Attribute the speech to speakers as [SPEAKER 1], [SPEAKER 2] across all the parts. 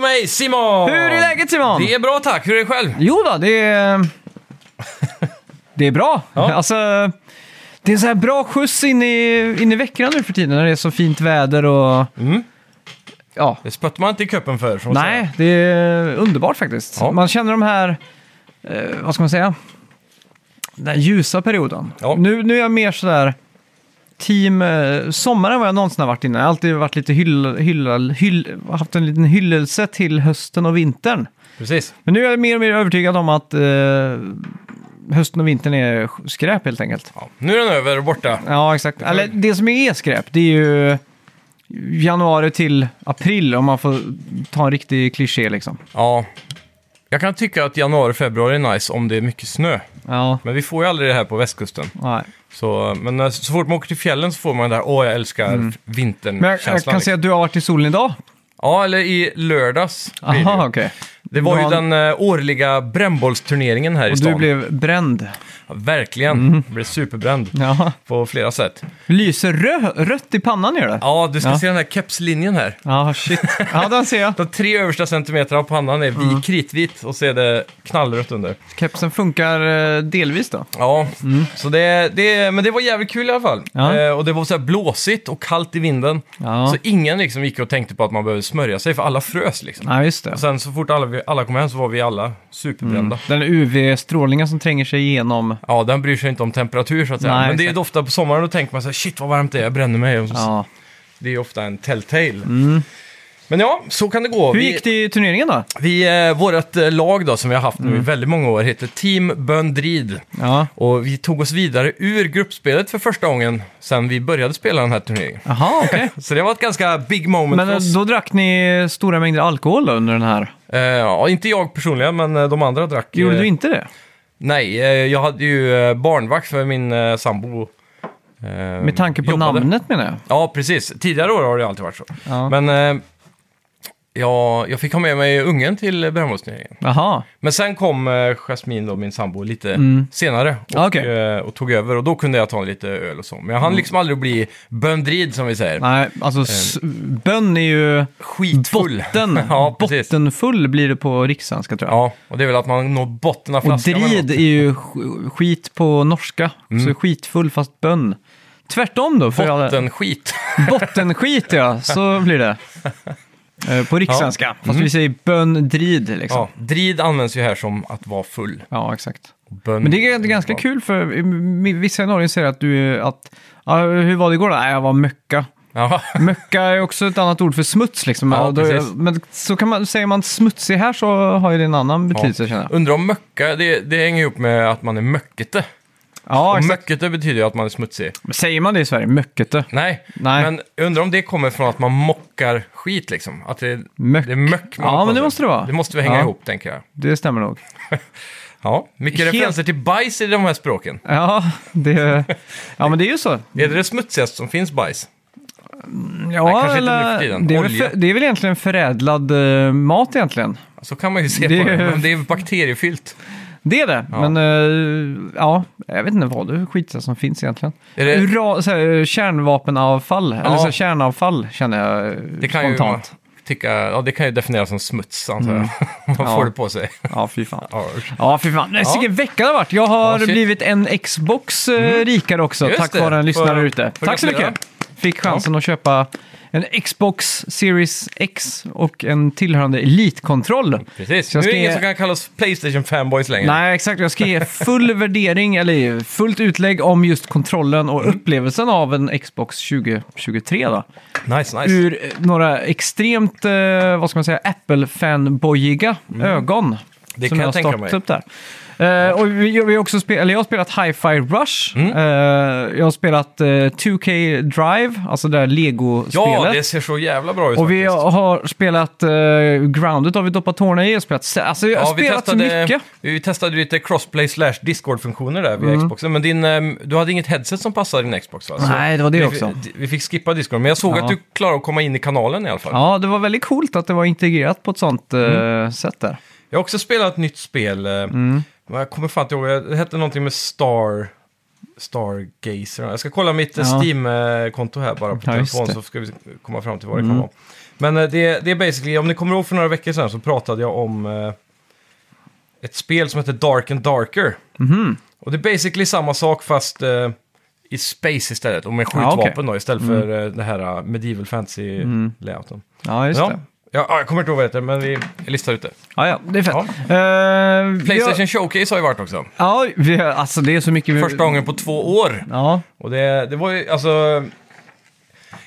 [SPEAKER 1] mig Simon!
[SPEAKER 2] Hur är läget Simon?
[SPEAKER 1] Det är bra tack, hur är det själv?
[SPEAKER 2] Jo då, det är... Det är bra.
[SPEAKER 1] Ja.
[SPEAKER 2] Alltså, det är så här bra skjuts in i, in i veckan nu för tiden när det är så fint väder och...
[SPEAKER 1] Mm.
[SPEAKER 2] Ja.
[SPEAKER 1] Det spötte man inte i kuppen för. får man säga.
[SPEAKER 2] Nej, det är underbart faktiskt.
[SPEAKER 1] Ja.
[SPEAKER 2] Man känner de här, eh, vad ska man säga, den här ljusa perioden.
[SPEAKER 1] Ja.
[SPEAKER 2] Nu, nu är jag mer sådär team eh, sommar än vad jag någonsin har varit innan. Jag har alltid varit lite hyll, hyll, hyll, haft en liten hyllelse till hösten och vintern.
[SPEAKER 1] Precis.
[SPEAKER 2] Men nu är jag mer och mer övertygad om att eh, hösten och vintern är skräp helt enkelt.
[SPEAKER 1] Ja. Nu är den över och borta.
[SPEAKER 2] Ja, exakt. Eller det som är skräp, det är ju januari till april om man får ta en riktig kliché liksom.
[SPEAKER 1] Ja. Jag kan tycka att januari, februari är nice om det är mycket snö.
[SPEAKER 2] Ja,
[SPEAKER 1] Men vi får ju aldrig det här på västkusten.
[SPEAKER 2] nej.
[SPEAKER 1] Så, men när- så fort man åker till fjällen så får man det där, åh jag älskar vintern
[SPEAKER 2] Mm. Men jag, jag
[SPEAKER 1] liksom.
[SPEAKER 2] kan säga att du har varit i solen idag.
[SPEAKER 1] Ja, eller i lördags. blir det ju.
[SPEAKER 2] Aha, okej.
[SPEAKER 1] Det var ju
[SPEAKER 2] Bra.
[SPEAKER 1] den eh, årliga brännbollsturneringen här i
[SPEAKER 2] Och
[SPEAKER 1] stan.
[SPEAKER 2] du blev Mm. bränd.
[SPEAKER 1] Ja, Verkligen. Jag blev superbränd.
[SPEAKER 2] Ja.
[SPEAKER 1] På flera sätt.
[SPEAKER 2] Lyser rö rött i pannan gör det.
[SPEAKER 1] Ja, du ska
[SPEAKER 2] Ja.
[SPEAKER 1] se den här kepslinjen här.
[SPEAKER 2] Ja, shit. Ja, den ser jag.
[SPEAKER 1] De tre översta centimeterna av pannan är vi kritvit och så är det knallrött under.
[SPEAKER 2] Kepsen funkar eh, delvis då.
[SPEAKER 1] Ja, så det, det, men det var jävligt kul i alla fall.
[SPEAKER 2] Mm. Ja.
[SPEAKER 1] Eh, och det var så här blåsigt och kallt i vinden.
[SPEAKER 2] Ja.
[SPEAKER 1] Så ingen liksom gick och tänkte på att man behövde smörja sig, för alla frös liksom.
[SPEAKER 2] Ja, just det.
[SPEAKER 1] Och sen så fort alla, alla kom hem så var vi alla superbrända.
[SPEAKER 2] Den UV-strålningen som tränger sig igenom.
[SPEAKER 1] Ja, den bryr sig inte om temperatur så att säga.
[SPEAKER 2] Nej,
[SPEAKER 1] men det är
[SPEAKER 2] exakt.
[SPEAKER 1] ofta på sommaren då tänker man så här, shit vad varmt det är, jag bränner mig. Och så,
[SPEAKER 2] Ja. Mm.
[SPEAKER 1] Det är ofta en telltale. Men ja, så kan det gå.
[SPEAKER 2] Hur
[SPEAKER 1] Vi-
[SPEAKER 2] gick det i turneringen då?
[SPEAKER 1] Vi, eh, vårt eh, lag då, som vi har haft
[SPEAKER 2] Mm.
[SPEAKER 1] nu i väldigt många år heter Team Böndrid.
[SPEAKER 2] Ja.
[SPEAKER 1] Och vi tog oss vidare ur gruppspelet för första gången sedan vi började spela den här turneringen.
[SPEAKER 2] Jaha, okej.
[SPEAKER 1] Så det var ett ganska big moment
[SPEAKER 2] Men
[SPEAKER 1] för
[SPEAKER 2] eh,
[SPEAKER 1] oss.
[SPEAKER 2] då drack ni stora mängder alkohol då under den här?
[SPEAKER 1] Eh, ja, inte jag personligen, men eh, de andra drack.
[SPEAKER 2] Gjorde
[SPEAKER 1] eh,
[SPEAKER 2] du inte det?
[SPEAKER 1] Nej, eh, jag hade ju eh, barnvakt för min eh, sambo. eh,
[SPEAKER 2] Med tanke på
[SPEAKER 1] jobbade.
[SPEAKER 2] namnet menar jag.
[SPEAKER 1] Ja, precis. Tidigare år har det alltid varit så.
[SPEAKER 2] Ja.
[SPEAKER 1] Men eh, jag, jag fick ha med mig ungen till brännbollsturneringen.
[SPEAKER 2] Jaha.
[SPEAKER 1] Men sen kom eh, Jasmine, då, min sambo, lite senare och,
[SPEAKER 2] Ah, okej. Mm.
[SPEAKER 1] eh, och tog över. Och då kunde jag ta lite öl och så. Men jag hann liksom aldrig bli böndrid, som vi säger.
[SPEAKER 2] Nej, alltså s- bön är ju
[SPEAKER 1] Eh. Skitfull.
[SPEAKER 2] botten.
[SPEAKER 1] ja, precis.
[SPEAKER 2] Bottenfull blir det på rikssvenska tror jag.
[SPEAKER 1] Ja, och det är väl att man når botten av
[SPEAKER 2] Och
[SPEAKER 1] flaskan. med
[SPEAKER 2] drid är
[SPEAKER 1] något. Mm.
[SPEAKER 2] ju sk- skit på norska. Så skitfull fast bön. Tvärtom då. För alla-
[SPEAKER 1] Bottenskit.
[SPEAKER 2] Bottenskit ja, så blir det. Eh, På rikssvenska. Fast
[SPEAKER 1] Mm.
[SPEAKER 2] vi säger bön drid liksom.
[SPEAKER 1] Ja,
[SPEAKER 2] Ja.
[SPEAKER 1] drid används ju här som att vara full.
[SPEAKER 2] exakt.
[SPEAKER 1] Bön-
[SPEAKER 2] Men det är ganska
[SPEAKER 1] Mm. Ja.
[SPEAKER 2] kul för vissa i Norge säger att du är- att, ja, hur var det igår då? Nej, jag var möcka.
[SPEAKER 1] Ja,
[SPEAKER 2] Möcka är också ett annat ord för smuts liksom.
[SPEAKER 1] Ja,
[SPEAKER 2] Och då,
[SPEAKER 1] precis.
[SPEAKER 2] men så kan man, säger man smutsig här så har ju det en annan betydelse känner jag.
[SPEAKER 1] Undrar om möcka, det, det hänger ihop med att man är möckete.
[SPEAKER 2] Ja,
[SPEAKER 1] och
[SPEAKER 2] exakt.
[SPEAKER 1] möckete betyder ju att man är smutsig.
[SPEAKER 2] Säger man det i Sverige? Möckete?
[SPEAKER 1] Nej,
[SPEAKER 2] Nej.
[SPEAKER 1] men jag undrar om det kommer från att man mockar skit liksom. Att det,
[SPEAKER 2] Möck.
[SPEAKER 1] det är möck
[SPEAKER 2] Ja,
[SPEAKER 1] man har
[SPEAKER 2] men det
[SPEAKER 1] på
[SPEAKER 2] måste
[SPEAKER 1] sig.
[SPEAKER 2] det vara.
[SPEAKER 1] Det måste vi hänga
[SPEAKER 2] Ja.
[SPEAKER 1] ihop, tänker jag.
[SPEAKER 2] Det stämmer nog.
[SPEAKER 1] Ja, mycket
[SPEAKER 2] Helt-
[SPEAKER 1] referenser till bajs i de här språken.
[SPEAKER 2] Ja, det, ja men det är ju så.
[SPEAKER 1] Är det det smutsigaste som finns, bajs? Nej,
[SPEAKER 2] Ja,
[SPEAKER 1] kanske inte nu
[SPEAKER 2] eller,
[SPEAKER 1] för tiden.
[SPEAKER 2] det, är väl
[SPEAKER 1] Olja.
[SPEAKER 2] för, det är väl egentligen förädlad eh, mat egentligen.
[SPEAKER 1] Så kan man ju se
[SPEAKER 2] Det-
[SPEAKER 1] på det, men det är bakteriefyllt.
[SPEAKER 2] Det är det, men eh, ja, jag vet inte vad det skit som finns egentligen.
[SPEAKER 1] Är det-
[SPEAKER 2] Ura, så här, eh, kärnvapenavfall, eller så här, kärnavfall känner jag eh,
[SPEAKER 1] Det kan
[SPEAKER 2] spontant. Mm.
[SPEAKER 1] ju tycka, ja, det kan ju definieras som smuts, antar jag. man
[SPEAKER 2] Ja.
[SPEAKER 1] får det på sig.
[SPEAKER 2] Ja, fy fan.
[SPEAKER 1] Ja, usch.
[SPEAKER 2] Ja, fy fan. Nej,
[SPEAKER 1] Ja.
[SPEAKER 2] Vilken vecka det har varit. Jag har
[SPEAKER 1] Ja, shit. Mm.
[SPEAKER 2] blivit en Xbox eh, rikare också,
[SPEAKER 1] Just
[SPEAKER 2] tack
[SPEAKER 1] det.
[SPEAKER 2] vare en lyssnare
[SPEAKER 1] Får-
[SPEAKER 2] ute.
[SPEAKER 1] får
[SPEAKER 2] Tack så
[SPEAKER 1] gratulera.
[SPEAKER 2] mycket. Fick chansen att köpa en Xbox Series X och en tillhörande Elite-kontroll.
[SPEAKER 1] Precis,
[SPEAKER 2] Så
[SPEAKER 1] nu
[SPEAKER 2] jag
[SPEAKER 1] är det
[SPEAKER 2] ska
[SPEAKER 1] ingen
[SPEAKER 2] ge-
[SPEAKER 1] som kan kallas Playstation-fanboys längre.
[SPEAKER 2] Nej, exakt. Jag ska ge full värdering, eller fullt utlägg om just kontrollen och
[SPEAKER 1] Mm.
[SPEAKER 2] upplevelsen av en Xbox 2023 då.
[SPEAKER 1] Nice, nice.
[SPEAKER 2] Ur eh, några extremt, eh, vad ska man säga, Apple-fanbojiga ögon.
[SPEAKER 1] Mm. Det
[SPEAKER 2] som
[SPEAKER 1] kan
[SPEAKER 2] jag
[SPEAKER 1] jag tänka
[SPEAKER 2] startat
[SPEAKER 1] mig.
[SPEAKER 2] Upp där. Eh, och vi, vi har också spel, eller jag har spelat Hi-Fi Rush.
[SPEAKER 1] Mm.
[SPEAKER 2] Eh, jag har spelat eh, 2K Drive, alltså det där Lego-spelet.
[SPEAKER 1] Ja, det ser så jävla bra ut
[SPEAKER 2] Och vi
[SPEAKER 1] faktiskt.
[SPEAKER 2] har spelat eh, Grounded, har vi doppat tårna i. Jag har spelat, alltså, jag har
[SPEAKER 1] Ja, vi
[SPEAKER 2] spelat så mycket.
[SPEAKER 1] Vi testade lite crossplay slash Discord-funktioner där
[SPEAKER 2] Mm.
[SPEAKER 1] via Xboxen. Men din, ehm, du hade inget headset som passade din Xbox va? Så
[SPEAKER 2] Nej, det var det
[SPEAKER 1] vi,
[SPEAKER 2] också.
[SPEAKER 1] d- Vi fick skippa Discord, men jag såg
[SPEAKER 2] Ja.
[SPEAKER 1] att du klarade att komma in i kanalen i alla fall.
[SPEAKER 2] Ja, det var väldigt coolt att det var integrerat på ett sånt eh,
[SPEAKER 1] Mm.
[SPEAKER 2] sätt där. Mm.
[SPEAKER 1] Jag har också spelat ett nytt spel. eh, men Jag kommer fan inte ihåg, det hette någonting med Star... Stargazer. Jag ska kolla mitt eh,
[SPEAKER 2] Ja.
[SPEAKER 1] Steam-konto här bara på
[SPEAKER 2] Ja, just
[SPEAKER 1] telefon
[SPEAKER 2] det.
[SPEAKER 1] så ska vi komma fram till vad det kan
[SPEAKER 2] Mm.
[SPEAKER 1] vara. Men eh, det, det är basically, om ni kommer ihåg för några veckor sedan så pratade jag om eh, ett spel som heter Dark and Darker.
[SPEAKER 2] Mhm.
[SPEAKER 1] Och det är basically samma sak fast eh, i space istället och med
[SPEAKER 2] Ja, okej.
[SPEAKER 1] skjutvapen då istället för eh, det här eh, medieval
[SPEAKER 2] Mm.
[SPEAKER 1] fantasy-layouten.
[SPEAKER 2] Ja, just
[SPEAKER 1] Ja.
[SPEAKER 2] det.
[SPEAKER 1] Ja, ja, jag kommer inte ihåg vad det heter, men vi listar ut det.
[SPEAKER 2] Ja, ja, det är fett.
[SPEAKER 1] Ja.
[SPEAKER 2] Eh,
[SPEAKER 1] Playstation
[SPEAKER 2] vi har-
[SPEAKER 1] Showcase har ju varit också.
[SPEAKER 2] Ja, vi har, alltså det är så mycket vi...
[SPEAKER 1] Första gången på två år.
[SPEAKER 2] Ja,
[SPEAKER 1] Och det, det var ju, alltså...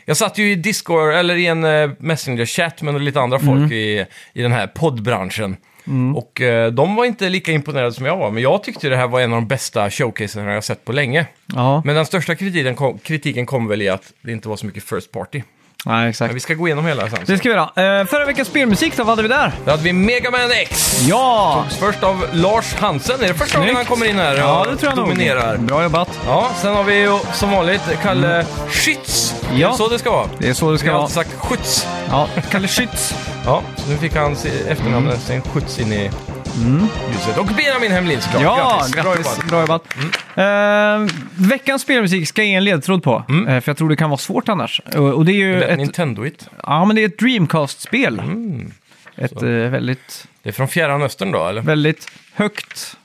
[SPEAKER 1] Jag satt ju i Discord, eller i en eh, Messenger-chatt med lite andra
[SPEAKER 2] Mm.
[SPEAKER 1] folk i, i den här poddbranschen. Och eh, de var inte lika imponerade som jag var, men jag tyckte det här var en av de bästa showcaserna jag sett på länge.
[SPEAKER 2] ja.
[SPEAKER 1] Men den största kritiken kom, kritiken kom väl i att det inte var så mycket first party.
[SPEAKER 2] ja
[SPEAKER 1] Men vi
[SPEAKER 2] exakt.
[SPEAKER 1] ska gå igenom hela sen.
[SPEAKER 2] Det ska vi göra. Eh, förra veckans spelmusik då, vad hade vi där?
[SPEAKER 1] Då hade vi Mega Man X!
[SPEAKER 2] Ja!
[SPEAKER 1] Först av Lars Hansen, är det första gången han
[SPEAKER 2] Snyggt.
[SPEAKER 1] kommer in här och
[SPEAKER 2] Ja, det tror jag
[SPEAKER 1] dominerar?
[SPEAKER 2] nog. Bra jobbat.
[SPEAKER 1] Ja, sen har vi ju som vanligt Kalle Schütz. Det är
[SPEAKER 2] Mm. Ja.
[SPEAKER 1] Så det ska vara.
[SPEAKER 2] Det är så det
[SPEAKER 1] Vi
[SPEAKER 2] ska
[SPEAKER 1] har
[SPEAKER 2] vara.
[SPEAKER 1] alltid sagt Schütz.
[SPEAKER 2] Ja, Kalle Schütz.
[SPEAKER 1] Ja, så nu fick han se-
[SPEAKER 2] Mm.
[SPEAKER 1] efternamnet sen skjuts in i ljuset. Och Benjamin Hemlin såklart.
[SPEAKER 2] Ja, grattis.
[SPEAKER 1] jobbat.
[SPEAKER 2] Bra jobbat. Eh, veckans spelmusik ska jag ge en ledtråd på, Eh, för jag tror det kan vara svårt annars. Och, och det är ju
[SPEAKER 1] Det-
[SPEAKER 2] ett,
[SPEAKER 1] Nintendo-it.
[SPEAKER 2] ja, men det är ett Dreamcast-spel. Ett eh, väldigt,
[SPEAKER 1] Det är från Fjärran Östern då, eller?
[SPEAKER 2] väldigt högt,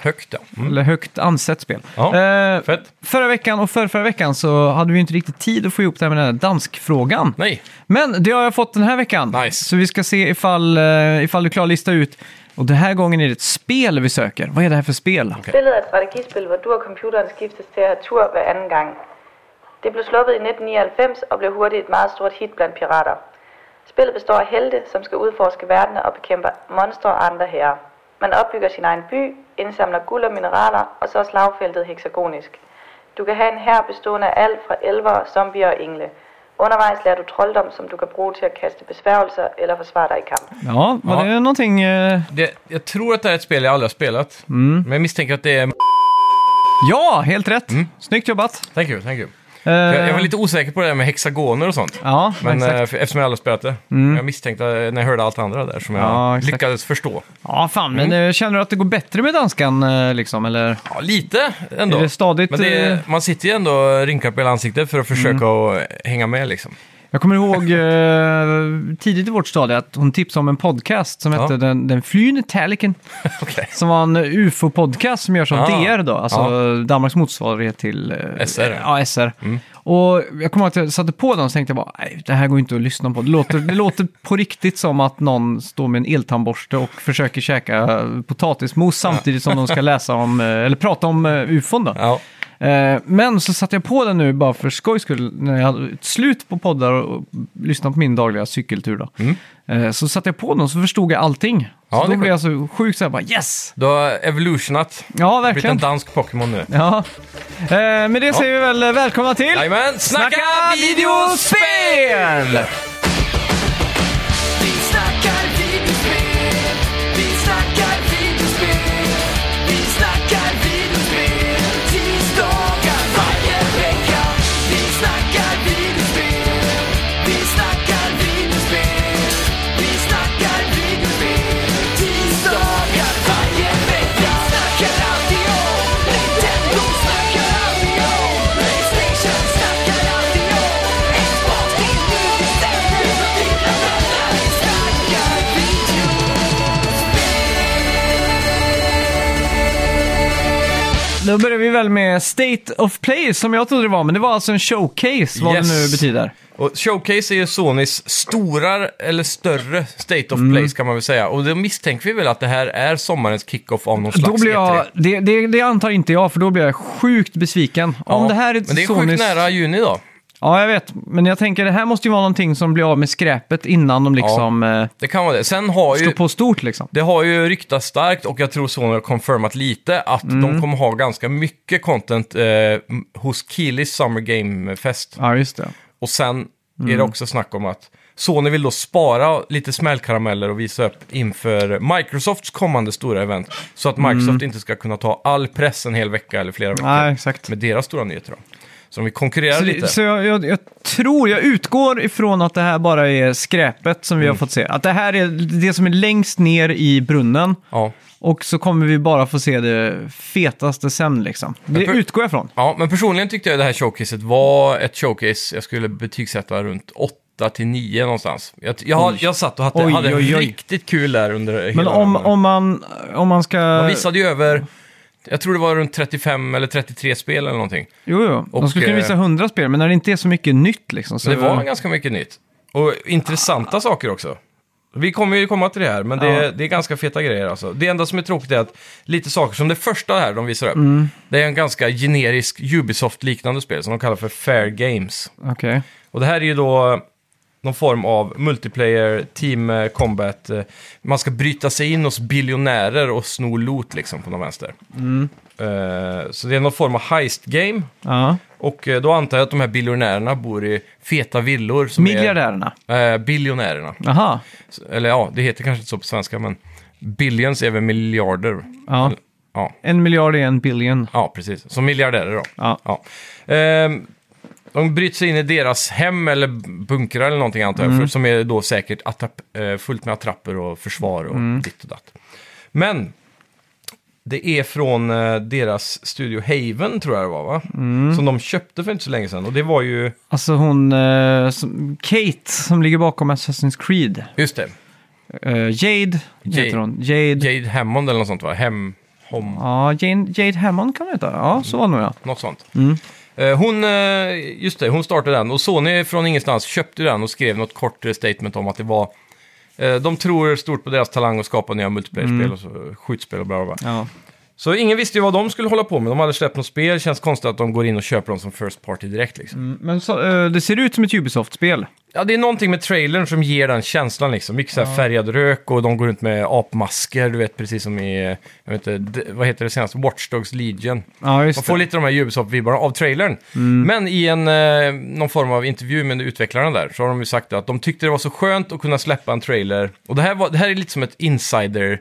[SPEAKER 1] Högt, ja. Mm.
[SPEAKER 2] eller högt ansett spel.
[SPEAKER 1] Ja,
[SPEAKER 2] Eh,
[SPEAKER 1] Fett.
[SPEAKER 2] Förra veckan och förra, förra veckan så hade vi ju inte riktigt tid att få ihop det här med den här danskfrågan.
[SPEAKER 1] Nej,
[SPEAKER 2] Men det har jag fått den här veckan.
[SPEAKER 1] Nice.
[SPEAKER 2] Så vi ska se ifall, eh, ifall du klarar att lista ut. Och den här gången är det ett spel vi söker. Vad är det här för spel?
[SPEAKER 3] Spillet er et strategispil, hvor du og computeren skiftes til at have tur hver anden gang. Det blev sluppet i 1999 og blev hurtigt et meget stort hit blandt pirater. Spillet består af helte, som skal udforske verden og bekæmpe monstre og andre herrer. Man opbygger sin egen by, indsamler guld og mineraler, og så er slagfeltet hexagonisk. Du kan have en hær bestående af alt fra elver, zombier og engle. Undervejs lærer du trolddom, som du kan bruge til at kaste besværgelser eller forsvare dig i kamp.
[SPEAKER 2] Ja, var
[SPEAKER 1] Ja.
[SPEAKER 2] det någonting... eh,
[SPEAKER 1] det, jag tror att det här är ett spel jag aldrig har spelat.
[SPEAKER 2] Mm.
[SPEAKER 1] Men jag misstänker att det är...
[SPEAKER 2] Ja, helt rätt. Snyggt jobbat.
[SPEAKER 1] Thank you, thank you.
[SPEAKER 2] Eh,
[SPEAKER 1] Mm. Jag, jag var lite osäker på det där med hexagoner och sånt.
[SPEAKER 2] Ja,
[SPEAKER 1] Men
[SPEAKER 2] exakt. Mm.
[SPEAKER 1] eh, för- eftersom jag aldrig spelat det. Jag misstänkte eh, när jag hörde allt andra där som jag
[SPEAKER 2] Ja, exakt.
[SPEAKER 1] lyckades förstå.
[SPEAKER 2] Ja, fan. Men
[SPEAKER 1] mm.
[SPEAKER 2] eh, känner du att det går bättre med danskan eh, liksom? Eller?
[SPEAKER 1] Ja, lite ändå.
[SPEAKER 2] Är det stadigt,
[SPEAKER 1] Men det är,
[SPEAKER 2] eh?
[SPEAKER 1] man sitter ju ändå och rynkar på hela ansiktet för att
[SPEAKER 2] Mm.
[SPEAKER 1] försöka att hänga med liksom.
[SPEAKER 2] Jag kommer ihåg eh, tidigt i vårt stadie att hon tipsade om en podcast som
[SPEAKER 1] Ja.
[SPEAKER 2] hette Den, den flyende taliken.
[SPEAKER 1] Okej.
[SPEAKER 2] Som var en UFO-podcast som görs av
[SPEAKER 1] Ah. Mm.
[SPEAKER 2] DR då, alltså Danmarks motsvarighet till eh,
[SPEAKER 1] SR.
[SPEAKER 2] Ja, SR. Och jag kommer ihåg att jag satte på den och så tänkte jag bara, nej, det här går inte att lyssna på. Det låter, det låter på riktigt som att någon står med en eltandborste och försöker käka potatismos samtidigt som de ska läsa om, eh, eller prata om eh, UFOn då.
[SPEAKER 1] Ja.
[SPEAKER 2] Eh, Men så satte jag på den nu bara för skojs skull, när jag hade ett slut på poddar och och lyssnade på min dagliga cykeltur. Då. Eh, Så satte jag på den och så förstod jag allting.
[SPEAKER 1] Mm. Ja,
[SPEAKER 2] så
[SPEAKER 1] det
[SPEAKER 2] då
[SPEAKER 1] är
[SPEAKER 2] blev jag så sjuk så jag bara yes!
[SPEAKER 1] Du har evolutionat.
[SPEAKER 2] Ja,
[SPEAKER 1] Blivit en
[SPEAKER 2] verkligen.
[SPEAKER 1] dansk Pokémon nu.
[SPEAKER 2] Ja. Eh, Med det säger vi väl eh, välkomna till
[SPEAKER 1] Jajamän, snacka, videospel!
[SPEAKER 4] Vi snackar videospel, vi snackar videospel, vi snackar videospel, tisdagar varje vecka. Vi snackar videospel, vi snackar videospel, vi snackar videospel, tisdagar varje vecka. Snackar alltid om Nintendo, snackar alltid om Playstation, snackar alltid om Xbox, det är nu vi sätter dina vänner. Vi snackar videospel.
[SPEAKER 2] Då börjar vi väl med State of Play som jag trodde det var, men det var alltså en showcase, vad
[SPEAKER 1] Yes.
[SPEAKER 2] det nu betyder.
[SPEAKER 1] Och Showcase är ju Sonys stora, eller större, State of
[SPEAKER 2] Mm.
[SPEAKER 1] Play kan man väl säga. Och då misstänker vi väl att det här är sommarens kick-off av någon
[SPEAKER 2] Då
[SPEAKER 1] slags E
[SPEAKER 2] blir jag,
[SPEAKER 1] E3.
[SPEAKER 2] det, det, det antar inte jag, för då blir jag sjukt besviken. Om
[SPEAKER 1] Ja,
[SPEAKER 2] det här är
[SPEAKER 1] Men det är
[SPEAKER 2] Sonys-
[SPEAKER 1] sjukt nära juni då.
[SPEAKER 2] Ja, jag vet. Men jag tänker, det här måste ju vara någonting som blir av med skräpet innan de liksom eh,
[SPEAKER 1] Det kan vara det. Sen har
[SPEAKER 2] står
[SPEAKER 1] ju...
[SPEAKER 2] på stort liksom.
[SPEAKER 1] Det har ju ryktats starkt och jag tror Sony har confirmat lite att de
[SPEAKER 2] Mm.
[SPEAKER 1] kommer ha ganska mycket content eh, m- hos Kilis Summer Game Fest.
[SPEAKER 2] Ja, Mm. just det.
[SPEAKER 1] Och sen är det också snack om att Sony vill då spara lite smällkarameller och visa upp inför Microsofts kommande stora event. Så att Microsoft inte ska kunna ta all press en hel vecka eller flera veckor
[SPEAKER 2] Mm. Nej, exakt.
[SPEAKER 1] med deras stora nyheter. Då. Så de vill konkurrera
[SPEAKER 2] Så,
[SPEAKER 1] lite.
[SPEAKER 2] det, så jag, jag, jag tror, jag utgår ifrån att det här bara är skräpet som vi
[SPEAKER 1] Mm.
[SPEAKER 2] har fått se. Att det här är det som är längst ner i brunnen.
[SPEAKER 1] Ja.
[SPEAKER 2] Och så kommer vi bara få se det fetaste sen liksom. Det
[SPEAKER 1] per-
[SPEAKER 2] utgår jag från.
[SPEAKER 1] ja, men personligen tyckte jag det här showcaset var ett showcase jag skulle betygsätta runt 8 till 9 någonstans. Jag, jag, jag satt och hade,
[SPEAKER 2] Oj,
[SPEAKER 1] hade
[SPEAKER 2] oj, oj.
[SPEAKER 1] riktigt kul där under hela
[SPEAKER 2] Men om,
[SPEAKER 1] den här.
[SPEAKER 2] om, man, om man ska...
[SPEAKER 1] De visade ju över, jag tror det var runt 35 eller 33 spel eller någonting.
[SPEAKER 2] Jo, jo.
[SPEAKER 1] Och,
[SPEAKER 2] De skulle kunna visa
[SPEAKER 1] eh,
[SPEAKER 2] hundra spel, men när det inte är så mycket nytt liksom. Så
[SPEAKER 1] Så det var ganska mycket nytt. Och intressanta saker också. Vi kommer ju komma till det här, men det, är-
[SPEAKER 2] Ah. Ja.
[SPEAKER 1] det är ganska feta grejer alltså. Det enda som är tråkigt är att lite saker som det första här de visar upp,
[SPEAKER 2] Mm.
[SPEAKER 1] det är en ganska generisk Ubisoft-liknande spel som de kallar för Fair Games.
[SPEAKER 2] Okej.
[SPEAKER 1] Och det här är ju då någon form av multiplayer, team eh, combat. eh, Man ska bryta sig in hos biljonärer och sno loot liksom på någon vänster. Eh, Så det är någon form av heist-game.
[SPEAKER 2] Ja.
[SPEAKER 1] Och eh, då antar jag att de här biljonärerna bor i feta villor. Som
[SPEAKER 2] Miljardärerna.
[SPEAKER 1] Är, eh, biljonärerna.
[SPEAKER 2] Aha.
[SPEAKER 1] Så- Eller ja, det heter kanske inte så på svenska, men billions är väl miljarder.
[SPEAKER 2] Ja.
[SPEAKER 1] Ja,
[SPEAKER 2] En miljard är en billion.
[SPEAKER 1] ja precis. Som miljardärer då.
[SPEAKER 2] Ja.
[SPEAKER 1] Ja. Ehm, de bryter sig in i deras hem eller bunkrar eller någonting antar jag, för, som är då säkert attrapp, eh, fullt med attrapper och försvar och ditt och datt. Men det är från eh, deras studio Haven, tror jag det var, va? Som de köpte för inte så länge sedan. Och det var ju...
[SPEAKER 2] Alltså hon... eh, som, Kate, som ligger bakom Assassin's Creed.
[SPEAKER 1] Just det.
[SPEAKER 2] Eh, Jade,
[SPEAKER 1] Jade.
[SPEAKER 2] heter hon. Jade.
[SPEAKER 1] Jade Hammond eller något sånt, va? Hem... Hom...
[SPEAKER 2] Ja, Jane, Jade Hammond kan man heta. Ja, så var det nog ja.
[SPEAKER 1] Något sånt.
[SPEAKER 2] Mm.
[SPEAKER 1] Eh, Hon, eh, just det, hon startade den och Sony från ingenstans köpte den och skrev något kort eh, statement om att det var eh, de tror stort på deras talang att skapa nya multiplayer-spel
[SPEAKER 2] Mm.
[SPEAKER 1] och så, skjutspel och bla bla bla.
[SPEAKER 2] ja.
[SPEAKER 1] Så ingen visste ju vad de skulle hålla på med. De hade släppt något spel, känns konstigt att de går in och köper dem som first party direkt liksom.
[SPEAKER 2] Mm, Men så, eh, det ser ut som ett Ubisoft-spel.
[SPEAKER 1] Ja, det är någonting med trailern som ger den känslan liksom. Mycket så här färgad rök och de går runt med apmasker, du vet precis som i, eh, jag vet inte, d- vad heter det senast, Watch Dogs Legion.
[SPEAKER 2] Ja,
[SPEAKER 1] Man
[SPEAKER 2] just
[SPEAKER 1] får
[SPEAKER 2] det. Mm.
[SPEAKER 1] lite de här Ubisoft-vibbarna av trailern. Men i en, eh, någon form av intervju med utvecklarna där så har de ju sagt att de tyckte det var så skönt att kunna släppa en trailer. Och det här, var, det här är lite som ett insider-information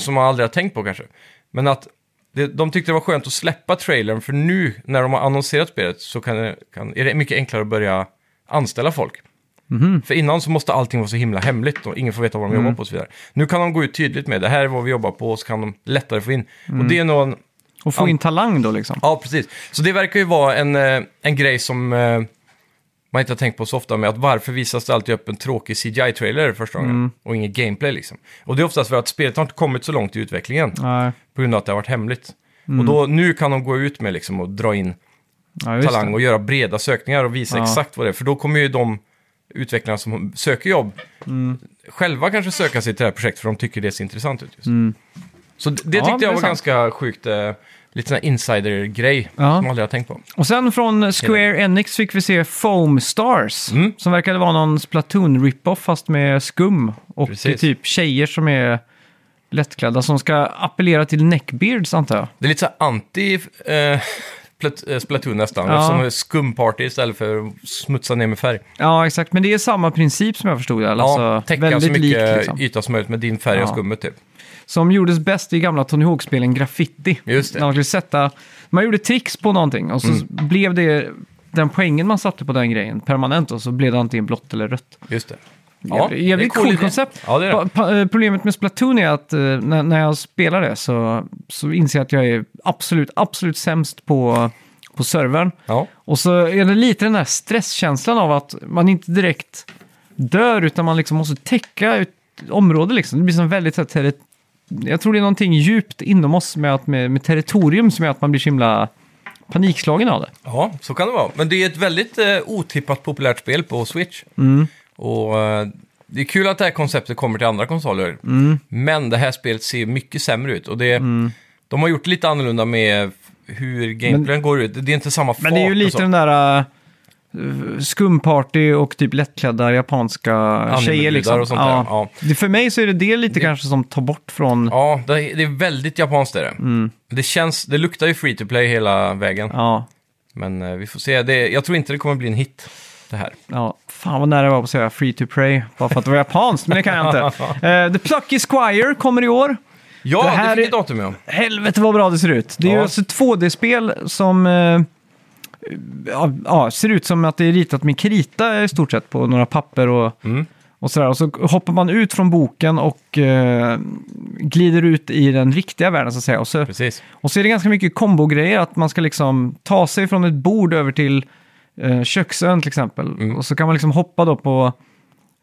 [SPEAKER 1] som man aldrig har tänkt på kanske. Men att det, de tyckte det var skönt att släppa trailern för nu när de har annonserat spelet så kan, det- kan, är det mycket enklare att börja anställa folk.
[SPEAKER 2] Mhm.
[SPEAKER 1] För innan så måste allting vara så himla hemligt och ingen får veta vad de
[SPEAKER 2] Mm.
[SPEAKER 1] jobbar på och så vidare. Nu kan de gå ut tydligt med det här är vad vi jobbar på och så kan de lättare få in.
[SPEAKER 2] Mm.
[SPEAKER 1] Och det är nog en
[SPEAKER 2] Och få in talang då liksom.
[SPEAKER 1] Ja, precis. Så det verkar ju vara en, eh, en grej som eh, man inte har tänkt på så ofta med att varför visas det alltid upp en tråkig CGI-trailer första gången och ingen gameplay liksom. Och det är oftast för att spelet har inte kommit så långt i utvecklingen
[SPEAKER 2] Nej,
[SPEAKER 1] på grund av att det har varit hemligt. Och då, nu kan de gå ut med liksom och dra in
[SPEAKER 2] ja, just
[SPEAKER 1] talang
[SPEAKER 2] det.
[SPEAKER 1] och göra breda sökningar och visa
[SPEAKER 2] Ja.
[SPEAKER 1] exakt vad det är. För då kommer ju de utvecklarna som söker jobb
[SPEAKER 2] Mm.
[SPEAKER 1] själva kanske söka sig till det här projektet för de tycker det ser intressant ut. Just. Så det,
[SPEAKER 2] Mm.
[SPEAKER 1] det
[SPEAKER 2] Ja,
[SPEAKER 1] tyckte
[SPEAKER 2] det är
[SPEAKER 1] jag var
[SPEAKER 2] sant.
[SPEAKER 1] ganska sjukt. Eh, lite sån här insider-grej
[SPEAKER 2] Ja.
[SPEAKER 1] som man aldrig har tänkt på.
[SPEAKER 2] Och sen från Square Enix fick vi se Foam Stars.
[SPEAKER 1] Mm.
[SPEAKER 2] Som verkade vara någon splatoon rip-off fast med skum. Och
[SPEAKER 1] Precis.
[SPEAKER 2] typ tjejer som är lättklädda som ska appellera till neckbeards antar jag.
[SPEAKER 1] Det är lite så här anti eh, Plat- eh, Splatoon nästan.
[SPEAKER 2] Ja.
[SPEAKER 1] Som skumparty istället för att smutsa ner med färg.
[SPEAKER 2] Ja, exakt. Men det är samma princip som jag förstod det. Alltså,
[SPEAKER 1] ja, täcka så
[SPEAKER 2] väldigt
[SPEAKER 1] mycket
[SPEAKER 2] likt liksom.
[SPEAKER 1] yta som möjligt med din färg och
[SPEAKER 2] Ja.
[SPEAKER 1] skummet typ.
[SPEAKER 2] Som gjordes bäst i gamla Tony Hawk-spelen Graffiti.
[SPEAKER 1] Just det. Mm.
[SPEAKER 2] När man skulle sätta... Man gjorde tricks på någonting och så blev det... Den poängen man satte på den grejen permanent och så blev det antingen blått eller rött.
[SPEAKER 1] Just det.
[SPEAKER 2] Jävligt,
[SPEAKER 1] det är
[SPEAKER 2] jävligt
[SPEAKER 1] cool
[SPEAKER 2] coolt
[SPEAKER 1] idé.
[SPEAKER 2] koncept.
[SPEAKER 1] Ja, det är det.
[SPEAKER 2] Pa- pa- eh, problemet med Splatoon är att eh, när, när jag spelar det så, så inser jag att jag är absolut, absolut sämst på, på servern.
[SPEAKER 1] Ja.
[SPEAKER 2] Och så är det lite den där stresskänslan av att man inte direkt dör utan man liksom måste täcka ett område liksom. Det blir som väldigt så här, terri- jag tror det är någonting djupt inom oss med, att, med, med territorium som gör att man blir så himla panikslagen av det.
[SPEAKER 1] ja, så kan det vara. Men det är ett väldigt eh, otippat populärt spel på Switch.
[SPEAKER 2] Mm.
[SPEAKER 1] Och eh, det är kul att det här konceptet kommer till andra konsoler.
[SPEAKER 2] Mm.
[SPEAKER 1] Men det här spelet ser mycket sämre ut. Och det, de har gjort det lite annorlunda med hur gameplayen går ut. Det är inte samma fart
[SPEAKER 2] Men det är ju
[SPEAKER 1] och
[SPEAKER 2] lite
[SPEAKER 1] så.
[SPEAKER 2] den där eh, skumparty och typ lättklädda japanska tjejer liksom.
[SPEAKER 1] och sånt där, ja.
[SPEAKER 2] Det, för mig så är det det lite kanske som tar bort från... Ja.
[SPEAKER 1] Ja, det, det är väldigt japanskt är det. Det, känns, det luktar ju free to play hela vägen.
[SPEAKER 2] Mm. Ja,
[SPEAKER 1] Men eh, vi får se. Det, jag tror inte det kommer bli en hit, det här.
[SPEAKER 2] fan vad nära jag var på att säga free to pray, bara för att det var japanskt, men det kan jag inte. Eh, The Plucky Squire kommer i år.
[SPEAKER 1] Ja,
[SPEAKER 2] Det
[SPEAKER 1] det,
[SPEAKER 2] här
[SPEAKER 1] fick
[SPEAKER 2] är-
[SPEAKER 1] ett datum ja.
[SPEAKER 2] Helvete vad bra det ser ut. Det är
[SPEAKER 1] Ja.
[SPEAKER 2] ju alltså ett 2D-spel som eh, ja, ja, ser ut som att det är ritat med krita i stort sett på några papper och, och sådär. Och så hoppar man ut från boken och eh, glider ut i den riktiga världen så att säga. Och så,
[SPEAKER 1] Precis.
[SPEAKER 2] och så är det ganska mycket kombogrejer, att man ska liksom ta sig från ett bord över till eh, köksön till exempel.
[SPEAKER 1] Mm.
[SPEAKER 2] Och så kan man liksom hoppa då på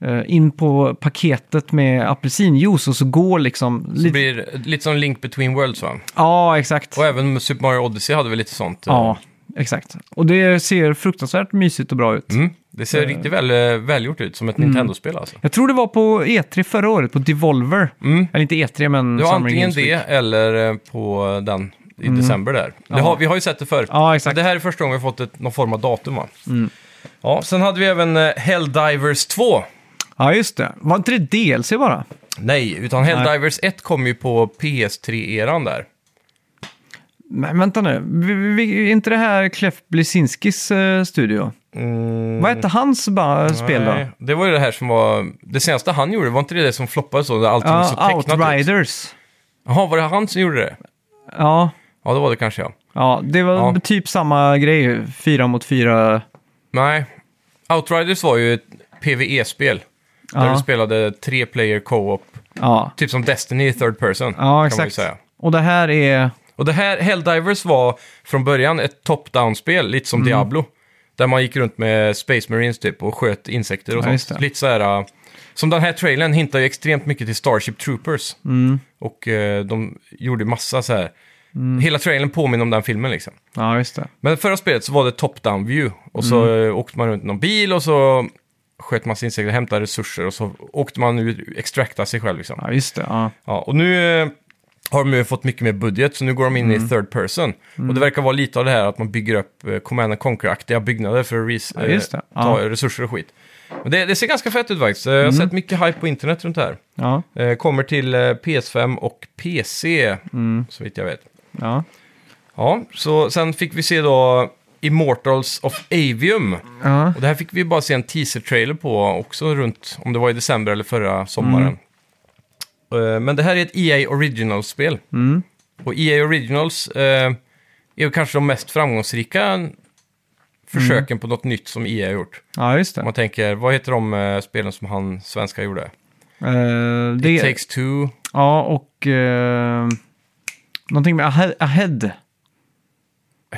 [SPEAKER 2] eh, in på paketet med apelsinjuice och så går liksom...
[SPEAKER 1] Det
[SPEAKER 2] lite-
[SPEAKER 1] blir lite som Link Between Worlds va?
[SPEAKER 2] Ja, exakt.
[SPEAKER 1] Och även Super Mario Odyssey hade väl lite sånt. eh,
[SPEAKER 2] Ja, exakt. Och det ser fruktansvärt mysigt och bra ut.
[SPEAKER 1] Mm. Det ser riktigt väl, eh, välgjort ut, som ett
[SPEAKER 2] Mm.
[SPEAKER 1] Nintendo-spel alltså.
[SPEAKER 2] Jag tror det var på E3 förra året, på Devolver.
[SPEAKER 1] Mm.
[SPEAKER 2] Eller inte E3, men...
[SPEAKER 1] Det var
[SPEAKER 2] Summer
[SPEAKER 1] antingen
[SPEAKER 2] Games
[SPEAKER 1] det
[SPEAKER 2] Week. Mm.
[SPEAKER 1] eller eh, på den i december där. Det har, vi har ju sett det förr.
[SPEAKER 2] Ja,
[SPEAKER 1] Men
[SPEAKER 2] exakt. Mm.
[SPEAKER 1] det här är första gången vi fått ett, någon form av datum va? Ja, sen hade vi även eh, Helldivers 2.
[SPEAKER 2] Ja, just det. Var inte det DLC bara?
[SPEAKER 1] Nej, utan Helldivers 1 kom ju på PS3-eran där.
[SPEAKER 2] Men vänta nu, vi, vi- vi, är inte det här Clef Blesinskis eh, studio? Vad hette hans ba- spel då?
[SPEAKER 1] Mm. Nej, Eh, det var ju det här som var... Det senaste han gjorde, var inte det det som floppade så? Där allting var så
[SPEAKER 2] Ja,
[SPEAKER 1] tecknat ut?
[SPEAKER 2] Outriders.
[SPEAKER 1] Jaha, var det han som gjorde det?
[SPEAKER 2] Ja,
[SPEAKER 1] Ja, det var det kanske ja.
[SPEAKER 2] ja, det var
[SPEAKER 1] Ja.
[SPEAKER 2] typ samma grej, fyra mot fyra.
[SPEAKER 1] Nej, Outriders var ju ett PVE-spel. Där
[SPEAKER 2] Ja.
[SPEAKER 1] du spelade tre player co-op.
[SPEAKER 2] Ja,
[SPEAKER 1] Typ som Destiny i third person. kan man
[SPEAKER 2] ja
[SPEAKER 1] ju
[SPEAKER 2] exakt.
[SPEAKER 1] säga.
[SPEAKER 2] Och det här är...
[SPEAKER 1] Och det här, Helldivers var från början ett top-down-spel, lite
[SPEAKER 2] Mm.
[SPEAKER 1] som Diablo. Där man gick runt med Space Marines typ och sköt insekter och
[SPEAKER 2] Ja, just
[SPEAKER 1] sånt.
[SPEAKER 2] det.
[SPEAKER 1] Lite så här, äh, som den här trailern hintar ju extremt mycket till Starship Troopers.
[SPEAKER 2] Mm.
[SPEAKER 1] Och eh, de gjorde massa så här, hela trailern påminner om den filmen liksom.
[SPEAKER 2] Ja, just det.
[SPEAKER 1] Men förra spelet så var det top-down view. Och så
[SPEAKER 2] Mm.
[SPEAKER 1] eh, åkte man runt i någon bil och så sköt massa insekter, hämtade resurser och så åkte man ut och extraktade sig själv liksom.
[SPEAKER 2] Ja, just det. Ja.
[SPEAKER 1] Ja, och nu eh, har de ju fått mycket mer budget, så nu går de in
[SPEAKER 2] Mm.
[SPEAKER 1] i third person. Och det verkar vara lite av det här att man bygger upp eh, Command and Conquer-aktiga byggnader för att res-
[SPEAKER 2] Ja, just
[SPEAKER 1] eh,
[SPEAKER 2] det.
[SPEAKER 1] ta
[SPEAKER 2] Ja. Mm.
[SPEAKER 1] resurser och skit. Men det, det ser ganska fett ut faktiskt. Eh, Jag har sett mycket hype på internet runt det här.
[SPEAKER 2] Ja,
[SPEAKER 1] Eh, Kommer till eh, PS5 och PC,
[SPEAKER 2] Mm.
[SPEAKER 1] så vitt jag vet.
[SPEAKER 2] ja.
[SPEAKER 1] Ja, så sen fick vi se då Immortals of Avium.
[SPEAKER 2] ja.
[SPEAKER 1] Och det här fick vi bara se en teaser-trailer på också runt, om det var i december eller förra sommaren. Eh, Men det här är ett EA Originals-spel.
[SPEAKER 2] Mm.
[SPEAKER 1] Och EA Originals eh, är ju kanske de mest framgångsrika
[SPEAKER 2] Mm.
[SPEAKER 1] försöken på något nytt som EA har gjort.
[SPEAKER 2] ja just det.
[SPEAKER 1] Om man tänker, vad heter de eh, spelen som han svenska gjorde?
[SPEAKER 2] Eh,
[SPEAKER 1] It
[SPEAKER 2] det,
[SPEAKER 1] takes two.
[SPEAKER 2] ja, och eh, någonting med ahe- Ahead.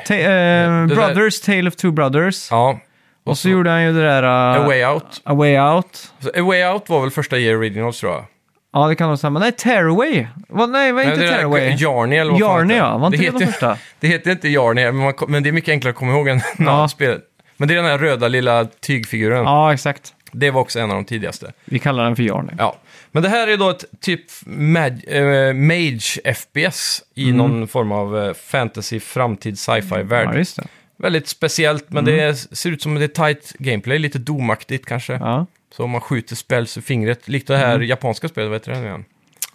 [SPEAKER 2] Ta- eh, brothers, Tale of Two Brothers.
[SPEAKER 1] Ja.
[SPEAKER 2] och så gjorde han ju det där... eh,
[SPEAKER 1] A Way Out.
[SPEAKER 2] A Way Out.
[SPEAKER 1] Så A Way Out var väl första EA Originals tror jag.
[SPEAKER 2] Ja, det kan nog stämma. Nej, Tearaway. Va, nej, var inte
[SPEAKER 1] Nej, det där-
[SPEAKER 2] Tearaway?
[SPEAKER 1] Yarny eller vad fan
[SPEAKER 2] Yarny,
[SPEAKER 1] heter det?
[SPEAKER 2] ja. Var inte det
[SPEAKER 1] heter-
[SPEAKER 2] de första?
[SPEAKER 1] Det heter inte Yarny, men, man, kom- men det är mycket enklare att komma ihåg än ja. spelet. Men det är den här röda lilla tygfiguren.
[SPEAKER 2] Ja, exakt.
[SPEAKER 1] Det var också en av de tidigaste.
[SPEAKER 2] Vi kallar den för Yarny.
[SPEAKER 1] Ja. Men det här är då ett typ mag, eh, mage FPS i någon form av eh, fantasy framtid sci-fi värld.
[SPEAKER 2] Mm. Ja, just det.
[SPEAKER 1] Väldigt speciellt, men det är, ser ut som det är tight gameplay, lite domaktigt kanske.
[SPEAKER 2] Ja. Mm.
[SPEAKER 1] Så om man skjuter spells ur fingret, likt det här japanska spelet, vad heter det nu igen?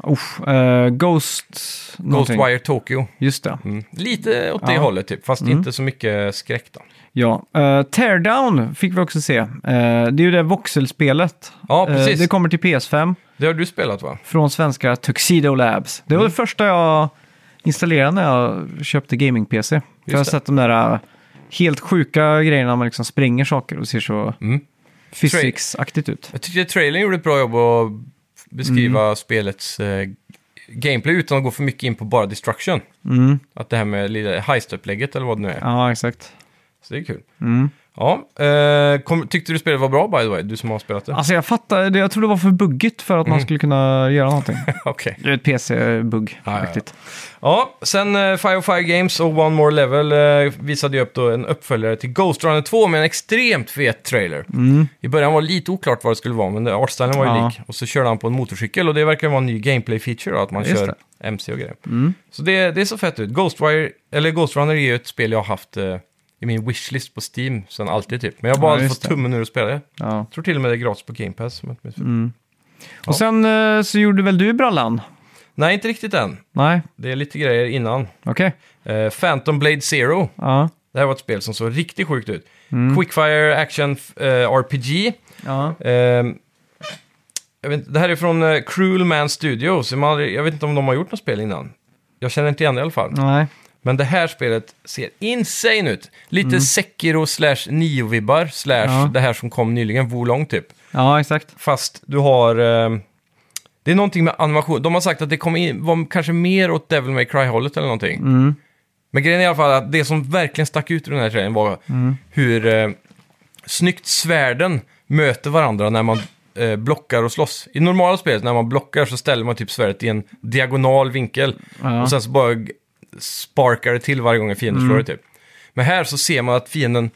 [SPEAKER 2] Usch, eh, Ghost... någonting.
[SPEAKER 1] Ghostwire Tokyo.
[SPEAKER 2] Just det.
[SPEAKER 1] Mm. Lite åt det hållet typ, fast inte så mycket skräck då.
[SPEAKER 2] Ja. Eh, Teardown fick vi också se. Eh, det är ju det voxelspelet.
[SPEAKER 1] Ja,
[SPEAKER 2] Eh,
[SPEAKER 1] precis.
[SPEAKER 2] det kommer till PS5
[SPEAKER 1] Det har du spelat va?
[SPEAKER 2] från svenska Tuxedo Labs. Det var
[SPEAKER 1] Mm.
[SPEAKER 2] det första jag installerade när jag köpte gaming-PC. Jag har
[SPEAKER 1] det.
[SPEAKER 2] sett de där eh, helt sjuka grejerna när man liksom spränger saker och ser så
[SPEAKER 1] Mm.
[SPEAKER 2] physics-aktigt ut.
[SPEAKER 1] Jag tyckte trailern gjorde ett bra jobb att beskriva spelets eh, gameplay utan att gå för mycket in på bara destruction.
[SPEAKER 2] Mm.
[SPEAKER 1] Att det här med lilla heist-upplägget eller vad det nu är.
[SPEAKER 2] Ja, exakt.
[SPEAKER 1] Så det är kul.
[SPEAKER 2] Mm.
[SPEAKER 1] Ja, eh, kom, tyckte du spelet var bra by the way? Du som har spelat det?
[SPEAKER 2] Alltså jag fattar, det- jag tror det var för buggigt för att
[SPEAKER 1] Mm.
[SPEAKER 2] man skulle kunna göra någonting.
[SPEAKER 1] Okej.
[SPEAKER 2] Det är ett
[SPEAKER 1] Ja, ja, ja.
[SPEAKER 2] PC-bugg-aktigt.
[SPEAKER 1] Ja, sen eh, Fire Fire Games och One More Level eh, visade ju upp då en uppföljare till Ghost Runner 2 med en extremt fet trailer.
[SPEAKER 2] Mm.
[SPEAKER 1] I början var det lite oklart vad det skulle vara, men det- artstylen var ju
[SPEAKER 2] Ja.
[SPEAKER 1] lik. Och så körde han på en motorcykel och det verkar vara en ny gameplay-feature då, att man
[SPEAKER 2] Just Mm.
[SPEAKER 1] kör MC och grejer. Så det, det är så fett ut. Ghostwire, eller Ghost Runner är ju ett spel jag har haft eh, i min wishlist på Steam sen alltid typ. Men jag har
[SPEAKER 2] Ja,
[SPEAKER 1] bara
[SPEAKER 2] just
[SPEAKER 1] fått
[SPEAKER 2] det.
[SPEAKER 1] tummen ur att spela det.
[SPEAKER 2] Ja.
[SPEAKER 1] Jag tror till och med det är gratis på Game Pass. om jag inte minns fel.
[SPEAKER 2] Mm. Och sen eh, så gjorde väl du brallan?
[SPEAKER 1] Nej, inte riktigt än.
[SPEAKER 2] Nej,
[SPEAKER 1] Det är lite grejer innan.
[SPEAKER 2] okej.
[SPEAKER 1] Eh, Phantom Blade Zero.
[SPEAKER 2] Ja.
[SPEAKER 1] Det här var ett spel som såg riktigt sjukt ut.
[SPEAKER 2] Mm.
[SPEAKER 1] Quickfire Action eh, RPG.
[SPEAKER 2] Ja.
[SPEAKER 1] Ehm, jag vet, inte, det här är från eh, Cruel Man Studios. Man, har aldrig- jag vet inte om de har gjort något spel innan. Jag känner inte igen det i alla fall.
[SPEAKER 2] Nej.
[SPEAKER 1] Men det här spelet ser insane ut. Lite Sekiro slash Nio-vibbar slash
[SPEAKER 2] Ja.
[SPEAKER 1] det här som kom nyligen, Wolong typ.
[SPEAKER 2] Ja, exakt.
[SPEAKER 1] Fast du har... Eh, det är någonting med animation. De har sagt att det kommer in, var kanske mer åt Devil May Cry-hållet eller någonting. Men grejen är i alla fall att det som verkligen stack ut ur den här trailern var hur eh, snyggt svärden möter varandra när man eh, blockar och slåss. I normala spelet när man blockar så ställer man typ svärdet i en diagonal vinkel.
[SPEAKER 2] Ja. Mm.
[SPEAKER 1] Och sen så bara g- sparkar det till varje gång en fiende slår dig typ. Men här så ser man att fienden,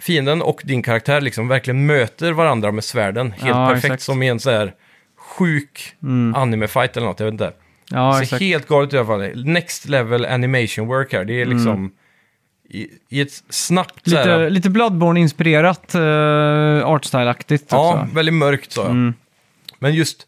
[SPEAKER 1] fienden och din karaktär liksom verkligen möter varandra med svärden. Helt
[SPEAKER 2] Ja,
[SPEAKER 1] perfekt
[SPEAKER 2] exakt. Mm.
[SPEAKER 1] som i en så här sjuk anime-fight eller något, jag vet inte.
[SPEAKER 2] Ja,
[SPEAKER 1] så
[SPEAKER 2] exakt.
[SPEAKER 1] helt galet i alla fall. Next level animation work här, det är liksom i, i ett snabbt så här,
[SPEAKER 2] Mm. Lite, lite Bloodborne-inspirerat, uh, artstyle-aktigt
[SPEAKER 1] Ja,
[SPEAKER 2] också.
[SPEAKER 1] väldigt mörkt så.
[SPEAKER 2] Mm.
[SPEAKER 1] Men just,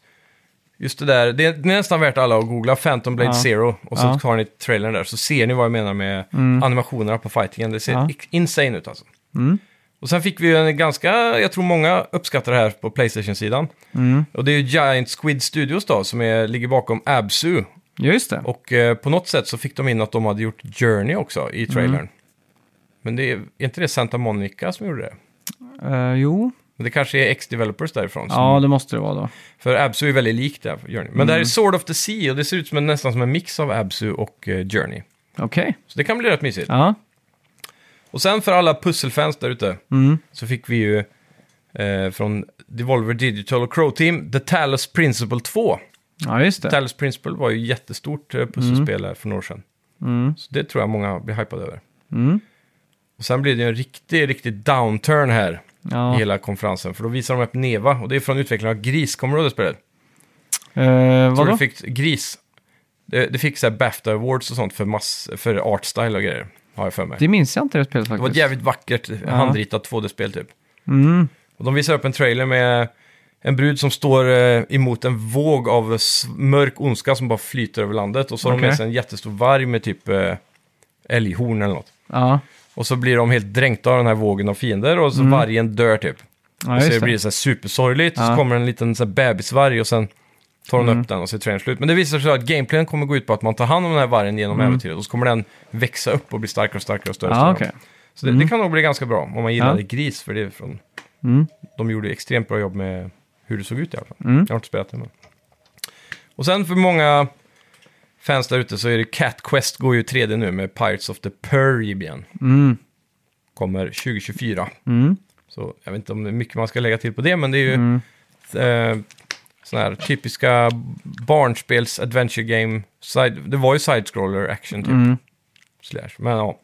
[SPEAKER 1] just det där, det är, det är nästan värt alla att googla Phantom Blade
[SPEAKER 2] Ja.
[SPEAKER 1] Zero och så
[SPEAKER 2] Ja. Mm.
[SPEAKER 1] tar ni trailern där så ser ni vad jag menar med animationerna på fightingen. Det ser
[SPEAKER 2] Ja.
[SPEAKER 1] ex- insane ut alltså.
[SPEAKER 2] Mm.
[SPEAKER 1] Och sen fick vi ju en ganska, jag tror många uppskattar det här på Playstation-sidan.
[SPEAKER 2] Mm.
[SPEAKER 1] Och det är ju Giant Squid Studios då som är, ligger bakom Absu.
[SPEAKER 2] Ja, just det.
[SPEAKER 1] Och eh, på något sätt så fick de in att de hade gjort Journey också
[SPEAKER 2] Mm.
[SPEAKER 1] i trailern. Men det är, är inte det Santa Monica som gjorde det?
[SPEAKER 2] Eh, jo,
[SPEAKER 1] Men det kanske är X-developers därifrån som
[SPEAKER 2] ja det måste det vara då.
[SPEAKER 1] för Absu är väldigt likt det här Journey. Men
[SPEAKER 2] Mm.
[SPEAKER 1] det här är Sword of the Sea och det ser ut som en, nästan som en mix av Absu och eh, Journey.
[SPEAKER 2] Okej.
[SPEAKER 1] Så det kan bli rätt mysigt.
[SPEAKER 2] Ja.
[SPEAKER 1] Och sen för alla pusselfans där ute
[SPEAKER 2] Mm.
[SPEAKER 1] så fick vi ju eh, från Devolver Digital och Crow Team The Talos Principle 2.
[SPEAKER 2] ja, just det.
[SPEAKER 1] Talos Principle var ju jättestort eh, pusselspel här för några år sedan.
[SPEAKER 2] Mm.
[SPEAKER 1] Så det tror jag många blir hypade över.
[SPEAKER 2] Mm.
[SPEAKER 1] Och sen blir det ju en riktig, riktig downturn här i
[SPEAKER 2] Ja.
[SPEAKER 1] hela konferensen. För då visar de upp Neva och det är från utvecklarna av Gris. Kommer du ihåg det spelet?
[SPEAKER 2] Uh,
[SPEAKER 1] Tror
[SPEAKER 2] vadå?
[SPEAKER 1] det fick gris. Det, det fick så här Bafta Awards och sånt för, mass, för art style och grejer. Har jag för mig. Det,
[SPEAKER 2] Det minns jag inte det spelet faktiskt.
[SPEAKER 1] var ett jävligt vackert handritat 2D-spel typ.
[SPEAKER 2] Mm.
[SPEAKER 1] Och de visar upp en trailer med en brud som står eh, emot en våg av s- mörk ondska som bara flyter över landet. Och så har de
[SPEAKER 2] Okej.
[SPEAKER 1] med sig en jättestor varg med typ eh, älghorn eller något.
[SPEAKER 2] Ja,
[SPEAKER 1] Och så blir de helt dränkta av den här vågen av fiender och så
[SPEAKER 2] Mm.
[SPEAKER 1] vargen dör typ.
[SPEAKER 2] ja
[SPEAKER 1] och så
[SPEAKER 2] just
[SPEAKER 1] blir
[SPEAKER 2] det.
[SPEAKER 1] det så här supersorgligt och så
[SPEAKER 2] Ja. Mm.
[SPEAKER 1] kommer en liten så här bebisvarg och sen tar hon upp den och så är trailern slut. Men det visar sig att gameplayen kommer gå ut på att man tar hand om den här vargen genom äventyret och så kommer den växa upp och bli starkare och starkare och större. och
[SPEAKER 2] Mm. Ja,
[SPEAKER 1] större.
[SPEAKER 2] okej.
[SPEAKER 1] Så det, det kan nog bli ganska bra om man gillade Gris, för det är från...
[SPEAKER 2] Mm.
[SPEAKER 1] De gjorde extremt bra jobb med hur det såg ut i alla fall.
[SPEAKER 2] Mm.
[SPEAKER 1] Jag har inte spelat det, men... Och sen för många fans där ute så är det Cat Quest går ju 3D nu med Pirates of the Caribbean.
[SPEAKER 2] Mm.
[SPEAKER 1] Kommer 2024.
[SPEAKER 2] Mm.
[SPEAKER 1] Så jag vet inte om det är mycket man ska lägga till på det, men det är ju eh, sådana här typiska barnspels adventure game. Side, det var ju side-scroller action typ.
[SPEAKER 2] Mm.
[SPEAKER 1] Slash. Men ja,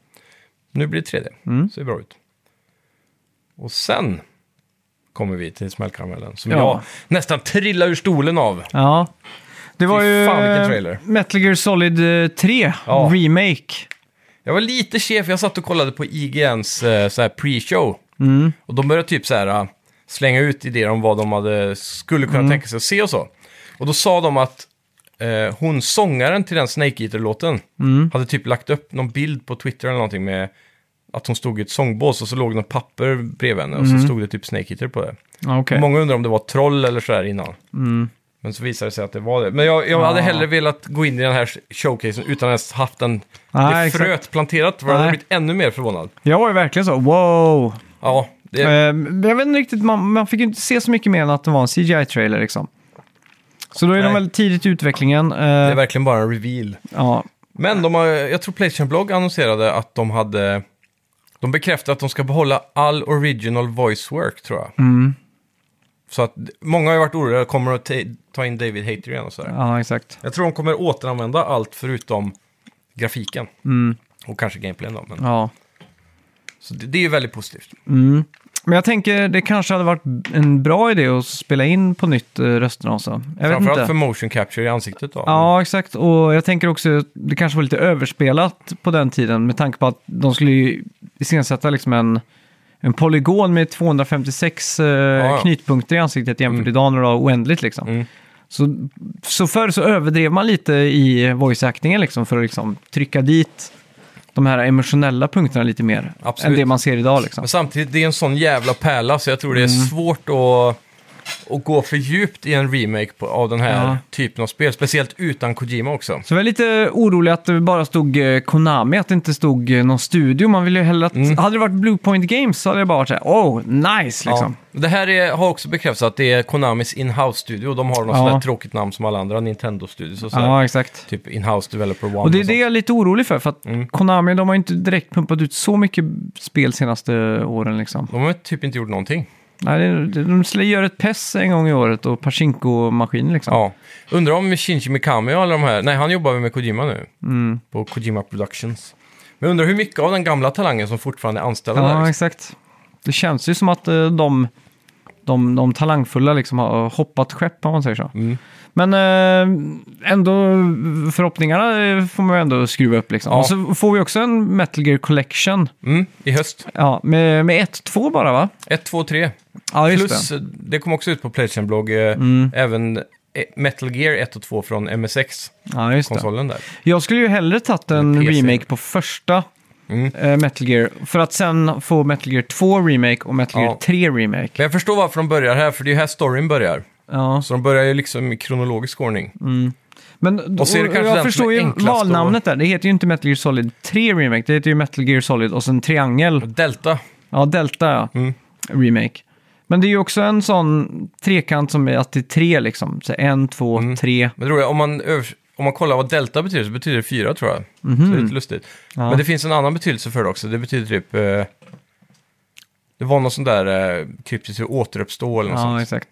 [SPEAKER 1] nu blir det 3D.
[SPEAKER 2] Mm.
[SPEAKER 1] Ser bra ut. Och sen kommer vi till smällkaramellen som
[SPEAKER 2] Ja.
[SPEAKER 1] jag nästan trillar ur stolen av.
[SPEAKER 2] Ja. Det var
[SPEAKER 1] Fy
[SPEAKER 2] ju
[SPEAKER 1] fan, vilken
[SPEAKER 2] eh,
[SPEAKER 1] trailer.
[SPEAKER 2] Metal Gear Solid eh, 3
[SPEAKER 1] Ja.
[SPEAKER 2] Remake.
[SPEAKER 1] Jag var lite chef, jag satt och kollade på IGNs eh, så här pre-show.
[SPEAKER 2] Mm.
[SPEAKER 1] Och de började typ så här äh, slänga ut idéer om vad de hade, skulle kunna tänka sig att se och så. Och då sa de att eh, hon, sångaren till den Snake Eater-låten, hade typ lagt upp någon bild på Twitter eller någonting med att hon stod i ett sångbås och så låg något papper bredvid henne och så stod det typ Snake Eater på det.
[SPEAKER 2] Ja, Okej.
[SPEAKER 1] Många undrar om det var troll eller så här innan. Men så visade det sig att det var det. Men jag, jag hade
[SPEAKER 2] Mm. Ah.
[SPEAKER 1] hellre velat gå in i den här showcasen utan ens haft den,
[SPEAKER 2] Nej,
[SPEAKER 1] det
[SPEAKER 2] Ah, exakt.
[SPEAKER 1] fröet planterat. För jag hade
[SPEAKER 2] Nej.
[SPEAKER 1] blivit ännu mer förvånad.
[SPEAKER 2] Jag var ju verkligen så, wow.
[SPEAKER 1] Ja, det,
[SPEAKER 2] Eh, men jag vet inte riktigt, man, man fick ju inte se så mycket mer än att det var en CGI-trailer liksom. Så då är
[SPEAKER 1] Nej.
[SPEAKER 2] de väl tidigt i utvecklingen. eh,
[SPEAKER 1] det är verkligen bara en reveal.
[SPEAKER 2] ja.
[SPEAKER 1] Men de har, jag tror Playstation Blog annonserade att de hade... De bekräftade att de ska behålla all original voice work, tror jag.
[SPEAKER 2] Mm.
[SPEAKER 1] Så att många har ju varit oroliga, kommer att ta- ta in David Hayter igen och sådär.
[SPEAKER 2] ja, exakt.
[SPEAKER 1] Jag tror de kommer återanvända allt förutom grafiken.
[SPEAKER 2] Mm.
[SPEAKER 1] Och kanske gameplayen då. Men,
[SPEAKER 2] Ja.
[SPEAKER 1] Så det, det är ju väldigt positivt.
[SPEAKER 2] Mm. Men jag tänker det kanske hade varit en bra idé att spela in på nytt eh, rösterna också. Jag vet
[SPEAKER 1] Framförallt
[SPEAKER 2] inte.
[SPEAKER 1] för motion capture i ansiktet då.
[SPEAKER 2] Ja, exakt. Och jag tänker också att det kanske var lite överspelat på den tiden med tanke på att de skulle ju iscensätta liksom en, en polygon med 256 eh,
[SPEAKER 1] ja.
[SPEAKER 2] knytpunkter i ansiktet jämfört idag när det var oändligt liksom.
[SPEAKER 1] Mm.
[SPEAKER 2] Så, så förr så överdrev man lite i voice-actingen liksom för att liksom trycka dit de här emotionella punkterna lite mer
[SPEAKER 1] Absolut.
[SPEAKER 2] än det man ser idag liksom. Mm.
[SPEAKER 1] Men samtidigt, det är en sån jävla pärla så jag tror det är svårt att att gå för djupt i en remake på, av den här
[SPEAKER 2] Ja.
[SPEAKER 1] typen av spel. Speciellt utan Kojima också.
[SPEAKER 2] Så jag är lite orolig att det bara stod eh, Konami, att det inte stod eh, någon studio. Man ville ju hellre att... Hade det varit Bluepoint Games så hade jag bara varit så här, oh, nice liksom.
[SPEAKER 1] Ja. Det här är, har också bekräftats att det är Konamis in-house-studio. De har
[SPEAKER 2] Ja.
[SPEAKER 1] något sånt där tråkigt namn som alla andra Nintendo-studios och
[SPEAKER 2] Ja,
[SPEAKER 1] sådär.
[SPEAKER 2] exakt.
[SPEAKER 1] Typ in-house developer one
[SPEAKER 2] Och det är Mm. det
[SPEAKER 1] och sånt.
[SPEAKER 2] jag är lite orolig för, för att Konami, de har ju inte direkt pumpat ut så mycket spel senaste åren liksom.
[SPEAKER 1] De har typ inte gjort någonting.
[SPEAKER 2] Nej, det- det- de skulle göra ett PES en gång i året och Pachinko-maskin liksom.
[SPEAKER 1] Ja. Undrar om Shinji Mikami och alla de här... Nej, han jobbar väl med Kojima nu.
[SPEAKER 2] Mm.
[SPEAKER 1] På Kojima Productions. Men undrar hur mycket av den gamla talangen som fortfarande är anställda där.
[SPEAKER 2] Ja,
[SPEAKER 1] liksom.
[SPEAKER 2] exakt. Det känns ju som att eh, de, de, de talangfulla liksom har hoppat skepp om man säger så.
[SPEAKER 1] Mm.
[SPEAKER 2] Men eh, ändå, förhoppningarna eh, får man ju ändå skruva upp liksom.
[SPEAKER 1] Ja.
[SPEAKER 2] Och så får vi också en Metal Gear Collection.
[SPEAKER 1] Mm, I höst.
[SPEAKER 2] Ja, med, med 1-2 bara va?
[SPEAKER 1] 1, 2, 3.
[SPEAKER 2] Ja,
[SPEAKER 1] Plus, eh, det. kom också ut på Playstation-blogg. eh,
[SPEAKER 2] Mm.
[SPEAKER 1] Även eh, Metal Gear 1 och 2 från MSX-konsolen
[SPEAKER 2] Ja, just det.
[SPEAKER 1] där.
[SPEAKER 2] Jag skulle ju hellre tagit en
[SPEAKER 1] Eller PC.
[SPEAKER 2] remake på första
[SPEAKER 1] Mm.
[SPEAKER 2] eh, Metal Gear. För att sen få Metal Gear 2 remake och Metal Gear
[SPEAKER 1] Ja.
[SPEAKER 2] 3 remake.
[SPEAKER 1] Men jag förstår varför de börjar här, för det är ju här storyn börjar.
[SPEAKER 2] Ja.
[SPEAKER 1] Så de börjar ju liksom i kronologisk ordning.
[SPEAKER 2] Men
[SPEAKER 1] Och så är det
[SPEAKER 2] och
[SPEAKER 1] kanske den
[SPEAKER 2] jag
[SPEAKER 1] som
[SPEAKER 2] förstår
[SPEAKER 1] är
[SPEAKER 2] ju
[SPEAKER 1] enklast
[SPEAKER 2] valnamnet där. Det heter ju inte Metal Gear Solid 3 Remake. Det heter ju Metal Gear Solid och sen Triangel.
[SPEAKER 1] Delta.
[SPEAKER 2] Ja, Delta ja.
[SPEAKER 1] Mm.
[SPEAKER 2] Remake. Men det är ju också en sån trekant som är att det är tre liksom. Så en, två,
[SPEAKER 1] Mm.
[SPEAKER 2] tre.
[SPEAKER 1] Men det roliga, om man, övers- om man kollar vad delta betyder så betyder det fyra tror jag.
[SPEAKER 2] Mhm.
[SPEAKER 1] Så det är lite lustigt. Men det finns en annan betydelse för det också. Det betyder typ... Eh, det var någon sån där eh, kryptiskt återuppstå eller något
[SPEAKER 2] Ja,
[SPEAKER 1] sånt.
[SPEAKER 2] exakt.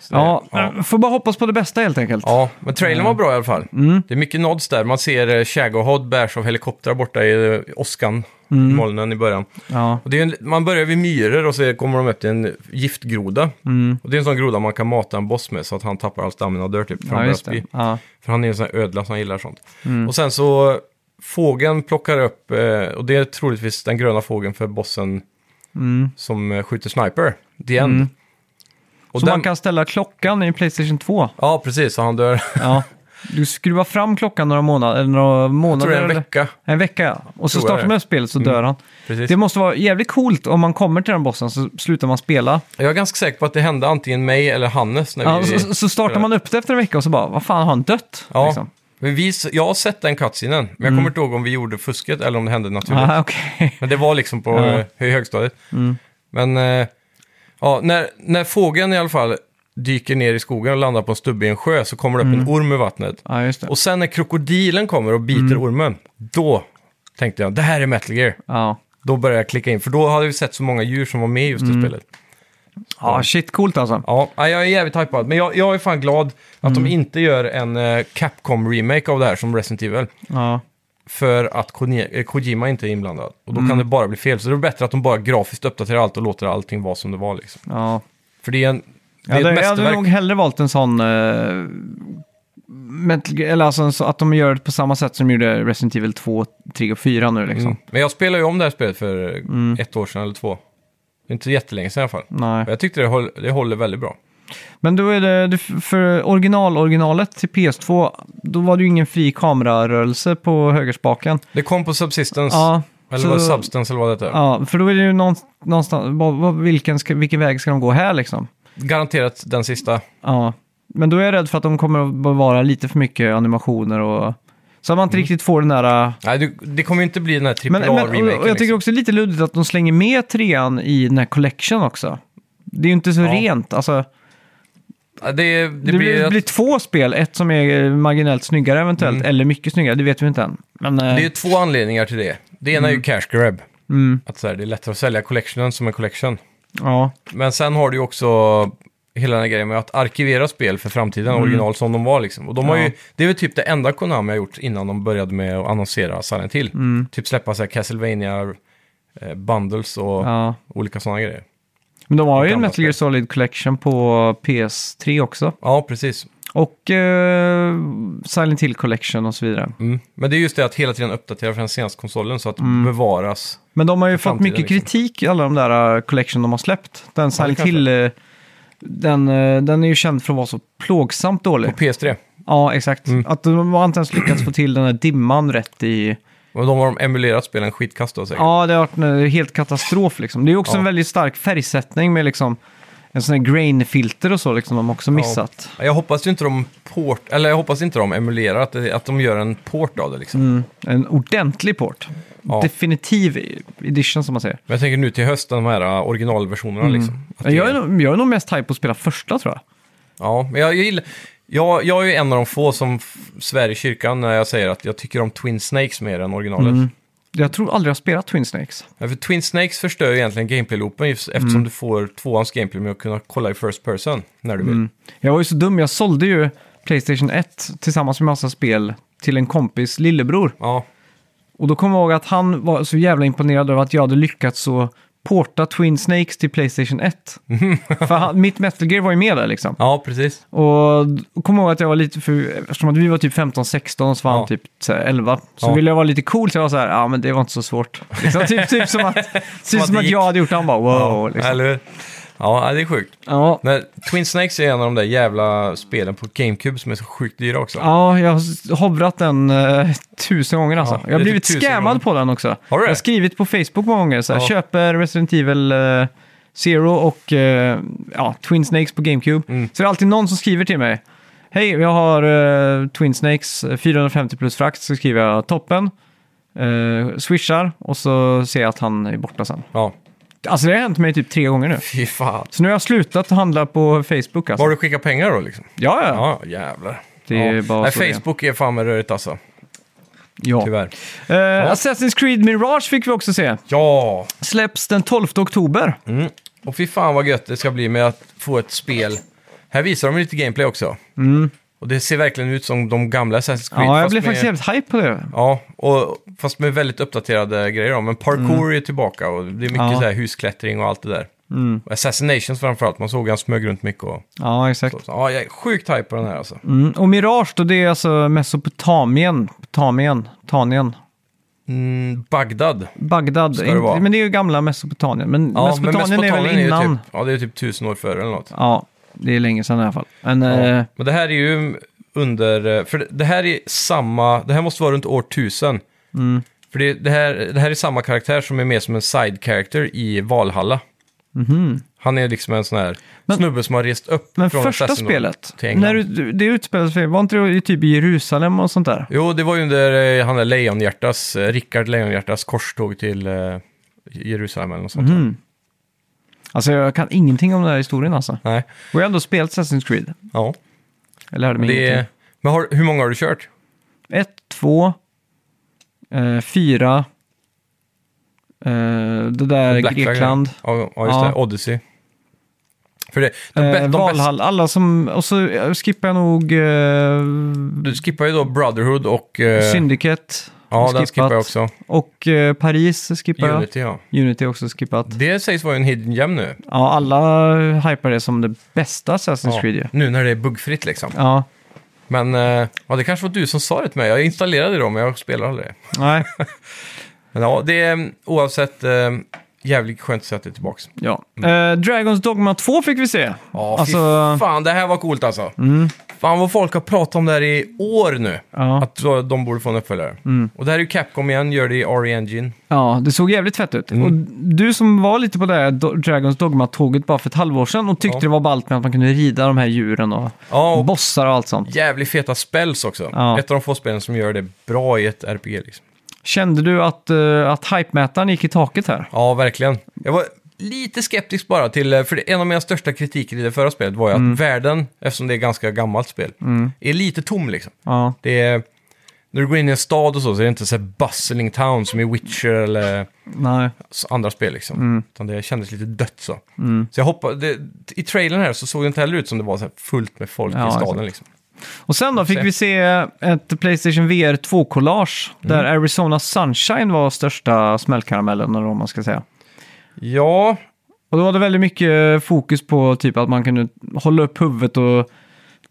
[SPEAKER 1] Så det-
[SPEAKER 2] Ja, Mm.
[SPEAKER 1] ja.
[SPEAKER 2] får bara hoppas på det bästa helt enkelt.
[SPEAKER 1] Ja, men trailern var bra i alla fall. Det är mycket nods där. Man ser eh, Shagahod bärs av helikoptrar borta i eh, åskan,
[SPEAKER 2] Mm.
[SPEAKER 1] i molnen i början.
[SPEAKER 2] Ja.
[SPEAKER 1] Och det är en, man börjar vid myror och så kommer de upp till en giftgroda.
[SPEAKER 2] Mm.
[SPEAKER 1] Och det är en sån groda man kan mata en boss med så att han tappar all stamina och dör typ. För,
[SPEAKER 2] Ja,
[SPEAKER 1] han börjar
[SPEAKER 2] just
[SPEAKER 1] spy.
[SPEAKER 2] det. Ja.
[SPEAKER 1] för han är en sån här ödla som gillar sånt.
[SPEAKER 2] Mm.
[SPEAKER 1] Och sen så fågeln plockar upp, eh, och det är troligtvis den gröna fågeln för bossen
[SPEAKER 2] Mm.
[SPEAKER 1] som eh, skjuter sniper, The End. Och
[SPEAKER 2] Så
[SPEAKER 1] den,
[SPEAKER 2] man kan ställa klockan i Playstation 2.
[SPEAKER 1] Ja, precis, så han dör.
[SPEAKER 2] Ja. Du skruvar fram klockan några månader, eller några
[SPEAKER 1] Jag
[SPEAKER 2] månader.
[SPEAKER 1] tror det är en
[SPEAKER 2] eller-
[SPEAKER 1] vecka.
[SPEAKER 2] En vecka, ja. Och så
[SPEAKER 1] Tror jag
[SPEAKER 2] startar
[SPEAKER 1] det. Mm.
[SPEAKER 2] man upp spelet så dör han.
[SPEAKER 1] Precis.
[SPEAKER 2] Det måste vara jävligt coolt om man kommer till den bossen så slutar man spela.
[SPEAKER 1] Jag är ganska säker på att det hände antingen mig eller Hannes när
[SPEAKER 2] Ja,
[SPEAKER 1] vi...
[SPEAKER 2] så, så startar man upp det efter en vecka och så bara, vad fan har han dött?
[SPEAKER 1] Ja.
[SPEAKER 2] Liksom. Mm.
[SPEAKER 1] Men vi, jag har sett den cutscenen, men jag kommer inte ihåg om vi gjorde fusket eller om det hände naturligt.
[SPEAKER 2] Ah, okej.
[SPEAKER 1] Men det var liksom på
[SPEAKER 2] Ja. Mm.
[SPEAKER 1] eh, hö- högstadiet. Men eh, ja, när, när fågeln i alla fall dyker ner i skogen och landar på en stubbe i en sjö så kommer det upp en orm i vattnet.
[SPEAKER 2] Mm. Ja, just det. Mm.
[SPEAKER 1] Och sen när krokodilen kommer och biter ormen, då tänkte jag det här är Metal Gear.
[SPEAKER 2] Ja.
[SPEAKER 1] Då började jag klicka in, för då hade vi sett så många djur som var med i just
[SPEAKER 2] Mm.
[SPEAKER 1] det spelet.
[SPEAKER 2] ja, shit coolt alltså.
[SPEAKER 1] Ja, nej, jag är jävligt hypad. Men jag, jag är fan glad att
[SPEAKER 2] Mm.
[SPEAKER 1] de inte gör en eh, Capcom-remake av det här som Resident Evil.
[SPEAKER 2] Ja.
[SPEAKER 1] För att Kone- eh, Kojima inte är inblandad. Och då
[SPEAKER 2] Mm.
[SPEAKER 1] kan det bara bli fel. Så det är bättre att de bara grafiskt uppdaterar allt och låter allting vara som det var. Liksom.
[SPEAKER 2] Ja.
[SPEAKER 1] För det är, en, det
[SPEAKER 2] Jag
[SPEAKER 1] är
[SPEAKER 2] hade,
[SPEAKER 1] ett
[SPEAKER 2] jag hade
[SPEAKER 1] mästerverk.
[SPEAKER 2] nog hellre valt en sån... eh, Metal Gear- eller alltså en så- att de gör det på samma sätt som de gjorde Resident Evil 2, 3 och 4 nu liksom.
[SPEAKER 1] Mm. Men jag spelade ju om det här spelet för eh,
[SPEAKER 2] Mm.
[SPEAKER 1] ett år sedan eller två. Det är inte jättelänge sedan i alla fall.
[SPEAKER 2] Nej.
[SPEAKER 1] Men jag tyckte det, håll, det håller väldigt bra.
[SPEAKER 2] Men då är det, det för original-originalet till PS2, då var det ju ingen fri kamerarörelse på högerspaken.
[SPEAKER 1] Det kom på Subsistence.
[SPEAKER 2] Ja,
[SPEAKER 1] Eller
[SPEAKER 2] så-
[SPEAKER 1] var det Substance eller vad det heter.
[SPEAKER 2] ja, för då är det ju någon- någonstans, vad- vad- vilken, ska, vilken väg ska de gå här liksom?
[SPEAKER 1] Garanterat den sista.
[SPEAKER 2] Ja, men då är jag rädd för att de kommer att bevara lite för mycket animationer och... Så att man inte riktigt får den där... äh,
[SPEAKER 1] Nej, Mm. det, det kommer ju inte bli den här
[SPEAKER 2] Men, men,
[SPEAKER 1] AAA-remaken.
[SPEAKER 2] och, och jag
[SPEAKER 1] liksom.
[SPEAKER 2] tycker också det är lite luddigt att de slänger med trean i den här collection också. Det är ju inte så
[SPEAKER 1] Ja.
[SPEAKER 2] rent, alltså.
[SPEAKER 1] Ja, det,
[SPEAKER 2] Det,
[SPEAKER 1] det, blir
[SPEAKER 2] blir,
[SPEAKER 1] ett-
[SPEAKER 2] blir två spel, ett som är eh, marginellt snyggare eventuellt, eller mycket snyggare, det vet vi inte än. Men, eh,
[SPEAKER 1] Mm. Det är två anledningar till det. Det ena är
[SPEAKER 2] Mm.
[SPEAKER 1] ju cash grab. Att så här, det är lättare att sälja collectionen som en collection.
[SPEAKER 2] ja.
[SPEAKER 1] Men sen har du ju också hela den här grejen med att arkivera spel för framtiden, original som de var liksom. Och de har
[SPEAKER 2] Mm. Ja.
[SPEAKER 1] ju, det är väl typ det enda Konami har gjort innan de började med att annonsera Silent Hill.
[SPEAKER 2] Mm.
[SPEAKER 1] Typ släppa så här Castlevania eh, bundles och
[SPEAKER 2] Ja.
[SPEAKER 1] olika sådana grejer.
[SPEAKER 2] Men de har ju en
[SPEAKER 1] Gamla
[SPEAKER 2] Metal Gear Solid Collection på PS3 också.
[SPEAKER 1] Ja, precis.
[SPEAKER 2] Och eh, Silent Hill Collection och så vidare.
[SPEAKER 1] Mm. Men det är just det att hela tiden uppdatera för den senaste konsolen så att
[SPEAKER 2] Mm.
[SPEAKER 1] bevaras.
[SPEAKER 2] Men de har ju fått
[SPEAKER 1] framtiden,
[SPEAKER 2] mycket
[SPEAKER 1] liksom.
[SPEAKER 2] kritik, alla de där eh, Collection de har släppt. Den Silent
[SPEAKER 1] kanske.
[SPEAKER 2] Hill, eh, den, eh, den är ju känd för att vara så plågsamt dålig.
[SPEAKER 1] På PS3.
[SPEAKER 2] Ja, exakt.
[SPEAKER 1] Mm.
[SPEAKER 2] Att de har inte ens lyckats få till den här dimman rätt i...
[SPEAKER 1] Och de har de emulerat spelen skitkast då säkert.
[SPEAKER 2] Ja, det har varit en eh, helt katastrof liksom. Det är ju också en väldigt stark färgsättning med liksom en sån här grain-filter och så liksom de också missat.
[SPEAKER 1] Ja, jag hoppas ju inte de port, eller jag hoppas inte de emulerar, att, det, att de gör en port av det liksom.
[SPEAKER 2] Mm. En ordentlig port.
[SPEAKER 1] Ja.
[SPEAKER 2] Definitiv edition som man säger.
[SPEAKER 1] Men jag tänker nu till hösten, de här äh, originalversionerna liksom. Att det-
[SPEAKER 2] Mm. Jag är, nog- jag är nog mest hype på att spela första tror jag.
[SPEAKER 1] Ja, men jag, jag gillar... Jag, jag är ju en av de få som f- svär i kyrkan när jag säger att jag tycker om Twin Snakes mer än originalet.
[SPEAKER 2] Mm. Jag tror aldrig jag har spelat Twin Snakes.
[SPEAKER 1] Ja, för Twin Snakes förstör ju egentligen gameplay-loopen just eftersom
[SPEAKER 2] Mm.
[SPEAKER 1] du får tvåans gameplay med att kunna kolla i first person när du vill.
[SPEAKER 2] Jag var ju så dum, jag sålde ju Playstation 1 tillsammans med massa spel till en kompis lillebror.
[SPEAKER 1] Ja,
[SPEAKER 2] Och då kommer jag ihåg att han var så jävla imponerad över att jag hade lyckats så porta Twin Snakes till Playstation 1. För han, mitt Metal Gear var ju med där liksom.
[SPEAKER 1] ja precis.
[SPEAKER 2] Och d- kommer ihåg att jag var lite för, eftersom att vi var typ 15-16 så var han
[SPEAKER 1] Ja.
[SPEAKER 2] typ så här 11. Så
[SPEAKER 1] Ja.
[SPEAKER 2] ville jag vara lite cool så jag var så här, ja men det var inte så svårt. Liksom, typ, typ som att, typ
[SPEAKER 1] att
[SPEAKER 2] som
[SPEAKER 1] det
[SPEAKER 2] att
[SPEAKER 1] gick.
[SPEAKER 2] jag hade gjort det, han bara wow. Ja, liksom.
[SPEAKER 1] Eller hur? Ja, det är sjukt.
[SPEAKER 2] ja.
[SPEAKER 1] Nej, Twin Snakes är en av de där jävla spelen på GameCube som är så sjukt dyra också.
[SPEAKER 2] ja, jag har s- hovrat den eh, tusen gånger alltså.
[SPEAKER 1] Ja, det
[SPEAKER 2] jag
[SPEAKER 1] är
[SPEAKER 2] har
[SPEAKER 1] typ
[SPEAKER 2] blivit
[SPEAKER 1] tusen
[SPEAKER 2] scammad
[SPEAKER 1] gånger.
[SPEAKER 2] på den också.
[SPEAKER 1] Har du det?
[SPEAKER 2] jag har skrivit på Facebook många gånger, så här,
[SPEAKER 1] Ja.
[SPEAKER 2] köper Resident Evil eh, Zero och eh, ja, Twin Snakes på GameCube.
[SPEAKER 1] Mm.
[SPEAKER 2] Så det är alltid någon som skriver till mig. Hej, jag har eh, Twin Snakes eh, 450 plus frakt, så skriver jag toppen. Eh, swishar och så ser jag att han är borta sen.
[SPEAKER 1] Ja,
[SPEAKER 2] Alltså det har hänt mig typ tre gånger nu.
[SPEAKER 1] fy fan.
[SPEAKER 2] Så nu har jag slutat handla på Facebook alltså.
[SPEAKER 1] Var du skickat pengar då liksom?
[SPEAKER 2] Ja, ja.
[SPEAKER 1] Ja, jävlar.
[SPEAKER 2] Det är bara
[SPEAKER 1] ja.
[SPEAKER 2] så det
[SPEAKER 1] Nej,
[SPEAKER 2] är.
[SPEAKER 1] Facebook är fan med rörigt alltså,
[SPEAKER 2] ja.
[SPEAKER 1] tyvärr.
[SPEAKER 2] Eh, Assassin's Creed Mirage fick vi också se.
[SPEAKER 1] Ja,
[SPEAKER 2] Släpps den 12 oktober.
[SPEAKER 1] mm. och fy fan vad gött det ska bli med att få ett spel. Här visar de lite gameplay också. Och det ser verkligen ut som de gamla Assassin's Creed.
[SPEAKER 2] Mm. Ja, jag
[SPEAKER 1] fast
[SPEAKER 2] blev
[SPEAKER 1] med-
[SPEAKER 2] faktiskt jävligt hype på det.
[SPEAKER 1] Ja, och, fast med väldigt uppdaterade grejer då. Men parkour är tillbaka och det är mycket
[SPEAKER 2] Mm. Ja. Mm.
[SPEAKER 1] så här husklättring och allt det där. Och Assassinations framförallt, man såg han smög runt mycket och
[SPEAKER 2] Ja, exakt.
[SPEAKER 1] så. Ja, jag är sjukt hype på den här alltså.
[SPEAKER 2] Mm. Och Mirage då, det är alltså Mesopotamien, Potamien, Tanien,
[SPEAKER 1] Mm, Bagdad.
[SPEAKER 2] Bagdad.
[SPEAKER 1] det
[SPEAKER 2] Inte-
[SPEAKER 1] vara.
[SPEAKER 2] Men det är ju gamla Mesopotamien. Men
[SPEAKER 1] Ja, men
[SPEAKER 2] Mesopotamien, är väl innan?
[SPEAKER 1] ju typ, ja, det är typ tusen år före eller något.
[SPEAKER 2] Ja, det är länge sedan i alla fall. Men, eh,
[SPEAKER 1] Ja. Men det här är ju under, för det- det här är samma, det här måste vara runt år 1000.
[SPEAKER 2] Mm.
[SPEAKER 1] För det, det, här, det här är samma karaktär som är med som en side character i Valhalla. Han är liksom en sån här
[SPEAKER 2] Mhm. Men-
[SPEAKER 1] snubbe som har rest upp
[SPEAKER 2] men
[SPEAKER 1] från
[SPEAKER 2] första
[SPEAKER 1] Assassin's
[SPEAKER 2] spelet,
[SPEAKER 1] till England.
[SPEAKER 2] när du, det utspelades, för- var inte det i typ i Jerusalem och sånt där?
[SPEAKER 1] Jo, det var ju under eh, han där Lejonhjärtas, eh, Rickard Lejonhjärtas korståg till eh, Jerusalem eller något sånt.
[SPEAKER 2] Mhm. Mm. Alltså jag kan ingenting om den här historien alltså. Och
[SPEAKER 1] Nej,
[SPEAKER 2] jag har ändå spelat Assassin's Creed.
[SPEAKER 1] ja.
[SPEAKER 2] Jag lärde mig
[SPEAKER 1] Det är...
[SPEAKER 2] ingenting.
[SPEAKER 1] Men har, hur många har du kört?
[SPEAKER 2] Ett, två, eh, fyra, eh, det där
[SPEAKER 1] Black Flag,
[SPEAKER 2] Grekland.
[SPEAKER 1] Ja, ja just
[SPEAKER 2] Ja.
[SPEAKER 1] det. Odyssey. För det, de, be-
[SPEAKER 2] Eh,
[SPEAKER 1] de bästa,
[SPEAKER 2] Valhalla, alla som... Och så eh, skippar jag nog eh,
[SPEAKER 1] du skippar ju då Brotherhood och... eh,
[SPEAKER 2] Syndicate.
[SPEAKER 1] ja, den
[SPEAKER 2] skippat.
[SPEAKER 1] skippar jag också.
[SPEAKER 2] Och eh, Paris skippar Unity.
[SPEAKER 1] Unity, ja.
[SPEAKER 2] jag. Unity också skippat.
[SPEAKER 1] Det sägs vara en hidden gem nu.
[SPEAKER 2] Ja, alla hypar det som det bästa Assassin's
[SPEAKER 1] Ja,
[SPEAKER 2] Creed ju.
[SPEAKER 1] nu när det är buggfritt liksom.
[SPEAKER 2] Ja,
[SPEAKER 1] Men eh, ja, det kanske var du som sa det till mig. Jag installerade dem, men jag spelar aldrig det.
[SPEAKER 2] nej.
[SPEAKER 1] Men ja, det är mm, oavsett eh, jävligt skönt att se att det är tillbaka.
[SPEAKER 2] ja. Eh, Dragons Dogma 2 fick vi se.
[SPEAKER 1] Mm. Ja, fy
[SPEAKER 2] Alltså- Mm.
[SPEAKER 1] fan, det här var coolt alltså. Fan vad folk har pratat om det här i år nu.
[SPEAKER 2] Ja. Mm.
[SPEAKER 1] Att då- de borde få en uppföljare. Och det här är ju Capcom igen, gör det i RE Engine.
[SPEAKER 2] Ja, det såg jävligt fett ut. Och du som var lite på det här Do- Dragons Dogma-tåget bara för ett halvår sedan och tyckte
[SPEAKER 1] Ja.
[SPEAKER 2] det var ballt med att man kunde rida de här djuren och
[SPEAKER 1] Ja, och
[SPEAKER 2] bossar och allt sånt.
[SPEAKER 1] jävligt feta spells också.
[SPEAKER 2] Ja.
[SPEAKER 1] Ett av de få spelen som gör det bra i ett RPG liksom.
[SPEAKER 2] Kände du att, eh, att hype-mätaren gick i taket här?
[SPEAKER 1] Ja, verkligen. Jag var lite skeptisk bara till, eh, för det- en av mina största kritiker i det förra spelet var ju
[SPEAKER 2] Mm.
[SPEAKER 1] att världen, eftersom det är ganska gammalt spel, är lite tom liksom.
[SPEAKER 2] Ja.
[SPEAKER 1] Det är, när du går in i en stad och så, så är det inte så här bustling town som i Witcher eller
[SPEAKER 2] Nej.
[SPEAKER 1] s- andra spel liksom.
[SPEAKER 2] Mm.
[SPEAKER 1] Utan det kändes lite dött så. Så jag hoppas, det, i trailern här så såg det inte heller ut som det var så här fullt med folk
[SPEAKER 2] Ja,
[SPEAKER 1] i
[SPEAKER 2] exakt.
[SPEAKER 1] staden liksom.
[SPEAKER 2] Och sen då fick vi se ett Playstation VR 2-collage där Arizona Sunshine var största smällkaramellen, eller vad man ska säga.
[SPEAKER 1] Ja,
[SPEAKER 2] Och då var det väldigt mycket fokus på typ att man kunde hålla upp huvudet och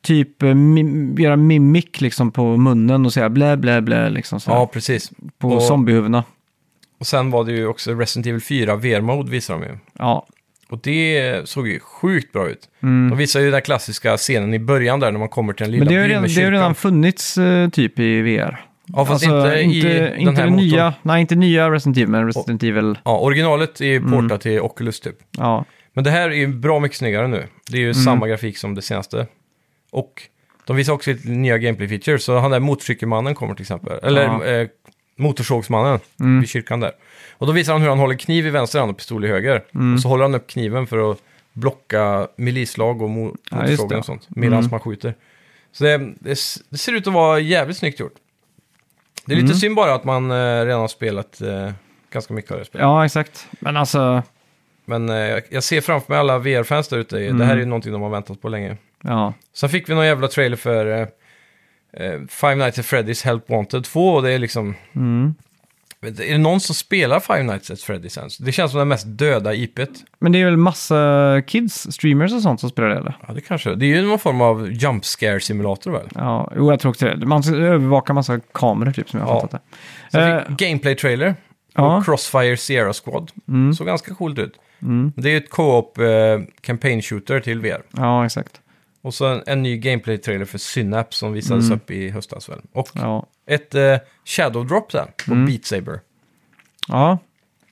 [SPEAKER 2] typ eh, mim- göra mimik liksom på munnen och säga blä, blä, blä liksom så här,
[SPEAKER 1] ja precis.
[SPEAKER 2] på
[SPEAKER 1] och-
[SPEAKER 2] zombiehuvudena.
[SPEAKER 1] Och sen var det ju också Resident Evil 4 VR-mode visade de ju.
[SPEAKER 2] Ja,
[SPEAKER 1] Och det såg ju sjukt bra ut. De visar ju den klassiska scenen i början där när man kommer till den lilla
[SPEAKER 2] Mm. men det har ju
[SPEAKER 1] byn
[SPEAKER 2] redan,
[SPEAKER 1] med
[SPEAKER 2] det har ju
[SPEAKER 1] kyrkan.
[SPEAKER 2] redan funnits eh, typ i VR.
[SPEAKER 1] Ja, fast inte, i den
[SPEAKER 2] inte
[SPEAKER 1] här
[SPEAKER 2] det
[SPEAKER 1] motorn.
[SPEAKER 2] nya, Nej, inte nya Resident Evil, men Resident Evil. Mm.
[SPEAKER 1] Ja, originalet är ju portat till Oculus typ.
[SPEAKER 2] Ja.
[SPEAKER 1] Men det här är ju bra mycket snyggare nu. Det är ju
[SPEAKER 2] Mm.
[SPEAKER 1] samma grafik som det senaste. Och de visar också lite nya gameplay features. Så han där motorcykelmannen kommer till exempel. Eller
[SPEAKER 2] Ja. Mm.
[SPEAKER 1] eh, motorsågsmannen vid kyrkan där. Och då visar han hur han håller kniv i vänster hand och pistol i höger.
[SPEAKER 2] Mm.
[SPEAKER 1] Och så håller han upp kniven för att blocka milislag och mo-
[SPEAKER 2] Ja, just
[SPEAKER 1] motorsågar
[SPEAKER 2] det.
[SPEAKER 1] och sånt. Medan
[SPEAKER 2] Mm.
[SPEAKER 1] man skjuter. Så det, det, s- det ser ut att vara jävligt snyggt gjort. Det är lite
[SPEAKER 2] Mm.
[SPEAKER 1] synd bara att man eh, redan har spelat eh, ganska mycket av det spelet.
[SPEAKER 2] Ja, exakt. Men alltså,
[SPEAKER 1] Men eh, jag- jag ser framför mig alla VR-fans där ute. Det här
[SPEAKER 2] Mm.
[SPEAKER 1] är ju någonting de har väntat på länge.
[SPEAKER 2] ja.
[SPEAKER 1] Sen fick vi någon jävla trailer för eh, eh, Five Nights at Freddy's Help Wanted 2 och det är liksom...
[SPEAKER 2] Mm.
[SPEAKER 1] Vet du, Är det någon som spelar Five Nights at Freddy's ens? Det känns som den mest döda IPet.
[SPEAKER 2] Men det är väl massa kids, streamers och sånt som spelar det eller?
[SPEAKER 1] Ja, det kanske det är. ju någon form av jump scare simulator väl?
[SPEAKER 2] Ja, jo jag tror också det. Man ska övervaka massa kameror typ som jag har
[SPEAKER 1] Ja.
[SPEAKER 2] fattat det.
[SPEAKER 1] Sen
[SPEAKER 2] Eh,
[SPEAKER 1] fick gameplay-trailer.
[SPEAKER 2] Ja.
[SPEAKER 1] Och Crossfire Sierra Squad. Såg ganska coolt ut.
[SPEAKER 2] Mm.
[SPEAKER 1] Det är ju ett co-op eh, campaign shooter till VR.
[SPEAKER 2] ja, exakt.
[SPEAKER 1] Och så en, en ny gameplay-trailer för Synapse som visades
[SPEAKER 2] Mm.
[SPEAKER 1] upp i höstas väl. Och
[SPEAKER 2] Ja.
[SPEAKER 1] ett eh, Shadow Drop där på
[SPEAKER 2] Mm.
[SPEAKER 1] Beat Saber.
[SPEAKER 2] Ja.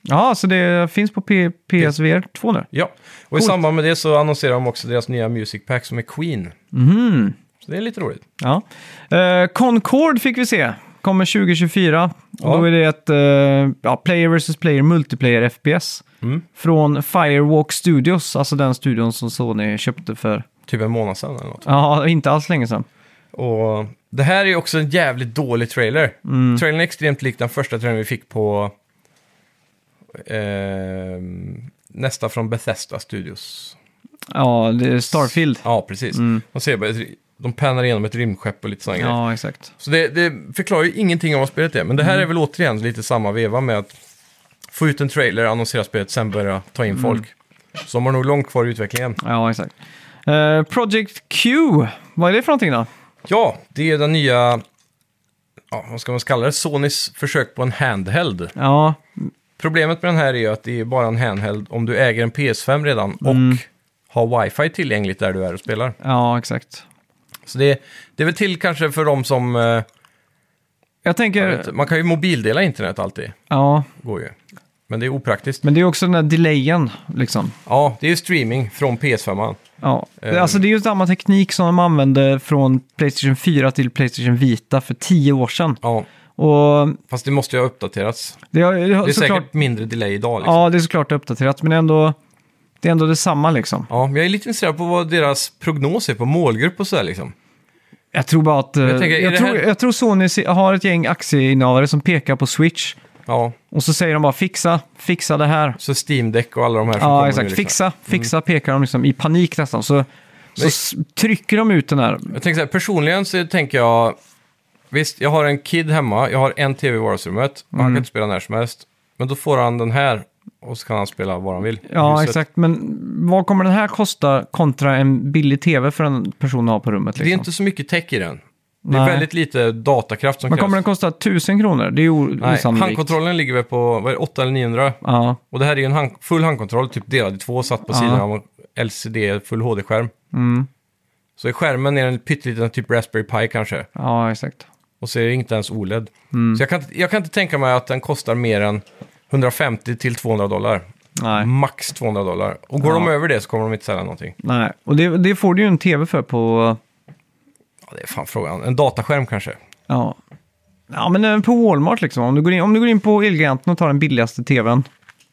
[SPEAKER 2] ja, så det finns på P- PSVR 2 nu.
[SPEAKER 1] Ja, och i
[SPEAKER 2] Coolt.
[SPEAKER 1] samband med det så annonserar de också deras nya Music Pack som är Queen.
[SPEAKER 2] Mhm.
[SPEAKER 1] Så det är lite roligt.
[SPEAKER 2] Ja. Eh, Concord fick vi se. Kommer 2024.
[SPEAKER 1] Ja.
[SPEAKER 2] Och då är det ett eh, ja, player versus player multiplayer FPS.
[SPEAKER 1] Mm.
[SPEAKER 2] Från Firewalk Studios, alltså den studion som Sony köpte för,
[SPEAKER 1] Typ en månad sedan eller något.
[SPEAKER 2] ja, inte alls länge sedan.
[SPEAKER 1] Och det här är ju också en jävligt dålig trailer.
[SPEAKER 2] Mm.
[SPEAKER 1] Trailern är extremt lik den första trailern vi fick på eh, nästa från Bethesda Studios.
[SPEAKER 2] Ja, det är Starfield. Mm.
[SPEAKER 1] Ja, precis. De, ser bara, ett- de pannar igenom ett rymdskepp och lite sådana grejer.
[SPEAKER 2] Ja, exakt.
[SPEAKER 1] Så det, det förklarar ju ingenting om vad spelet är. Men det här är väl återigen lite samma veva med att få ut en trailer, annonsera spelet, sen börja ta in folk. Så de har nog långt kvar i utvecklingen.
[SPEAKER 2] Ja, exakt. Eh, Project Q, vad är det för någonting då?
[SPEAKER 1] Ja, det är den nya, ja, vad ska man kalla det, Sonys försök på en handheld.
[SPEAKER 2] Ja,
[SPEAKER 1] Problemet med den här är ju att det är bara en handheld om du äger en PS5 redan och har wifi tillgängligt där du är och spelar.
[SPEAKER 2] ja exakt.
[SPEAKER 1] Så det, det är väl till kanske för de som, eh,
[SPEAKER 2] Jag tänker,
[SPEAKER 1] vet, man kan ju mobildela internet alltid,
[SPEAKER 2] ja,
[SPEAKER 1] går ju. Men det är opraktiskt.
[SPEAKER 2] men det är också den där delayen liksom.
[SPEAKER 1] Ja, det är ju streaming från PS5.
[SPEAKER 2] Ja,
[SPEAKER 1] Eh.
[SPEAKER 2] alltså det är ju samma teknik som de använde från Playstation 4 till Playstation Vita för tio år sedan.
[SPEAKER 1] Ja,
[SPEAKER 2] Och
[SPEAKER 1] fast det måste ju ha uppdaterats.
[SPEAKER 2] det har, det har
[SPEAKER 1] Det är
[SPEAKER 2] såklart,
[SPEAKER 1] säkert mindre delay idag. Liksom. Ja.
[SPEAKER 2] ja, det är såklart uppdaterat, men ändå, det är ändå detsamma liksom.
[SPEAKER 1] men jag är lite intresserad på vad deras prognos är på målgrupp och sådär liksom.
[SPEAKER 2] Jag tror bara att, eh, jag,
[SPEAKER 1] tänker, är det
[SPEAKER 2] tror,
[SPEAKER 1] här-
[SPEAKER 2] jag tror Sony se- har ett gäng aktieinnehavare som pekar på Switch
[SPEAKER 1] Ja,
[SPEAKER 2] och så säger de bara fixa, fixa det här.
[SPEAKER 1] Så Steam Deck och alla de här som
[SPEAKER 2] Ja,
[SPEAKER 1] kommer
[SPEAKER 2] exakt.
[SPEAKER 1] nu, liksom.
[SPEAKER 2] Fixa, fixa pekar de liksom i panik nästan. Så, så
[SPEAKER 1] Men-
[SPEAKER 2] s- trycker de ut den här.
[SPEAKER 1] Jag tänker så här, personligen så tänker jag... Visst, jag har en kid hemma, jag har en tv i vardagsrummet och
[SPEAKER 2] Mm.
[SPEAKER 1] han kan inte spela när som helst. Men då får han den här och så kan han spela vad han vill. i
[SPEAKER 2] Ja,
[SPEAKER 1] huset.
[SPEAKER 2] exakt. Men vad kommer den här kosta kontra en billig tv för en person att ha på rummet? Liksom?
[SPEAKER 1] Det är inte så mycket tech i den. Det är
[SPEAKER 2] Nej.
[SPEAKER 1] väldigt lite datakraft som
[SPEAKER 2] Men
[SPEAKER 1] krävs.
[SPEAKER 2] kommer den kosta 1000 kronor? Det är ju o-
[SPEAKER 1] Nej,
[SPEAKER 2] osannolikt.
[SPEAKER 1] handkontrollen ligger väl på vad är det, 8 eller 900.
[SPEAKER 2] Ja,
[SPEAKER 1] Och det här är ju en hand, full handkontroll, typ delad i två, satt på
[SPEAKER 2] Ja.
[SPEAKER 1] sidan av en LCD, full HD-skärm.
[SPEAKER 2] mm.
[SPEAKER 1] Så i skärmen är den pytteliten, typ Raspberry Pi kanske.
[SPEAKER 2] ja, exakt.
[SPEAKER 1] Och så är det inte ens OLED.
[SPEAKER 2] Mm.
[SPEAKER 1] Så jag kan, inte- jag kan inte tänka mig att den kostar mer än 150 till 200 dollar.
[SPEAKER 2] Nej.
[SPEAKER 1] Max 200 dollar. Och går
[SPEAKER 2] Ja.
[SPEAKER 1] de över det så kommer de inte sälja någonting.
[SPEAKER 2] Nej. Och det, det får du ju en tv för på...
[SPEAKER 1] Ja, det är fan frågan. En dataskärm kanske.
[SPEAKER 2] Ja. Ja, men även på Walmart liksom. Om du går in, om du går in på Elgiganten och tar den billigaste tvn,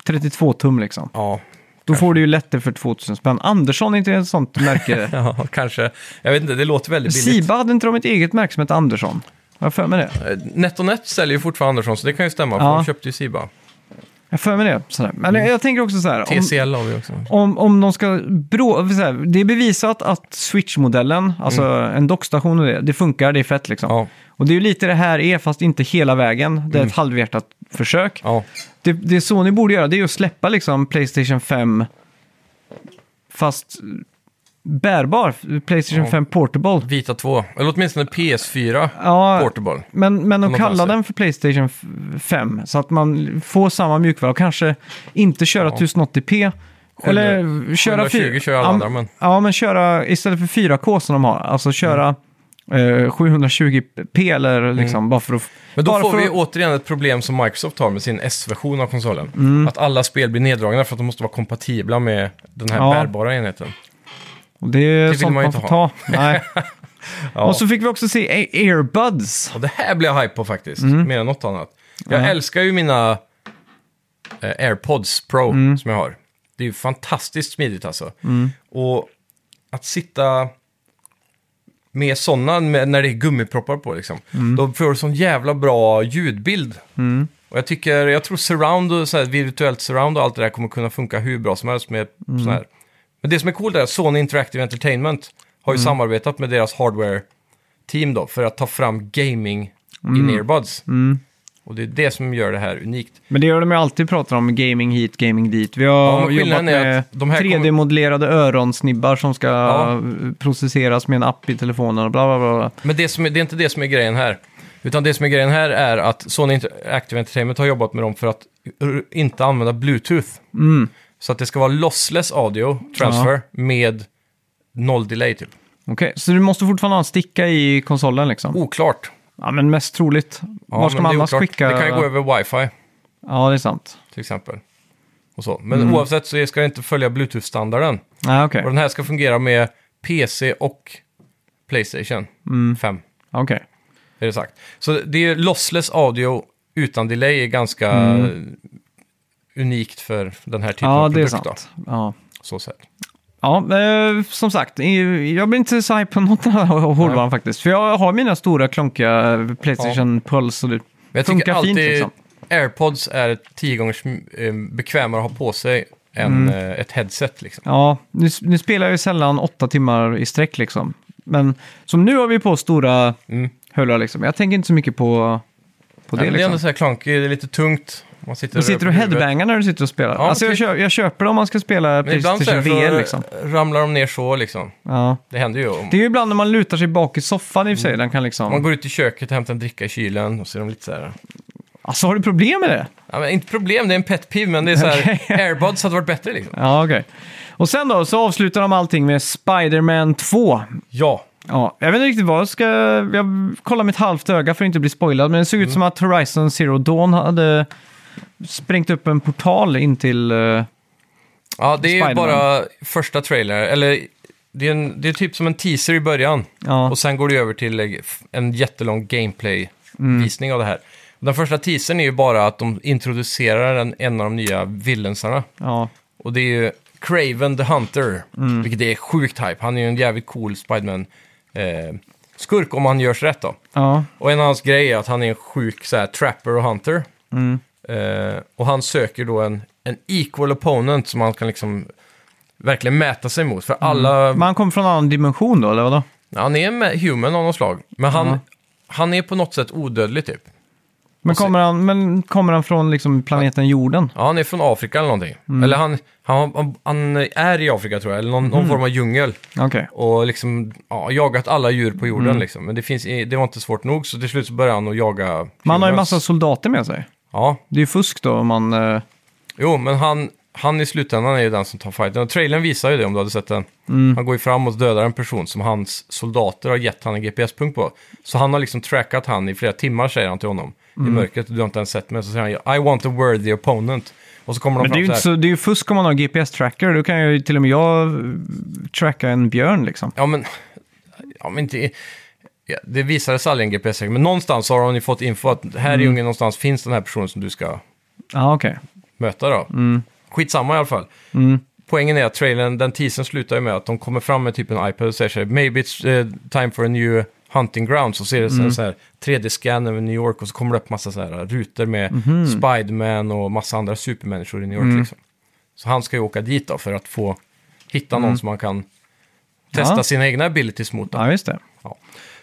[SPEAKER 2] 32 tum liksom.
[SPEAKER 1] Ja,
[SPEAKER 2] Då får du ju lättare för 2000 spänn. Andersson är inte ett sånt märke.
[SPEAKER 1] ja kanske. Jag vet inte, det låter väldigt billigt.
[SPEAKER 2] Siba hade inte de ett eget märke som hette Andersson? Jag har för mig det.
[SPEAKER 1] Eh, NetOnNet säljer ju fortfarande Andersson, så det kan ju stämma. För
[SPEAKER 2] Ja.
[SPEAKER 1] de köpte ju Siba.
[SPEAKER 2] Jag har för mig det. Sådär. Men
[SPEAKER 1] Mm.
[SPEAKER 2] jag tänker också så här. Om,
[SPEAKER 1] TCL har vi också.
[SPEAKER 2] om, om de ska... Brå, så här, det är bevisat att Switch-modellen, alltså en dockstation och det, det funkar, det är fett liksom.
[SPEAKER 1] Mm. Ja, Mm.
[SPEAKER 2] Och det är ju lite det här är, fast inte hela vägen. Det är ett halvhjärtat försök.
[SPEAKER 1] ja.
[SPEAKER 2] Det, det Sony borde göra, det är ju att släppa liksom Playstation 5, fast bärbar. Playstation
[SPEAKER 1] Ja.
[SPEAKER 2] 5 Portable.
[SPEAKER 1] Vita 2. Eller åtminstone PS4
[SPEAKER 2] Ja,
[SPEAKER 1] Portable.
[SPEAKER 2] Men, men att
[SPEAKER 1] Något
[SPEAKER 2] kalla
[SPEAKER 1] annat
[SPEAKER 2] den för Playstation f- 5 så att man får samma mjukvara och kanske inte köra 1080p. Eller köra
[SPEAKER 1] 720
[SPEAKER 2] fyr-
[SPEAKER 1] kör alla
[SPEAKER 2] ja,
[SPEAKER 1] andra, men-
[SPEAKER 2] Ja, men köra istället för 4K som de har. Alltså köra eh, 720p eller liksom bara för att...
[SPEAKER 1] Mm. Men då
[SPEAKER 2] bara
[SPEAKER 1] får
[SPEAKER 2] för
[SPEAKER 1] vi
[SPEAKER 2] att-
[SPEAKER 1] återigen ett problem som Microsoft har med sin S-version av konsolen.
[SPEAKER 2] Mm.
[SPEAKER 1] Att alla spel blir neddragna för att de måste vara kompatibla med den här
[SPEAKER 2] Ja.
[SPEAKER 1] bärbara enheten.
[SPEAKER 2] Och det är
[SPEAKER 1] vill
[SPEAKER 2] sånt
[SPEAKER 1] man
[SPEAKER 2] man,
[SPEAKER 1] ju
[SPEAKER 2] får
[SPEAKER 1] inte
[SPEAKER 2] ta. Nej.
[SPEAKER 1] Ja.
[SPEAKER 2] Och så fick vi också se A- Airbuds.
[SPEAKER 1] Och det här blir jag hype på faktiskt, mer än något annat. Jag
[SPEAKER 2] Ja.
[SPEAKER 1] älskar ju mina eh, AirPods Pro som jag har. Det är ju fantastiskt smidigt alltså. Och att sitta med sådana med- när det är gummiproppar på liksom. Då får du sån jävla bra ljudbild. Och jag tycker, jag tror surround och så här, virtuellt surround och allt det där kommer kunna funka hur bra som helst med sån här. Men det som är coolt är att Sony Interactive Entertainment har ju samarbetat med deras hardware-team då för att ta fram gaming
[SPEAKER 2] Mm.
[SPEAKER 1] in earbuds. Och det är det som gör det här unikt.
[SPEAKER 2] Men det gör de ju alltid pratar om, gaming hit, gaming dit. Vi
[SPEAKER 1] Ja,
[SPEAKER 2] har
[SPEAKER 1] men skillnaden
[SPEAKER 2] jobbat
[SPEAKER 1] är
[SPEAKER 2] med
[SPEAKER 1] att de här kommer-
[SPEAKER 2] 3D-modellerade öronsnibbar som ska processeras med en app i telefonen och bla bla bla. bla.
[SPEAKER 1] Men det, som är, det är inte det som är grejen här. Utan det som är grejen här är att Sony Interactive Entertainment har jobbat med dem för att r- inte använda Bluetooth.
[SPEAKER 2] Mm.
[SPEAKER 1] Så att det ska vara lossless audio transfer med noll delay typ.
[SPEAKER 2] Okej, så du måste fortfarande ha en sticka i konsolen liksom?
[SPEAKER 1] Oklart.
[SPEAKER 2] Ja, men mest troligt.
[SPEAKER 1] Oh. Ja,
[SPEAKER 2] Var ska
[SPEAKER 1] men
[SPEAKER 2] man
[SPEAKER 1] det är
[SPEAKER 2] annars
[SPEAKER 1] oklart.
[SPEAKER 2] skicka?
[SPEAKER 1] Det kan ju gå över wifi
[SPEAKER 2] Ja, det är sant.
[SPEAKER 1] till exempel. Och så. Men
[SPEAKER 2] Mm.
[SPEAKER 1] oavsett så ska det inte följa Bluetooth-standarden.
[SPEAKER 2] Nej, okej.
[SPEAKER 1] Och den här ska fungera med PC och Playstation
[SPEAKER 2] Mm.
[SPEAKER 1] 5.
[SPEAKER 2] Okej.
[SPEAKER 1] Är det sagt. Så det är lossless audio utan delay är ganska eh, unikt för den här typen
[SPEAKER 2] Mm. Ja,
[SPEAKER 1] av
[SPEAKER 2] det är
[SPEAKER 1] produkt. då,
[SPEAKER 2] sant. Ja.
[SPEAKER 1] så sätt.
[SPEAKER 2] Ja, eh, som sagt, eh, jag blir inte så hype på något av hårdvaran faktiskt. För jag har mina stora klonkiga eh, Playstation Pulse och det
[SPEAKER 1] Men jag tycker
[SPEAKER 2] funkar
[SPEAKER 1] alltid
[SPEAKER 2] fint liksom.
[SPEAKER 1] AirPods är tio gånger sm- eh, bekvämare att ha på sig
[SPEAKER 2] Mm.
[SPEAKER 1] än eh, ett headset. Liksom.
[SPEAKER 2] Ja, nu, nu spelar jag ju sällan åtta timmar i sträck liksom. Men som nu har vi på stora
[SPEAKER 1] Mm.
[SPEAKER 2] hörlurar liksom. Jag tänker inte så mycket på, på
[SPEAKER 1] Ja,
[SPEAKER 2] det
[SPEAKER 1] men Det är ändå
[SPEAKER 2] liksom.
[SPEAKER 1] så här klankigt, det är lite tungt. Man sitter,
[SPEAKER 2] Du sitter och
[SPEAKER 1] över huvudet.
[SPEAKER 2] headbangar när du sitter och spelar.
[SPEAKER 1] Ja,
[SPEAKER 2] alltså jag,
[SPEAKER 1] typ.
[SPEAKER 2] köper, jag köper det om man ska spela
[SPEAKER 1] Men ibland så,
[SPEAKER 2] Playstation
[SPEAKER 1] här, så
[SPEAKER 2] VR liksom.
[SPEAKER 1] ramlar de ner så liksom.
[SPEAKER 2] Ja.
[SPEAKER 1] Det händer ju. Om,
[SPEAKER 2] Det är ju ibland när man lutar sig bak i soffan i och för sig. Den kan liksom...
[SPEAKER 1] Mm. Man går ut i köket och hämtar en dricka i kylen och så är de lite så här.
[SPEAKER 2] Alltså har du problem med det?
[SPEAKER 1] Ja, men inte problem, det är en pet peeve, men det är så här.
[SPEAKER 2] Okej.
[SPEAKER 1] Airpods hade varit bättre liksom.
[SPEAKER 2] Ja, okej. Och sen då så avslutar de allting med Spider-Man 2.
[SPEAKER 1] Ja,
[SPEAKER 2] Ja, jag vet inte riktigt vad jag ska... Jag kollar mitt halvt öga för att inte bli spoilad, men det såg ut som att Horizon Zero Dawn hade sprängt upp en portal in till... eh,
[SPEAKER 1] ja det är ju
[SPEAKER 2] Spider-Man.
[SPEAKER 1] bara första trailer, eller det är, en, det är typ som en teaser i början.
[SPEAKER 2] ja, Mm.
[SPEAKER 1] Och sen går det över till eh, f- en jättelång gameplay-visning av det här. Den första teasern är ju bara att de introducerar en, en av de nya villensarna.
[SPEAKER 2] ja,
[SPEAKER 1] Och det är ju Craven the Hunter,
[SPEAKER 2] Mm.
[SPEAKER 1] vilket är sjukt hype. Han är ju en jävligt cool Spiderman-skurk om han görs rätt då.
[SPEAKER 2] ja,
[SPEAKER 1] Och en av hans grejer är att han är en sjuk så här, trapper och hunter.
[SPEAKER 2] Mm.
[SPEAKER 1] Eh, och han söker då en, en equal opponent som han kan liksom verkligen mäta sig mot.
[SPEAKER 2] Mm.
[SPEAKER 1] För alla...
[SPEAKER 2] Men han kom från en annan dimension då, eller vadå?
[SPEAKER 1] Han är en ma- human av något slag. Men han,
[SPEAKER 2] Ja.
[SPEAKER 1] han är på något sätt odödlig typ.
[SPEAKER 2] Men
[SPEAKER 1] Och så-
[SPEAKER 2] kommer han, men kommer han från liksom planeten jorden?
[SPEAKER 1] Ja, han är från Afrika eller någonting.
[SPEAKER 2] Mm.
[SPEAKER 1] Eller han, han, han, han är i Afrika tror jag, eller någon,
[SPEAKER 2] Mm.
[SPEAKER 1] någon form av djungel.
[SPEAKER 2] Okej.
[SPEAKER 1] Och liksom ja, jagat alla djur på jorden
[SPEAKER 2] Mm.
[SPEAKER 1] liksom. Men det, finns, det var inte svårt nog, så till slut så började han att jaga...
[SPEAKER 2] Man har ju
[SPEAKER 1] humans.
[SPEAKER 2] massa soldater med sig.
[SPEAKER 1] Ja,
[SPEAKER 2] Det är ju fusk då om man... eh,
[SPEAKER 1] Jo, men han, han i slutändan är ju den som tar fighten. Och trailern visar ju det om du hade sett den.
[SPEAKER 2] Mm.
[SPEAKER 1] Han går ju fram och dödar en person som hans soldater har gett han en GPS-punkt på. Så han har liksom trackat han i flera timmar, säger han till honom.
[SPEAKER 2] Mm.
[SPEAKER 1] I mörkret, du har inte ens sett mig. Så säger han I want a worthy opponent. Och så kommer de
[SPEAKER 2] Men det är, ju
[SPEAKER 1] fram
[SPEAKER 2] inte
[SPEAKER 1] så här.
[SPEAKER 2] så, det är ju fusk om man har GPS-tracker. Då kan ju till och med jag eh, tracka en björn liksom.
[SPEAKER 1] Ja, men... Ja, men inte... Ja, det visades aldrig en GPS, men någonstans har de ju fått info att här
[SPEAKER 2] Mm.
[SPEAKER 1] i djungeln någonstans finns den här personen som du ska
[SPEAKER 2] Ja, okej.
[SPEAKER 1] möta då. Skitsamma i alla fall. Poängen är att trailern, den teasern slutar ju med att de kommer fram med typ en iPad och säger så här, maybe it's eh, time for a new hunting grounds. Och så är det mm. så här 3D-scan över New York och så kommer det upp massa så här rutor med Spiderman och massa andra supermänniskor i New York liksom. Så han ska ju åka dit då för att få hitta någon som man kan testa
[SPEAKER 2] Ja.
[SPEAKER 1] sina egna abilities mot. Då.
[SPEAKER 2] Ja, just det.
[SPEAKER 1] Ja.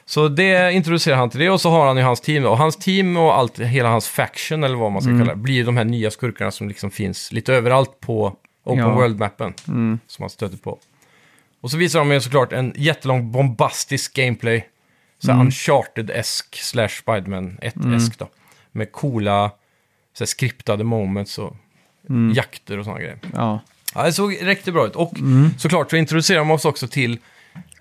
[SPEAKER 1] Så det introducerar han till det och så har han ju hans team. då. Och hans team och allt, hela hans faction eller vad man ska kalla det, blir ju de här nya skurkarna som liksom finns lite överallt på Open
[SPEAKER 2] Ja.
[SPEAKER 1] World-mappen. Som han stöter på. Och så visar de ju såklart en jättelång bombastisk gameplay. Så här Uncharted-esk slash Spiderman 1-esk då. Med coola så här, skriptade moments och jakter och sådana grejer.
[SPEAKER 2] Ja.
[SPEAKER 1] Ja, det såg riktigt bra ut. Och såklart så introducerar de oss också till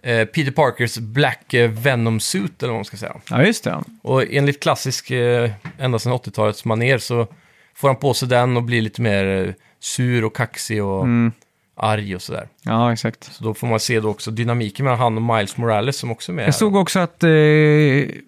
[SPEAKER 1] eh, Peter Parkers Black eh, Venom Suit, eller vad man ska säga.
[SPEAKER 2] Ja, just det.
[SPEAKER 1] Och enligt klassisk, eh, ända sedan 80-talets maner så får han på sig den och blir lite mer eh, sur och kaxig och
[SPEAKER 2] Mm.
[SPEAKER 1] arg och sådär.
[SPEAKER 2] Ja, exakt.
[SPEAKER 1] Så då får man se då också dynamiken mellan han och Miles Morales som också är med. här.
[SPEAKER 2] Jag såg också att eh,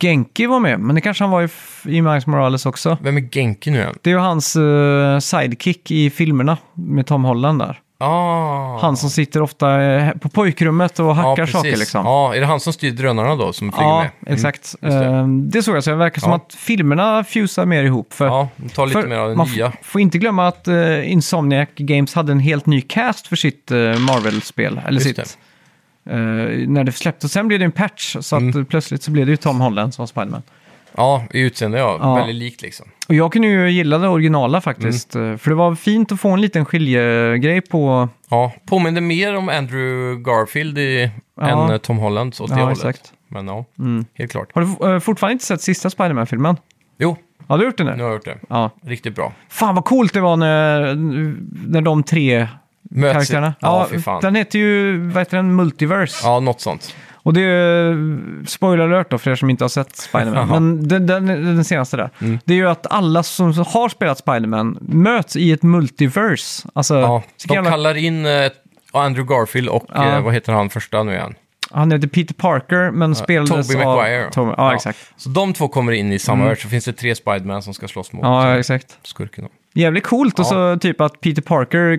[SPEAKER 2] Genki var med, men det kanske han var i, f- i Miles Morales också.
[SPEAKER 1] Vem är Genki nu igen?
[SPEAKER 2] Det är ju hans eh, sidekick i filmerna med Tom Holland där.
[SPEAKER 1] Ah.
[SPEAKER 2] Han som sitter ofta eh, på pojkrummet och hackar
[SPEAKER 1] precis.
[SPEAKER 2] saker liksom.
[SPEAKER 1] Ja, är det han som styr drönarna då som flyger
[SPEAKER 2] Ja,
[SPEAKER 1] med? Mm.
[SPEAKER 2] exakt.
[SPEAKER 1] just det.
[SPEAKER 2] Eh, Det såg jag, så det verkar som
[SPEAKER 1] Ja.
[SPEAKER 2] att filmerna fusar mer ihop. För,
[SPEAKER 1] Ja, ta lite
[SPEAKER 2] för
[SPEAKER 1] mer av den
[SPEAKER 2] man
[SPEAKER 1] nya.
[SPEAKER 2] f- får inte glömma att eh, Insomniac Games hade en helt ny cast för sitt eh, Marvel-spel. Eller
[SPEAKER 1] Just
[SPEAKER 2] sitt, eh, när det släpptes. Sen blev det en patch, så att
[SPEAKER 1] Mm.
[SPEAKER 2] eh, plötsligt så blev det ju Tom Holland som var Spiderman.
[SPEAKER 1] Ja, i utseende ja.
[SPEAKER 2] Ja.
[SPEAKER 1] Väldigt likt liksom.
[SPEAKER 2] Och jag kunde ju gilla det originala faktiskt.
[SPEAKER 1] Mm.
[SPEAKER 2] eh, För det var fint att få en liten skiljegrej på...
[SPEAKER 1] Ja, påminner mer om Andrew Garfield i,
[SPEAKER 2] Ja.
[SPEAKER 1] än eh, Tom Holland åt det
[SPEAKER 2] Ja,
[SPEAKER 1] hållet.
[SPEAKER 2] exakt. Mm.
[SPEAKER 1] Men ja, helt klart.
[SPEAKER 2] Har du eh, fortfarande inte sett sista Spiderman-filmen?
[SPEAKER 1] Jo,
[SPEAKER 2] Har du gjort det nu?
[SPEAKER 1] nu har jag gjort det.
[SPEAKER 2] Ja.
[SPEAKER 1] Riktigt bra.
[SPEAKER 2] Fan vad coolt det var när, när de tre
[SPEAKER 1] Möts.
[SPEAKER 2] karaktärerna...
[SPEAKER 1] Ja, fy fan.
[SPEAKER 2] Den heter ju, vad heter den, Multiverse.
[SPEAKER 1] Ja, något sånt.
[SPEAKER 2] Och det är, eh, spoiler alert då för er som inte har sett Spiderman,
[SPEAKER 1] Jaha.
[SPEAKER 2] men den, den, den senaste där.
[SPEAKER 1] Mm.
[SPEAKER 2] Det är ju att alla som har spelat Spiderman möts i ett multiverse. Alltså,
[SPEAKER 1] Ja,
[SPEAKER 2] så
[SPEAKER 1] de
[SPEAKER 2] jävla-
[SPEAKER 1] kallar in eh, Andrew Garfield och
[SPEAKER 2] Ja.
[SPEAKER 1] eh, vad heter han första nu igen?
[SPEAKER 2] han heter Peter Parker, men spelades
[SPEAKER 1] Tobey
[SPEAKER 2] av...
[SPEAKER 1] Maguire.
[SPEAKER 2] Tobey- ja, exakt. Mm.
[SPEAKER 1] Så de två kommer in i samma värld, så finns det tre Spiderman som ska slåss mot eh,
[SPEAKER 2] Ja, exakt.
[SPEAKER 1] skurken. då.
[SPEAKER 2] Jävligt coolt och så typ att Peter Parker,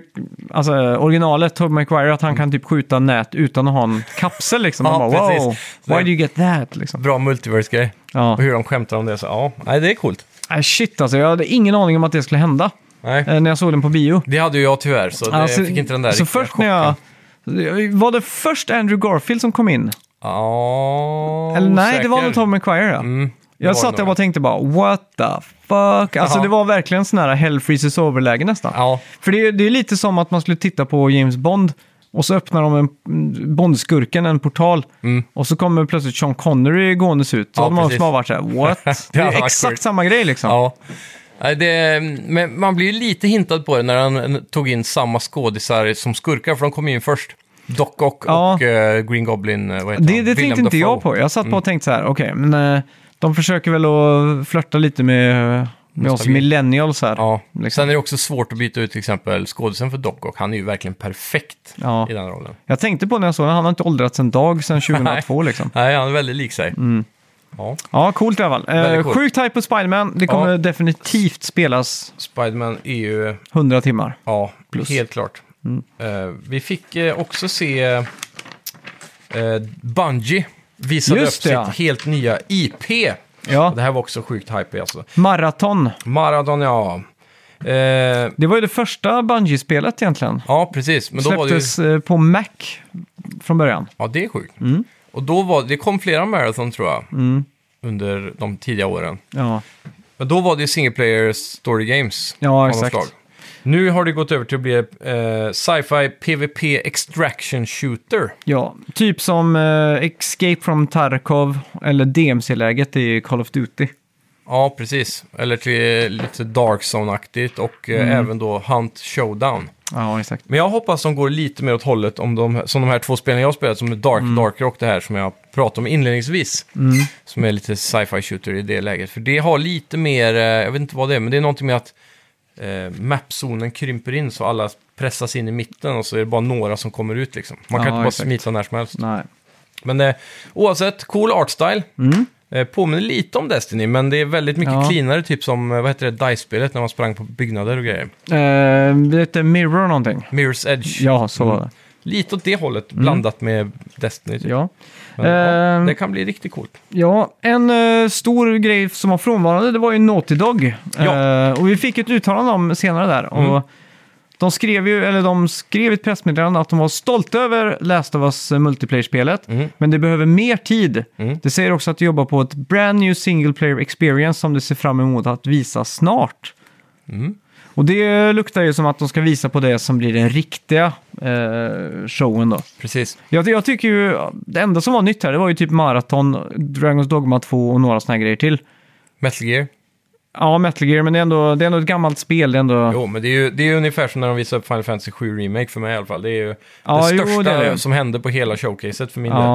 [SPEAKER 2] alltså originalet, Tobey Maguire, att han kan typ skjuta nät utan att ha en kapsel liksom.
[SPEAKER 1] Ja,
[SPEAKER 2] Man bara,
[SPEAKER 1] precis.
[SPEAKER 2] wow,
[SPEAKER 1] Så-
[SPEAKER 2] why do you get that liksom?
[SPEAKER 1] Bra multiverse-grej.
[SPEAKER 2] Ja.
[SPEAKER 1] Och hur de skämtar om det. Så, ja, nej, det är coolt.
[SPEAKER 2] Äh, shit alltså, jag hade ingen aning om att det skulle hända
[SPEAKER 1] Nej.
[SPEAKER 2] eh, när jag såg den på bio.
[SPEAKER 1] Det hade ju jag tyvärr, så det,
[SPEAKER 2] Alltså,
[SPEAKER 1] jag fick inte den där
[SPEAKER 2] så
[SPEAKER 1] riktiga
[SPEAKER 2] först när jag, Var det först Andrew Garfield som kom in?
[SPEAKER 1] Ja,
[SPEAKER 2] Eller nej, det var
[SPEAKER 1] osäker. Mm,
[SPEAKER 2] nog Tom McQuire. Ja.
[SPEAKER 1] det
[SPEAKER 2] jag
[SPEAKER 1] var det
[SPEAKER 2] satt där
[SPEAKER 1] nog.
[SPEAKER 2] och bara tänkte bara, what the fuck? Alltså
[SPEAKER 1] Ja.
[SPEAKER 2] det var verkligen sån här hell freezes over-läge nästan.
[SPEAKER 1] Ja,
[SPEAKER 2] För det är, det är lite som att man skulle titta på James Bond och så öppnar de en, mm, Bondskurken en portal och så kommer plötsligt Sean Connery gåendes ut. Så
[SPEAKER 1] Mm. Ja,
[SPEAKER 2] hade man
[SPEAKER 1] precis.
[SPEAKER 2] som har varit så här, what? Det
[SPEAKER 1] hade
[SPEAKER 2] är
[SPEAKER 1] varit
[SPEAKER 2] exakt
[SPEAKER 1] sjukt.
[SPEAKER 2] samma grej liksom.
[SPEAKER 1] ja. Nej, Det, men man blir ju lite hintad på det när han tog in samma skådisar som skurkar, för de kom ju in först. Doc Ock
[SPEAKER 2] Ja.
[SPEAKER 1] och eh, Green Goblin, eh, vad heter
[SPEAKER 2] Det,
[SPEAKER 1] han?
[SPEAKER 2] det
[SPEAKER 1] Willem
[SPEAKER 2] tänkte inte jag
[SPEAKER 1] Dafoe. Mm.
[SPEAKER 2] på. Jag satt bara och tänkte så här, okej, men eh, de försöker väl att flörta lite med, med oss
[SPEAKER 1] Nostalgi.
[SPEAKER 2] millennials här.
[SPEAKER 1] Ja.
[SPEAKER 2] liksom.
[SPEAKER 1] Sen är det också svårt att byta ut till exempel skådisen för Doc Ock. Han är ju verkligen perfekt
[SPEAKER 2] Ja.
[SPEAKER 1] i den rollen.
[SPEAKER 2] Jag tänkte på när jag såg den, han har inte åldrats en dag sedan 2002 liksom.
[SPEAKER 1] Nej, han är väldigt lik sig.
[SPEAKER 2] Mm.
[SPEAKER 1] Ja.
[SPEAKER 2] Ja, coolt i alla fall. Eh,
[SPEAKER 1] Väldigt coolt.
[SPEAKER 2] sjukt hype på Spiderman, det kommer
[SPEAKER 1] Ja.
[SPEAKER 2] definitivt spelas
[SPEAKER 1] Spiderman är ju,
[SPEAKER 2] 100 timmar.
[SPEAKER 1] ja,
[SPEAKER 2] Plus. Mm.
[SPEAKER 1] helt klart. Eh, vi fick eh, också se eh, eh, Bungie visade
[SPEAKER 2] Just
[SPEAKER 1] upp
[SPEAKER 2] det,
[SPEAKER 1] sitt
[SPEAKER 2] ja.
[SPEAKER 1] helt nya IP.
[SPEAKER 2] Ja.
[SPEAKER 1] Och det här var också sjukt hype alltså.
[SPEAKER 2] Maraton.
[SPEAKER 1] Maradon, ja. Eh,
[SPEAKER 2] Det var ju det första Bungie-spelet egentligen.
[SPEAKER 1] ja, precis. Men då var det ju...
[SPEAKER 2] Släpptes eh, på Mac från början.
[SPEAKER 1] Ja, det är sjukt.
[SPEAKER 2] Mm.
[SPEAKER 1] Och då var det kom flera marathon tror jag. Under de tidiga åren.
[SPEAKER 2] Ja,
[SPEAKER 1] Men då var det ju single player story games.
[SPEAKER 2] Ja,
[SPEAKER 1] av något
[SPEAKER 2] exakt.
[SPEAKER 1] Nu har det gått över till att bli eh, sci-fi PVP extraction shooter.
[SPEAKER 2] ja. typ som eh, Escape from Tarkov eller DMC-läget i Call of Duty.
[SPEAKER 1] Ja, precis. Eller till lite Dark Zone-aktigt och eh,
[SPEAKER 2] Mm.
[SPEAKER 1] även då Hunt Showdown.
[SPEAKER 2] Ja, exakt.
[SPEAKER 1] Men jag hoppas de går lite mer åt hållet om de, som de här två spelen jag har spelat, som är Dark
[SPEAKER 2] Mm.
[SPEAKER 1] Darker och det här som jag pratade om inledningsvis. Som är lite sci-fi shooter i det läget. För det har lite mer, eh, jag vet inte vad det är, men det är någonting med att eh, mapzonen krymper in så alla pressas in i mitten och så är det bara några som kommer ut liksom. Man kan
[SPEAKER 2] Ja,
[SPEAKER 1] inte bara
[SPEAKER 2] exakt.
[SPEAKER 1] smita när som helst.
[SPEAKER 2] Nej.
[SPEAKER 1] Men eh, oavsett, cool artstyle. Eh, påminner lite om Destiny, men det är väldigt mycket
[SPEAKER 2] Mm. Ja.
[SPEAKER 1] cleanare, typ som, eh, vad heter det, DICE-spelet när man sprang på byggnader och grejer.
[SPEAKER 2] Eh, det heter Mirror någonting.
[SPEAKER 1] Mirror's Edge. Mm.
[SPEAKER 2] Ja, så var det. Mm.
[SPEAKER 1] Lite åt det hållet, blandat med Destiny. Typ.
[SPEAKER 2] Ja.
[SPEAKER 1] Men, ja,
[SPEAKER 2] Ehm.
[SPEAKER 1] det kan bli riktigt coolt.
[SPEAKER 2] ja, en eh, stor grej som var frånvarande det var ju Naughty Dog.
[SPEAKER 1] Ja.
[SPEAKER 2] Eh, och vi fick ett uttalande om senare där. Och de skrev ju, eller de skrev i ett pressmeddelande att de var stolta över Last of Us eh, multiplayer-spelet, men det behöver mer tid. Det säger också att de jobbar på ett brand new single player experience som de ser fram emot att visa snart. Och det luktar ju som att de ska visa på det som blir den riktiga eh, showen då.
[SPEAKER 1] Precis.
[SPEAKER 2] Jag, jag tycker ju, det enda som var nytt här, det var ju typ Marathon, Dragons Dogma 2 och några såna här grejer till.
[SPEAKER 1] Metal Gear.
[SPEAKER 2] Ja, Metal Gear, men det är ändå, det är ändå ett gammalt spel. Det är ändå...
[SPEAKER 1] Jo, men det är ju det är ju ungefär som när de visar upp Final Fantasy 7 Remake för mig i alla fall. Det är ju
[SPEAKER 2] Ja,
[SPEAKER 1] det
[SPEAKER 2] jo,
[SPEAKER 1] största
[SPEAKER 2] det är det.
[SPEAKER 1] som hände på hela showcaset för min
[SPEAKER 2] ja,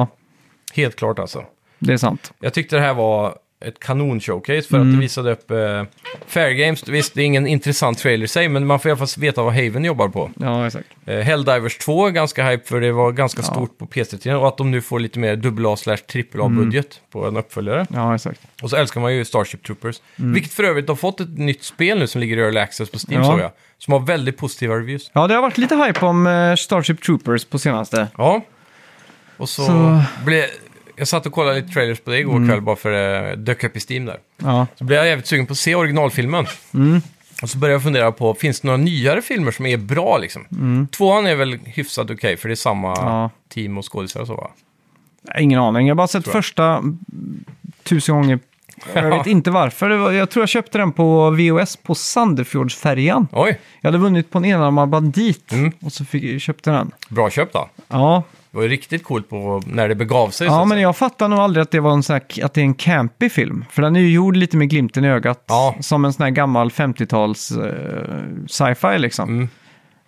[SPEAKER 1] del. Helt klart alltså.
[SPEAKER 2] det är sant.
[SPEAKER 1] Jag tyckte det här var ett kanon-showcase för
[SPEAKER 2] Mm.
[SPEAKER 1] att det visade upp eh, Fair Games. Visst, det är ingen intressant trailer i sig, men man får i alla fall veta vad Haven jobbar på.
[SPEAKER 2] Ja, exakt.
[SPEAKER 1] Eh, Helldivers 2, ganska hype för det var ganska stort på PC-tiden och att de nu får lite mer AA slash
[SPEAKER 2] Mm.
[SPEAKER 1] AAA-budget på en uppföljare.
[SPEAKER 2] Ja, exakt.
[SPEAKER 1] Och så älskar man ju Starship Troopers. Vilket för övrigt har fått ett nytt spel nu som ligger i Early Access på Steam,
[SPEAKER 2] Mm. Ja.
[SPEAKER 1] såg jag. Som har väldigt positiva reviews.
[SPEAKER 2] Ja, det har varit lite hype om eh, Starship Troopers på senaste.
[SPEAKER 1] Ja. Och så,
[SPEAKER 2] Så- Mm.
[SPEAKER 1] blev... Jag satt och kollade lite trailers på det igår kväll bara för det dök upp i Steam där.
[SPEAKER 2] Ja,
[SPEAKER 1] Så blev jag jävligt sugen på att se originalfilmen.
[SPEAKER 2] Mm.
[SPEAKER 1] Och så började jag fundera på, finns det några nyare filmer som är bra liksom? Tvåan är väl hyfsat okej, för det är samma
[SPEAKER 2] Mm. Ja.
[SPEAKER 1] team och skådisar och så va?
[SPEAKER 2] jag har ingen aning. Jag har bara sett
[SPEAKER 1] Tror jag.
[SPEAKER 2] första mm, tusen gånger. Jag vet inte varför. Det var- Jag tror jag köpte den på VOS på Sandefjordsfärjan.
[SPEAKER 1] Oj,
[SPEAKER 2] Jag hade vunnit på en enarmad bandit
[SPEAKER 1] Mm.
[SPEAKER 2] och så fick, köpte jag den.
[SPEAKER 1] bra köp då.
[SPEAKER 2] Ja,
[SPEAKER 1] Det var ju riktigt coolt på när det begav sig. så
[SPEAKER 2] ja
[SPEAKER 1] att
[SPEAKER 2] men
[SPEAKER 1] säga.
[SPEAKER 2] jag fattar nog aldrig att det, var en sån här, att det är en campy film. För den är ju gjord lite med glimten i ögat.
[SPEAKER 1] Ja.
[SPEAKER 2] Som en sån här gammal 50-tals eh, sci-fi liksom.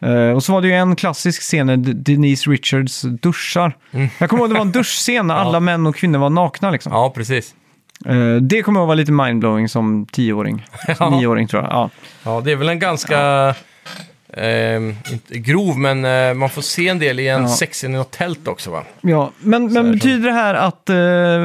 [SPEAKER 1] Mm.
[SPEAKER 2] Eh, och så var det ju en klassisk scen när D- Denise Richards duschar. Jag kommer ihåg det var en duschscen när alla män och kvinnor var nakna liksom.
[SPEAKER 1] Mm. Ja, precis.
[SPEAKER 2] Eh, det kommer jag vara lite mindblowing som tioåring. Som nioåring tror jag. Ja.
[SPEAKER 1] Ja, det är väl en ganska... ehm, inte grov, men eh, man får se en del i en
[SPEAKER 2] Ja.
[SPEAKER 1] sexscen i något tält också va?
[SPEAKER 2] Ja, men,
[SPEAKER 1] är
[SPEAKER 2] men
[SPEAKER 1] det.
[SPEAKER 2] betyder det här att uh,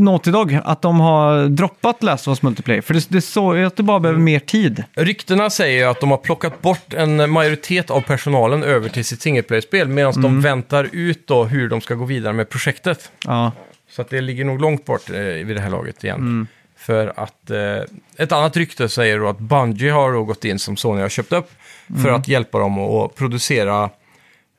[SPEAKER 2] Naughty Dog, att de har droppat Last of Us Multiplayer? För det, det såg ju att det bara behöver
[SPEAKER 1] Mm.
[SPEAKER 2] mer tid.
[SPEAKER 1] Ryktena säger ju att de har plockat bort en majoritet av personalen över till sitt singleplayer-spel medan
[SPEAKER 2] Mm.
[SPEAKER 1] de väntar ut då hur de ska gå vidare med projektet.
[SPEAKER 2] Ja,
[SPEAKER 1] Så att det ligger nog långt bort eh, vid det här laget igen.
[SPEAKER 2] Mm.
[SPEAKER 1] För att eh, ett annat rykte säger då att Bungie har då gått in som Sony har köpt upp för
[SPEAKER 2] Mm.
[SPEAKER 1] att hjälpa dem att producera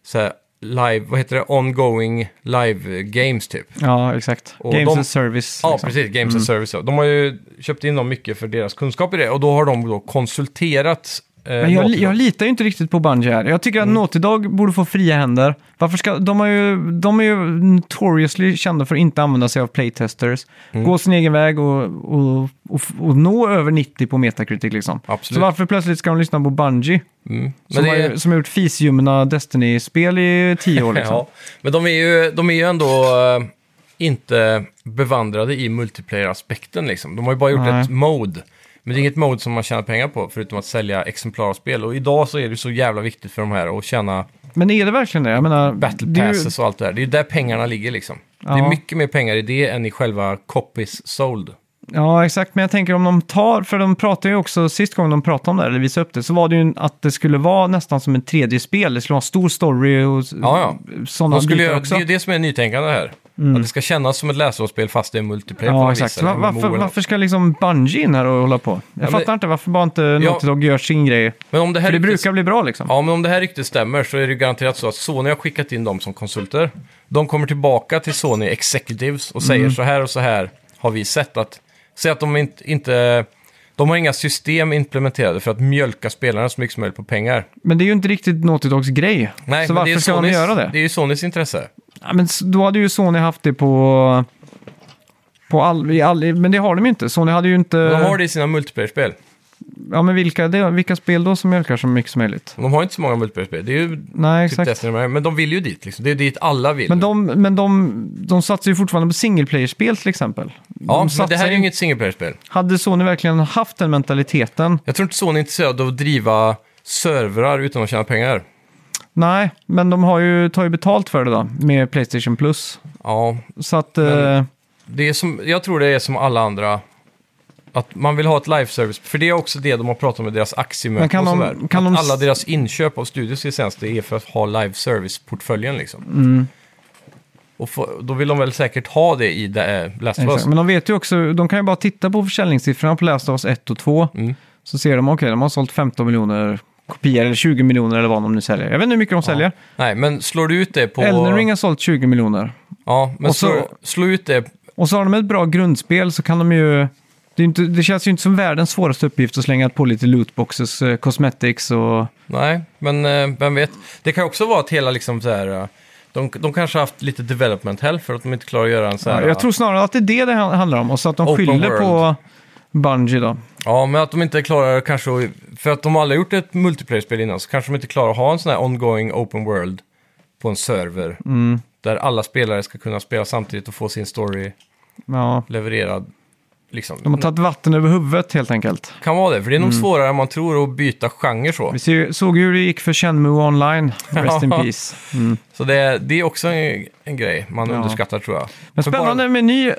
[SPEAKER 1] så här, live, vad heter det, ongoing live games typ.
[SPEAKER 2] ja exakt.
[SPEAKER 1] Och
[SPEAKER 2] Games
[SPEAKER 1] de-
[SPEAKER 2] and Service.
[SPEAKER 1] Ja,
[SPEAKER 2] liksom.
[SPEAKER 1] precis. Games as service. De har ju köpt in dem mycket för deras kunskap i det och då har de då konsulterat eh,
[SPEAKER 2] Men jag,
[SPEAKER 1] Naughty Dog.
[SPEAKER 2] jag litar ju inte riktigt på Bungie här. Jag
[SPEAKER 1] Mm.
[SPEAKER 2] tycker att Naughty Dog borde få fria händer. Varför ska, de, har ju, de är ju notoriously kända för att inte använda sig av playtesters.
[SPEAKER 1] Mm.
[SPEAKER 2] Gå sin egen väg och, och, och, och nå över 90 på Metacritic liksom.
[SPEAKER 1] Absolut.
[SPEAKER 2] Så varför plötsligt ska de lyssna på Bungie?
[SPEAKER 1] Mm.
[SPEAKER 2] Som,
[SPEAKER 1] Men, det,
[SPEAKER 2] har, som har gjort fisljumna Destiny-spel i tio år liksom.
[SPEAKER 1] ja. Men de är ju, de är ju ändå eh, inte bevandrade i multiplayer-aspekten. Liksom. De har ju bara gjort
[SPEAKER 2] Nej.
[SPEAKER 1] ett mode. Men det är inget mode som man tjänar pengar på, förutom att sälja exemplar av spel. Och idag så är det så jävla viktigt för de här att tjäna
[SPEAKER 2] Men är det verkligen det? Jag menar,
[SPEAKER 1] battle
[SPEAKER 2] det är ju-
[SPEAKER 1] passes och allt det där. Det är ju där pengarna ligger liksom. Det är
[SPEAKER 2] Ja.
[SPEAKER 1] mycket mer pengar i det än i själva copies sold.
[SPEAKER 2] Ja, exakt. Men jag tänker om de tar, för de pratade ju också, sist gången de pratade om det här, eller visade upp det, så var det ju att det skulle vara nästan som en tredje spel. Det skulle vara en stor story och
[SPEAKER 1] Ja,
[SPEAKER 2] sådana
[SPEAKER 1] De skulle
[SPEAKER 2] bitar
[SPEAKER 1] göra,
[SPEAKER 2] också. Mm.
[SPEAKER 1] det är ju det som är nytänkande här. Att det ska kännas som ett läsårsspel fast det är multiplayer på
[SPEAKER 2] Ja,
[SPEAKER 1] något vis,
[SPEAKER 2] exakt.
[SPEAKER 1] eller
[SPEAKER 2] Va-
[SPEAKER 1] MMO
[SPEAKER 2] varför,
[SPEAKER 1] eller något.
[SPEAKER 2] varför ska liksom Bungie in här och hålla på? Jag
[SPEAKER 1] men-
[SPEAKER 2] fattar inte varför bara inte Naughty Dog gör sin grej.
[SPEAKER 1] Men om det här
[SPEAKER 2] För det
[SPEAKER 1] riktigt-
[SPEAKER 2] brukar bli bra liksom.
[SPEAKER 1] Ja, men om det här ryktet stämmer så är det garanterat så att Sony har skickat in dem som konsulter. De kommer tillbaka till Sony Executives och
[SPEAKER 2] Mm.
[SPEAKER 1] säger så här och så här har vi sett att... Säg att de inte, inte... De har inga system implementerade för att mjölka spelarna så mycket som möjligt på pengar.
[SPEAKER 2] Men det är ju inte riktigt Naughty Dogs grej.
[SPEAKER 1] Nej,
[SPEAKER 2] så
[SPEAKER 1] men det
[SPEAKER 2] varför
[SPEAKER 1] är
[SPEAKER 2] ska de
[SPEAKER 1] Sonys-
[SPEAKER 2] göra det?
[SPEAKER 1] Det är ju Sonys intresse.
[SPEAKER 2] Ja, men s- då hade ju Sony haft det på... på all, i all, i- men det har de ju inte. Sony hade ju inte...
[SPEAKER 1] De har det i sina multiplayer-spel.
[SPEAKER 2] Ja, men vilka, det, vilka spel då som mjölkar så mycket som möjligt?
[SPEAKER 1] De har inte så många multiplayer-spel. Det är ju
[SPEAKER 2] Nej,
[SPEAKER 1] typ
[SPEAKER 2] exakt.
[SPEAKER 1] Destiny, de här, men de vill ju dit liksom. Det är dit alla vill.
[SPEAKER 2] Men, de, men de, de satsar ju fortfarande på single player-spel till exempel. de
[SPEAKER 1] ja, men det
[SPEAKER 2] satsar
[SPEAKER 1] här är ju
[SPEAKER 2] ju-
[SPEAKER 1] inget singleplayer-spel.
[SPEAKER 2] Hade Sony verkligen haft den mentaliteten?
[SPEAKER 1] Jag tror inte Sony är intresserad av att driva servrar utan att tjäna pengar.
[SPEAKER 2] Nej, men de har ju, tar ju betalt för det då, med Playstation Plus.
[SPEAKER 1] Ja,
[SPEAKER 2] Så att...
[SPEAKER 1] Men-
[SPEAKER 2] eh,
[SPEAKER 1] Det är som, jag tror det är som alla andra. Att man vill ha ett live service, för det är också det de har pratat om i deras aktiemöten
[SPEAKER 2] Men kan
[SPEAKER 1] och
[SPEAKER 2] de-
[SPEAKER 1] sådär.
[SPEAKER 2] kan
[SPEAKER 1] att
[SPEAKER 2] de-
[SPEAKER 1] alla deras inköp av studios licens, det är för att ha live service-portföljen liksom.
[SPEAKER 2] Mm.
[SPEAKER 1] Och få- då vill de väl säkert ha det i det, eh, Last of Us.
[SPEAKER 2] Exakt. Men de vet ju också, de kan ju bara titta på försäljningssiffrorna på Last of Us 1 och 2.
[SPEAKER 1] Mm.
[SPEAKER 2] Så ser de, okej, de har sålt 15 miljoner kopior eller 20 miljoner eller vad de nu säljer. Jag vet inte hur mycket de säljer.
[SPEAKER 1] Nej, men slår du ut det på...
[SPEAKER 2] Elden Ring har sålt 20 miljoner.
[SPEAKER 1] Ja, men
[SPEAKER 2] Och så-
[SPEAKER 1] slå, slå ut det...
[SPEAKER 2] Och så har de ett bra grundspel så kan de ju... Det, är inte, det känns ju inte som världens svåraste uppgift att slänga på lite lootboxes, eh, cosmetics och...
[SPEAKER 1] Nej, men eh, vem vet. Det kan också vara att hela liksom så här... eh, De, de kanske har haft lite development hell för att de inte klarar att göra en så här...
[SPEAKER 2] jag tror snarare att det är det det han- handlar om. Och så att de
[SPEAKER 1] Open
[SPEAKER 2] skyller på Bungie då.
[SPEAKER 1] Ja, men att de inte klarar kanske att- För att de aldrig har gjort ett multiplayer-spel innan så kanske de inte klarar att ha en sån här ongoing open world på en server.
[SPEAKER 2] Mm.
[SPEAKER 1] Där alla spelare ska kunna spela samtidigt och få sin story
[SPEAKER 2] Ja.
[SPEAKER 1] levererad. Liksom.
[SPEAKER 2] De har tagit vatten över huvudet helt enkelt.
[SPEAKER 1] kan vara det, för det är
[SPEAKER 2] Mm.
[SPEAKER 1] nog svårare än man tror att byta genre så.
[SPEAKER 2] Vi ser, såg ju hur det gick för Shenmue online, rest in
[SPEAKER 1] Ja.
[SPEAKER 2] peace.
[SPEAKER 1] Så det, det är också en, en grej man
[SPEAKER 2] Ja.
[SPEAKER 1] underskattar tror jag.
[SPEAKER 2] Men
[SPEAKER 1] För
[SPEAKER 2] spännande
[SPEAKER 1] bara-
[SPEAKER 2] med ny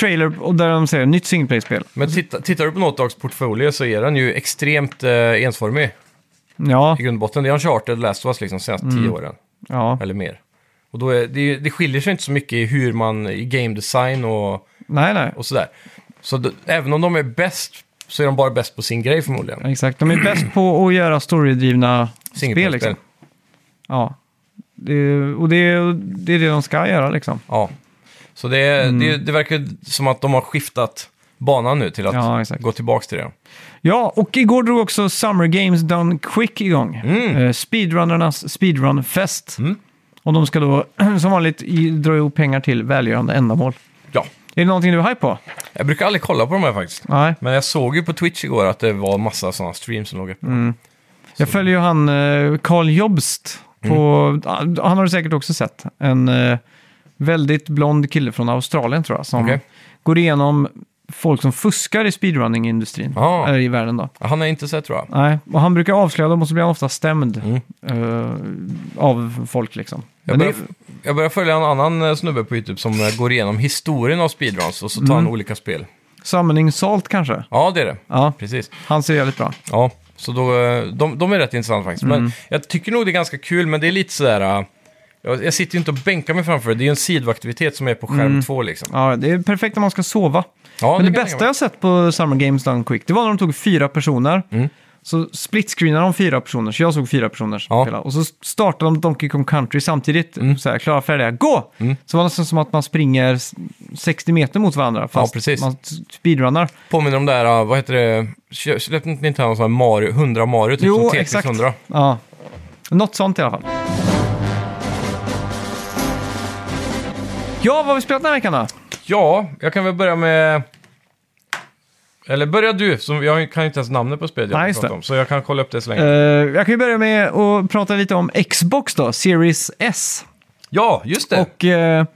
[SPEAKER 2] trailer och där de säger nytt singleplay-spel.
[SPEAKER 1] men titta, tittar du på Naughty Dogs portfolio så är den ju extremt eh, ensformig
[SPEAKER 2] Ja,
[SPEAKER 1] i grund och botten. Det är Uncharted, Last of Us liksom de senaste
[SPEAKER 2] Mm.
[SPEAKER 1] tio åren.
[SPEAKER 2] ja.
[SPEAKER 1] eller mer. Och då är, det, det skiljer sig inte så mycket i hur man i game design och,
[SPEAKER 2] Nej, nej.
[SPEAKER 1] och sådär. Så d- även om de är bäst så är de bara bäst på sin grej förmodligen.
[SPEAKER 2] Exakt. De är bäst på att göra storydrivna spel.
[SPEAKER 1] Singleplayer-spel.
[SPEAKER 2] Liksom. Ja. Det, och det, det är det de ska göra liksom.
[SPEAKER 1] Ja. Så det,
[SPEAKER 2] Mm.
[SPEAKER 1] det, det verkar som att de har skiftat banan nu till att
[SPEAKER 2] Ja, exakt.
[SPEAKER 1] gå tillbaka till det.
[SPEAKER 2] Ja, och igår drog också Summer Games Done Quick igång. Eh, Speedrunnernas speedrunfest. Och de ska då som vanligt i- dra ihop pengar till välgörande ändamål.
[SPEAKER 1] Ja.
[SPEAKER 2] Är det någonting du är hype på?
[SPEAKER 1] Jag brukar aldrig kolla på de här faktiskt.
[SPEAKER 2] Nej.
[SPEAKER 1] Men jag såg ju på Twitch igår att det var massa sådana streams som låg uppe.
[SPEAKER 2] Mm. Jag följer ju han eh, Carl Jobst. På, Ah, Han har du säkert också sett. En eh, väldigt blond kille från Australien tror jag. Som
[SPEAKER 1] Okej.
[SPEAKER 2] går igenom folk som fuskar i speedrunning-industrin.
[SPEAKER 1] Ah.
[SPEAKER 2] Eller i världen då.
[SPEAKER 1] Han har jag inte sett tror jag.
[SPEAKER 2] Nej, och han brukar avslöja dem och så blir han ofta stämd eh, av folk liksom.
[SPEAKER 1] Jag
[SPEAKER 2] Men
[SPEAKER 1] börjar, jag börjar följa en annan eh, snubbe på YouTube som eh, går igenom historien av speedruns och så tar han
[SPEAKER 2] Mm.
[SPEAKER 1] olika spel.
[SPEAKER 2] det, Summoning Salt kanske?
[SPEAKER 1] Ja, det är det.
[SPEAKER 2] Ja,
[SPEAKER 1] Precis.
[SPEAKER 2] han ser jävligt bra.
[SPEAKER 1] Ja, så då, eh, de, de är rätt intressanta faktiskt.
[SPEAKER 2] Mm.
[SPEAKER 1] Men jag tycker nog det är ganska kul, men det är lite sådär... eh, Jag, jag sitter ju inte och bänkar mig framför det. Det är ju en sidoaktivitet som är på skärm två liksom.
[SPEAKER 2] Ja, det är perfekt när man ska sova.
[SPEAKER 1] Ja,
[SPEAKER 2] Mm. Men det,
[SPEAKER 1] kan jag
[SPEAKER 2] bästa
[SPEAKER 1] tänka mig.
[SPEAKER 2] jag sett på Summer Games Done Quick, det var när de tog fyra personer.
[SPEAKER 1] Mm.
[SPEAKER 2] Så split-screenade de fyra personer, så jag såg fyra personer
[SPEAKER 1] Ja. Mm.
[SPEAKER 2] spela. Och så startade de Donkey Kong Country samtidigt. Så här, klara, färdiga, gå! Så var det nästan som att man springer s- 60 meter mot varandra, fast
[SPEAKER 1] precis. Typ
[SPEAKER 2] man s- speedrunnar.
[SPEAKER 1] Påminner om det här, eh, vad heter det? Kö- Släppte inte Nintendo sån här Mario, 100 Mario, typ som Tetris 100?
[SPEAKER 2] Ja. Något sånt i alla fall. Ja, vad har vi spelat den här veckan då?
[SPEAKER 1] Ja, jag kan väl börja med... Eller börja du, som jag kan ju inte ens namnet på spelet jag
[SPEAKER 2] Nej,
[SPEAKER 1] Nej,
[SPEAKER 2] just
[SPEAKER 1] pratar
[SPEAKER 2] det.
[SPEAKER 1] om. Så jag kan kolla upp det så länge.
[SPEAKER 2] Eh, jag kan ju börja med att prata lite om Xbox då, Series S.
[SPEAKER 1] ja, just det!
[SPEAKER 2] Och eh,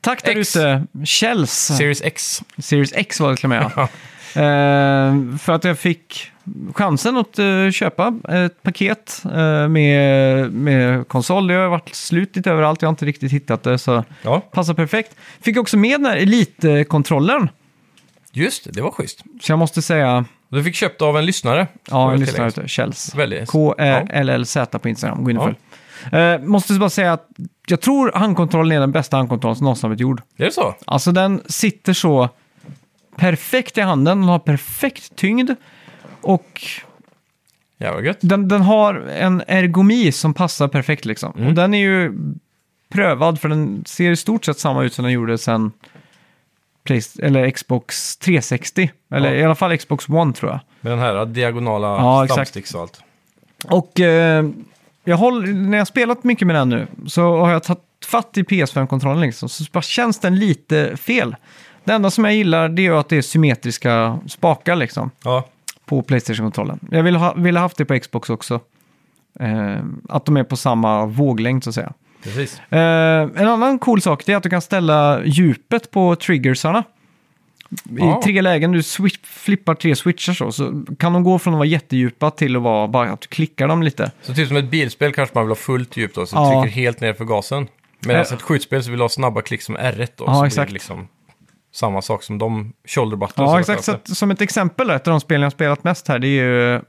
[SPEAKER 2] tack där
[SPEAKER 1] X.
[SPEAKER 2] ute, Kjells.
[SPEAKER 1] Series X.
[SPEAKER 2] Series X var det till och med, ja. Eh, För att jag fick chansen att eh, köpa ett paket eh, med, med konsol. Det har varit slut lite överallt, jag har inte riktigt hittat det. Så
[SPEAKER 1] Ja,
[SPEAKER 2] passar perfekt. Fick också med den här Elite-kontrollern.
[SPEAKER 1] just det. Det var schysst.
[SPEAKER 2] Så jag måste säga,
[SPEAKER 1] Du fick köpt av en lyssnare.
[SPEAKER 2] ja, en
[SPEAKER 1] Får jag
[SPEAKER 2] lyssnare
[SPEAKER 1] tillägga.
[SPEAKER 2] ute, Kjells.
[SPEAKER 1] Väldigt.
[SPEAKER 2] K-E-L-L-Z på Instagram, gå in och
[SPEAKER 1] Ja.
[SPEAKER 2] följ. Eh, måste bara säga att jag tror handkontrollen är den bästa handkontrollen som någonsin har blivit gjord.
[SPEAKER 1] Är det så?
[SPEAKER 2] Alltså den sitter så perfekt i handen, den har perfekt tyngd och
[SPEAKER 1] Jävla gött.
[SPEAKER 2] den, den har en ergonomi som passar perfekt liksom. Och den är ju prövad för den ser i stort sett samma ut som den gjorde sen Playst- eller Xbox 360. Eller
[SPEAKER 1] Ja.
[SPEAKER 2] i alla fall Xbox One tror jag.
[SPEAKER 1] Med den här diagonala
[SPEAKER 2] Ja, exakt.
[SPEAKER 1] thumbsticks och allt.
[SPEAKER 2] Och eh, jag håller, när jag har spelat mycket med den nu så har jag tagit fatt i PS5-kontrollen liksom. Så bara känns den lite fel. Det enda som jag gillar det är ju att det är symmetriska spakar liksom.
[SPEAKER 1] Ja.
[SPEAKER 2] på Playstation-kontrollen. Jag ville ha, ville haft det på Xbox också. Eh, att de är på samma våglängd så att säga.
[SPEAKER 1] Precis.
[SPEAKER 2] Eh, en annan cool sak det är att du kan ställa djupet på triggersarna. I
[SPEAKER 1] Ah.
[SPEAKER 2] tre lägen, du switch, flippar tre switchar så, så kan de gå från att vara jättedjupa till att vara bara att du klickar dem lite.
[SPEAKER 1] Så typ som ett bilspel kanske man vill ha fullt djup då, så
[SPEAKER 2] Ja.
[SPEAKER 1] trycker helt ner för gasen. Medan
[SPEAKER 2] Eh.
[SPEAKER 1] ett skjutspel så vill du ha snabba klick som R1
[SPEAKER 2] Ja,
[SPEAKER 1] då. så blir det
[SPEAKER 2] exakt.
[SPEAKER 1] liksom samma sak som de shoulder buttons.
[SPEAKER 2] Ja,
[SPEAKER 1] eller
[SPEAKER 2] exakt.
[SPEAKER 1] vad
[SPEAKER 2] Så
[SPEAKER 1] det alltså.
[SPEAKER 2] att, som ett exempel, då, ett av de spel jag har spelat mest här, det är ju eh,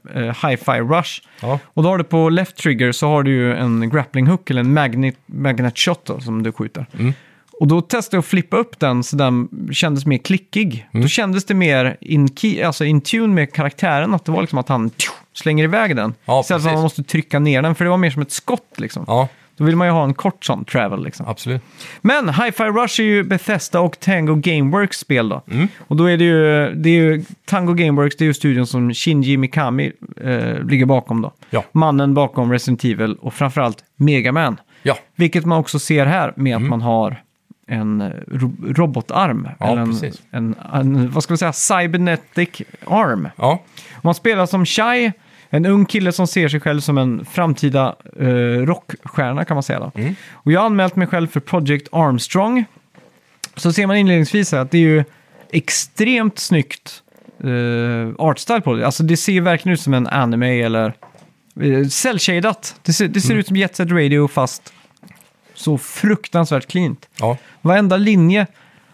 [SPEAKER 2] Hi-Fi Rush.
[SPEAKER 1] Ja.
[SPEAKER 2] Och då har du på left trigger så har du ju en grappling hook eller en magnet, magnet shot då, som du skjuter.
[SPEAKER 1] Mm.
[SPEAKER 2] Och då testade jag att flippa upp den så den kändes mer klickig.
[SPEAKER 1] Mm.
[SPEAKER 2] Då kändes det mer in, key, alltså in tune med karaktären, att det var liksom att han tju, slänger iväg den.
[SPEAKER 1] Ja,
[SPEAKER 2] Istället för att
[SPEAKER 1] precis.
[SPEAKER 2] man måste trycka ner den, för det var mer som ett skott liksom.
[SPEAKER 1] Ja,
[SPEAKER 2] Då vill man ju ha en kort sån travel liksom.
[SPEAKER 1] absolut.
[SPEAKER 2] Men Hi-Fi Rush är ju Bethesda och Tango Gameworks spel då.
[SPEAKER 1] Mm.
[SPEAKER 2] Och då är det ju, det är ju Tango Gameworks, det är ju studion som Shinji Mikami eh, ligger bakom då.
[SPEAKER 1] Ja.
[SPEAKER 2] Mannen bakom Resident Evil och framförallt Mega Man.
[SPEAKER 1] Ja, Mm.
[SPEAKER 2] Vilket man också ser här med att man har en eh, ro- robotarm.
[SPEAKER 1] Ja,
[SPEAKER 2] eller en,
[SPEAKER 1] precis.
[SPEAKER 2] en, en, vad ska vi säga, cybernetic arm.
[SPEAKER 1] Ja,
[SPEAKER 2] Man spelar som Shai, en ung kille som ser sig själv som en framtida eh, rockstjärna kan man säga. Då. Och jag har anmält mig själv för Project Armstrong. Så ser man inledningsvis här att det är ju extremt snyggt eh, artstyle på det. Alltså det ser ju verkligen ut som en anime eller eh, cell-shadat. Det ser, det ser ut som Jet Set Radio fast så fruktansvärt cleant.
[SPEAKER 1] ja.
[SPEAKER 2] Varenda linje.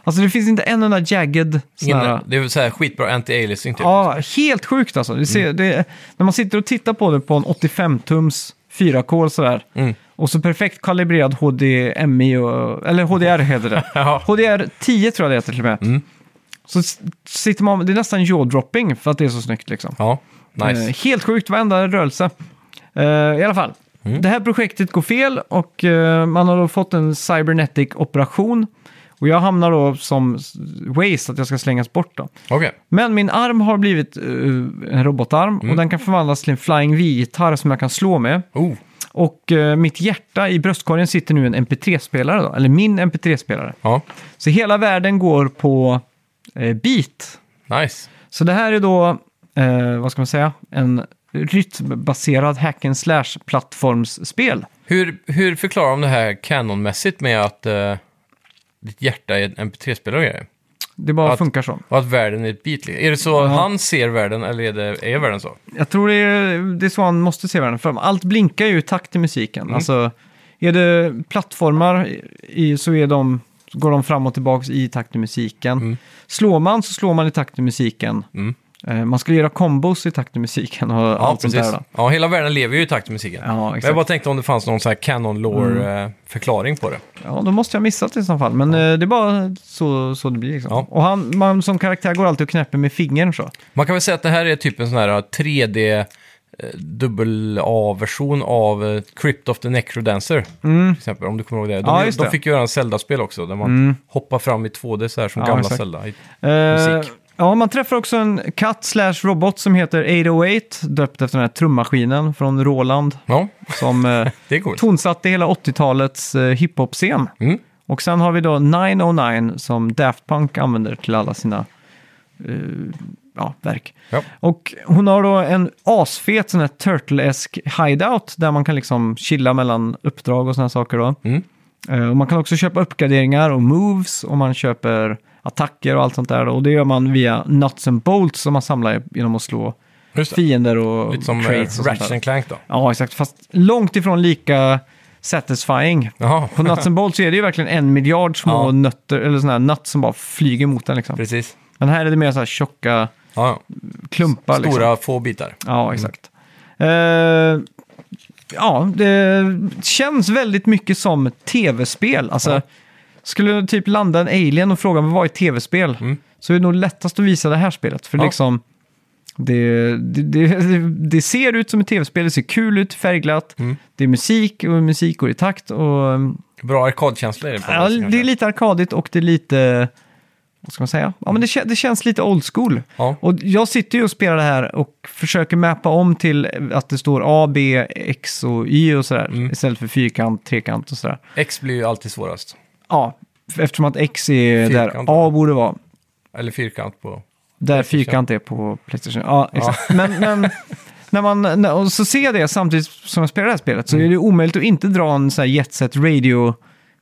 [SPEAKER 2] Alltså det finns inte en enda jagged sån
[SPEAKER 1] Ingen,
[SPEAKER 2] här-
[SPEAKER 1] det är väl så här skitbra anti-aliasing typ.
[SPEAKER 2] Ja, helt sjukt alltså. Det ser,
[SPEAKER 1] Mm.
[SPEAKER 2] det, när man sitter och tittar på det på en 85-tums 4K sådär.
[SPEAKER 1] Mm.
[SPEAKER 2] Och så perfekt kalibrerad HDMI, och, eller HDR heter det.
[SPEAKER 1] Ja. Mm.
[SPEAKER 2] HDR 10 tror jag det heter till och med. Så s- sitter man, det är nästan jaw-dropping för att det är så snyggt liksom.
[SPEAKER 1] Ja, nice.
[SPEAKER 2] Eh, helt sjukt, varenda rörelse. Eh, I alla fall,
[SPEAKER 1] Mm.
[SPEAKER 2] det här projektet går fel och eh, man har då fått en cybernetic operation. Och jag hamnar då som s- waste, att jag ska slängas bort då.
[SPEAKER 1] Okej.
[SPEAKER 2] Men min arm har blivit eh, en robotarm och den kan förvandlas till en Flying V-gitarr som jag kan slå med.
[SPEAKER 1] Oh,
[SPEAKER 2] Och eh, mitt hjärta i bröstkorgen sitter nu en MP3-spelare då, eller min MP3-spelare.
[SPEAKER 1] ja.
[SPEAKER 2] Så hela världen går på eh, beat.
[SPEAKER 1] Nice.
[SPEAKER 2] Så det här är då, eh, vad ska man säga, en rytmbaserad hack and slash-plattformsspel.
[SPEAKER 1] Hur, hur förklarar de det här kanonmässigt med att eh, ditt hjärta är en MP3-spelare och grejer?
[SPEAKER 2] Det bara
[SPEAKER 1] Att-
[SPEAKER 2] funkar så.
[SPEAKER 1] Och att världen är ett bit. Är det så han ser världen eller är, det, är världen så?
[SPEAKER 2] Jag tror det är, det är så man måste se världen. För allt blinkar ju i takt till musiken.
[SPEAKER 1] Mm.
[SPEAKER 2] Alltså, är det plattformar i, så är de, så går de fram och tillbaka i takt till musiken.
[SPEAKER 1] Mm.
[SPEAKER 2] Slår man så slår man i takt till musiken. Eh, man skulle göra kombos i takt till musiken och allt sånt där. Då.
[SPEAKER 1] Ja, hela världen lever ju i takt till musiken.
[SPEAKER 2] Ja,
[SPEAKER 1] Men
[SPEAKER 2] exakt. Mm.
[SPEAKER 1] jag bara tänkte om det fanns någon så här canon lore-förklaring på det.
[SPEAKER 2] Ja, då måste jag ha missat det i så fall. Men eh, det är bara så, så det blir. Liksom.
[SPEAKER 1] Ja.
[SPEAKER 2] Och han, man som karaktär går alltid och knäpper med fingern så.
[SPEAKER 1] Man kan väl säga att det här är typ en sån här 3D eh, dubbel A-version av eh, Crypt of the Necrodancer. Till exempel, om du kommer ihåg det. De,
[SPEAKER 2] Mm. Ja, just
[SPEAKER 1] de
[SPEAKER 2] det. Mm.
[SPEAKER 1] fick ju göra en Zelda-spel också, där man hoppar fram i 2D så här som
[SPEAKER 2] Ja,
[SPEAKER 1] gamla
[SPEAKER 2] exakt.
[SPEAKER 1] Zelda.
[SPEAKER 2] Eh,
[SPEAKER 1] Musik.
[SPEAKER 2] ja, man träffar också en katt slash robot som heter 808, döpt efter den här trummaskinen från Roland.
[SPEAKER 1] Ja,
[SPEAKER 2] Som eh,
[SPEAKER 1] det är coolt.
[SPEAKER 2] tonsatte hela 80-talets eh, hiphop-scen.
[SPEAKER 1] Mm.
[SPEAKER 2] Och sen har vi då 909 som Daft Punk använder till alla sina eh, ja, verk.
[SPEAKER 1] Ja.
[SPEAKER 2] Och hon har då en asfet sån här Turtle-esk hideout där man kan liksom chilla mellan uppdrag och såna här saker då.
[SPEAKER 1] Mm.
[SPEAKER 2] Eh, och man kan också köpa uppgraderingar och moves och man köper attacker och allt sånt där. Då. Och det gör man via nuts and bolts som man samlar genom att slå
[SPEAKER 1] Just det.
[SPEAKER 2] fiender och
[SPEAKER 1] Lite som eh,
[SPEAKER 2] crates och sånt
[SPEAKER 1] Ratchet
[SPEAKER 2] där.
[SPEAKER 1] and Clank då.
[SPEAKER 2] Ja, exakt. Fast långt ifrån lika satisfying.
[SPEAKER 1] Jaha,
[SPEAKER 2] På Nuts and Bolts så är det ju verkligen en miljard små
[SPEAKER 1] Ja.
[SPEAKER 2] nötter, eller sådana här nuts som bara flyger mot en liksom.
[SPEAKER 1] precis.
[SPEAKER 2] Men här är det mer så här tjocka
[SPEAKER 1] Ja, ja.
[SPEAKER 2] klumpar liksom.
[SPEAKER 1] Stora få bitar.
[SPEAKER 2] Ja, exakt. Eh, ja, det känns väldigt mycket som tv-spel. Alltså,
[SPEAKER 1] Ja.
[SPEAKER 2] skulle du typ landa en alien och fråga "Men vad är tv-spel? Så är det nog lättast att visa det här spelet. För
[SPEAKER 1] Mm. Ja.
[SPEAKER 2] liksom, det, det, det, det ser ut som ett tv-spel, det ser kul ut, färgglatt,
[SPEAKER 1] Mm.
[SPEAKER 2] det är musik och musik går i takt. Och, um,
[SPEAKER 1] Bra arkadkänsla är det på
[SPEAKER 2] ja,
[SPEAKER 1] något sätt,
[SPEAKER 2] det är lite arkadigt och det är lite, vad ska man säga? Ja, men det, kä- det känns lite old school.
[SPEAKER 1] Ja.
[SPEAKER 2] Och jag sitter ju och spelar det här och försöker mappa om till att det står A, B, X och Y och sådär.
[SPEAKER 1] Mm.
[SPEAKER 2] Istället för fyrkant, trekant och sådär.
[SPEAKER 1] X blir ju alltid svårast.
[SPEAKER 2] Ja, eftersom att X är där
[SPEAKER 1] Fyrkant.
[SPEAKER 2] A borde vara.
[SPEAKER 1] Eller fyrkant på...
[SPEAKER 2] Där fyrkant är på Playstation. Ja, exakt. Men, men när man, när, och så ser jag det samtidigt som jag spelar det här spelet så är
[SPEAKER 1] Mm.
[SPEAKER 2] det omöjligt att inte dra en sån här Jet Set Radio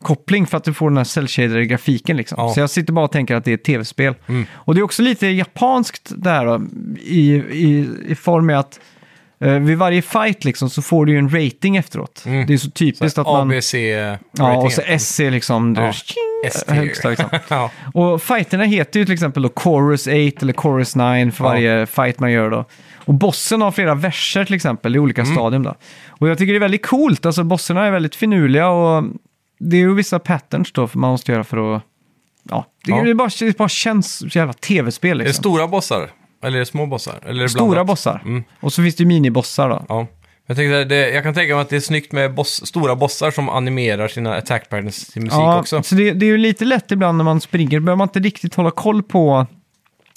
[SPEAKER 2] koppling för att du får den här cellshaded grafiken liksom.
[SPEAKER 1] Ja. Mm.
[SPEAKER 2] Så jag sitter bara och tänker att det är ett tv-spel. Och det är också lite japanskt där då, i, i, i form med att eh, vid varje fight liksom så får du ju en rating efteråt.
[SPEAKER 1] Mm.
[SPEAKER 2] Det är så typiskt att man...
[SPEAKER 1] ABC...
[SPEAKER 2] Ja, och så S är liksom...
[SPEAKER 1] Ja.
[SPEAKER 2] Ja.
[SPEAKER 1] S-tier.
[SPEAKER 2] Högsta liksom.
[SPEAKER 1] ja.
[SPEAKER 2] Och fighterna heter ju till exempel då Chorus 8 eller Chorus 9 för
[SPEAKER 1] Ja.
[SPEAKER 2] varje fight man gör då. Och bossen har flera verser till exempel i olika
[SPEAKER 1] Mm.
[SPEAKER 2] stadium då. Och jag tycker det är väldigt coolt, alltså bossarna är väldigt finurliga och det är ju vissa patterns då för man måste göra för att... Ja, det,
[SPEAKER 1] Ja.
[SPEAKER 2] Det, bara, det bara känns så jävla tv-spel
[SPEAKER 1] Är det
[SPEAKER 2] liksom.
[SPEAKER 1] stora bossar? Eller är det små bossar? Eller är det
[SPEAKER 2] Stora
[SPEAKER 1] blandat?
[SPEAKER 2] bossar.
[SPEAKER 1] Mm.
[SPEAKER 2] Och så finns det ju minibossar då.
[SPEAKER 1] Ja. Jag, tänkte, det, jag kan tänka mig att det är snyggt med boss, stora bossar som animerar sina attack patterns till musik också.
[SPEAKER 2] Så det, det är ju lite lätt ibland när man springer, behöver man inte riktigt hålla koll på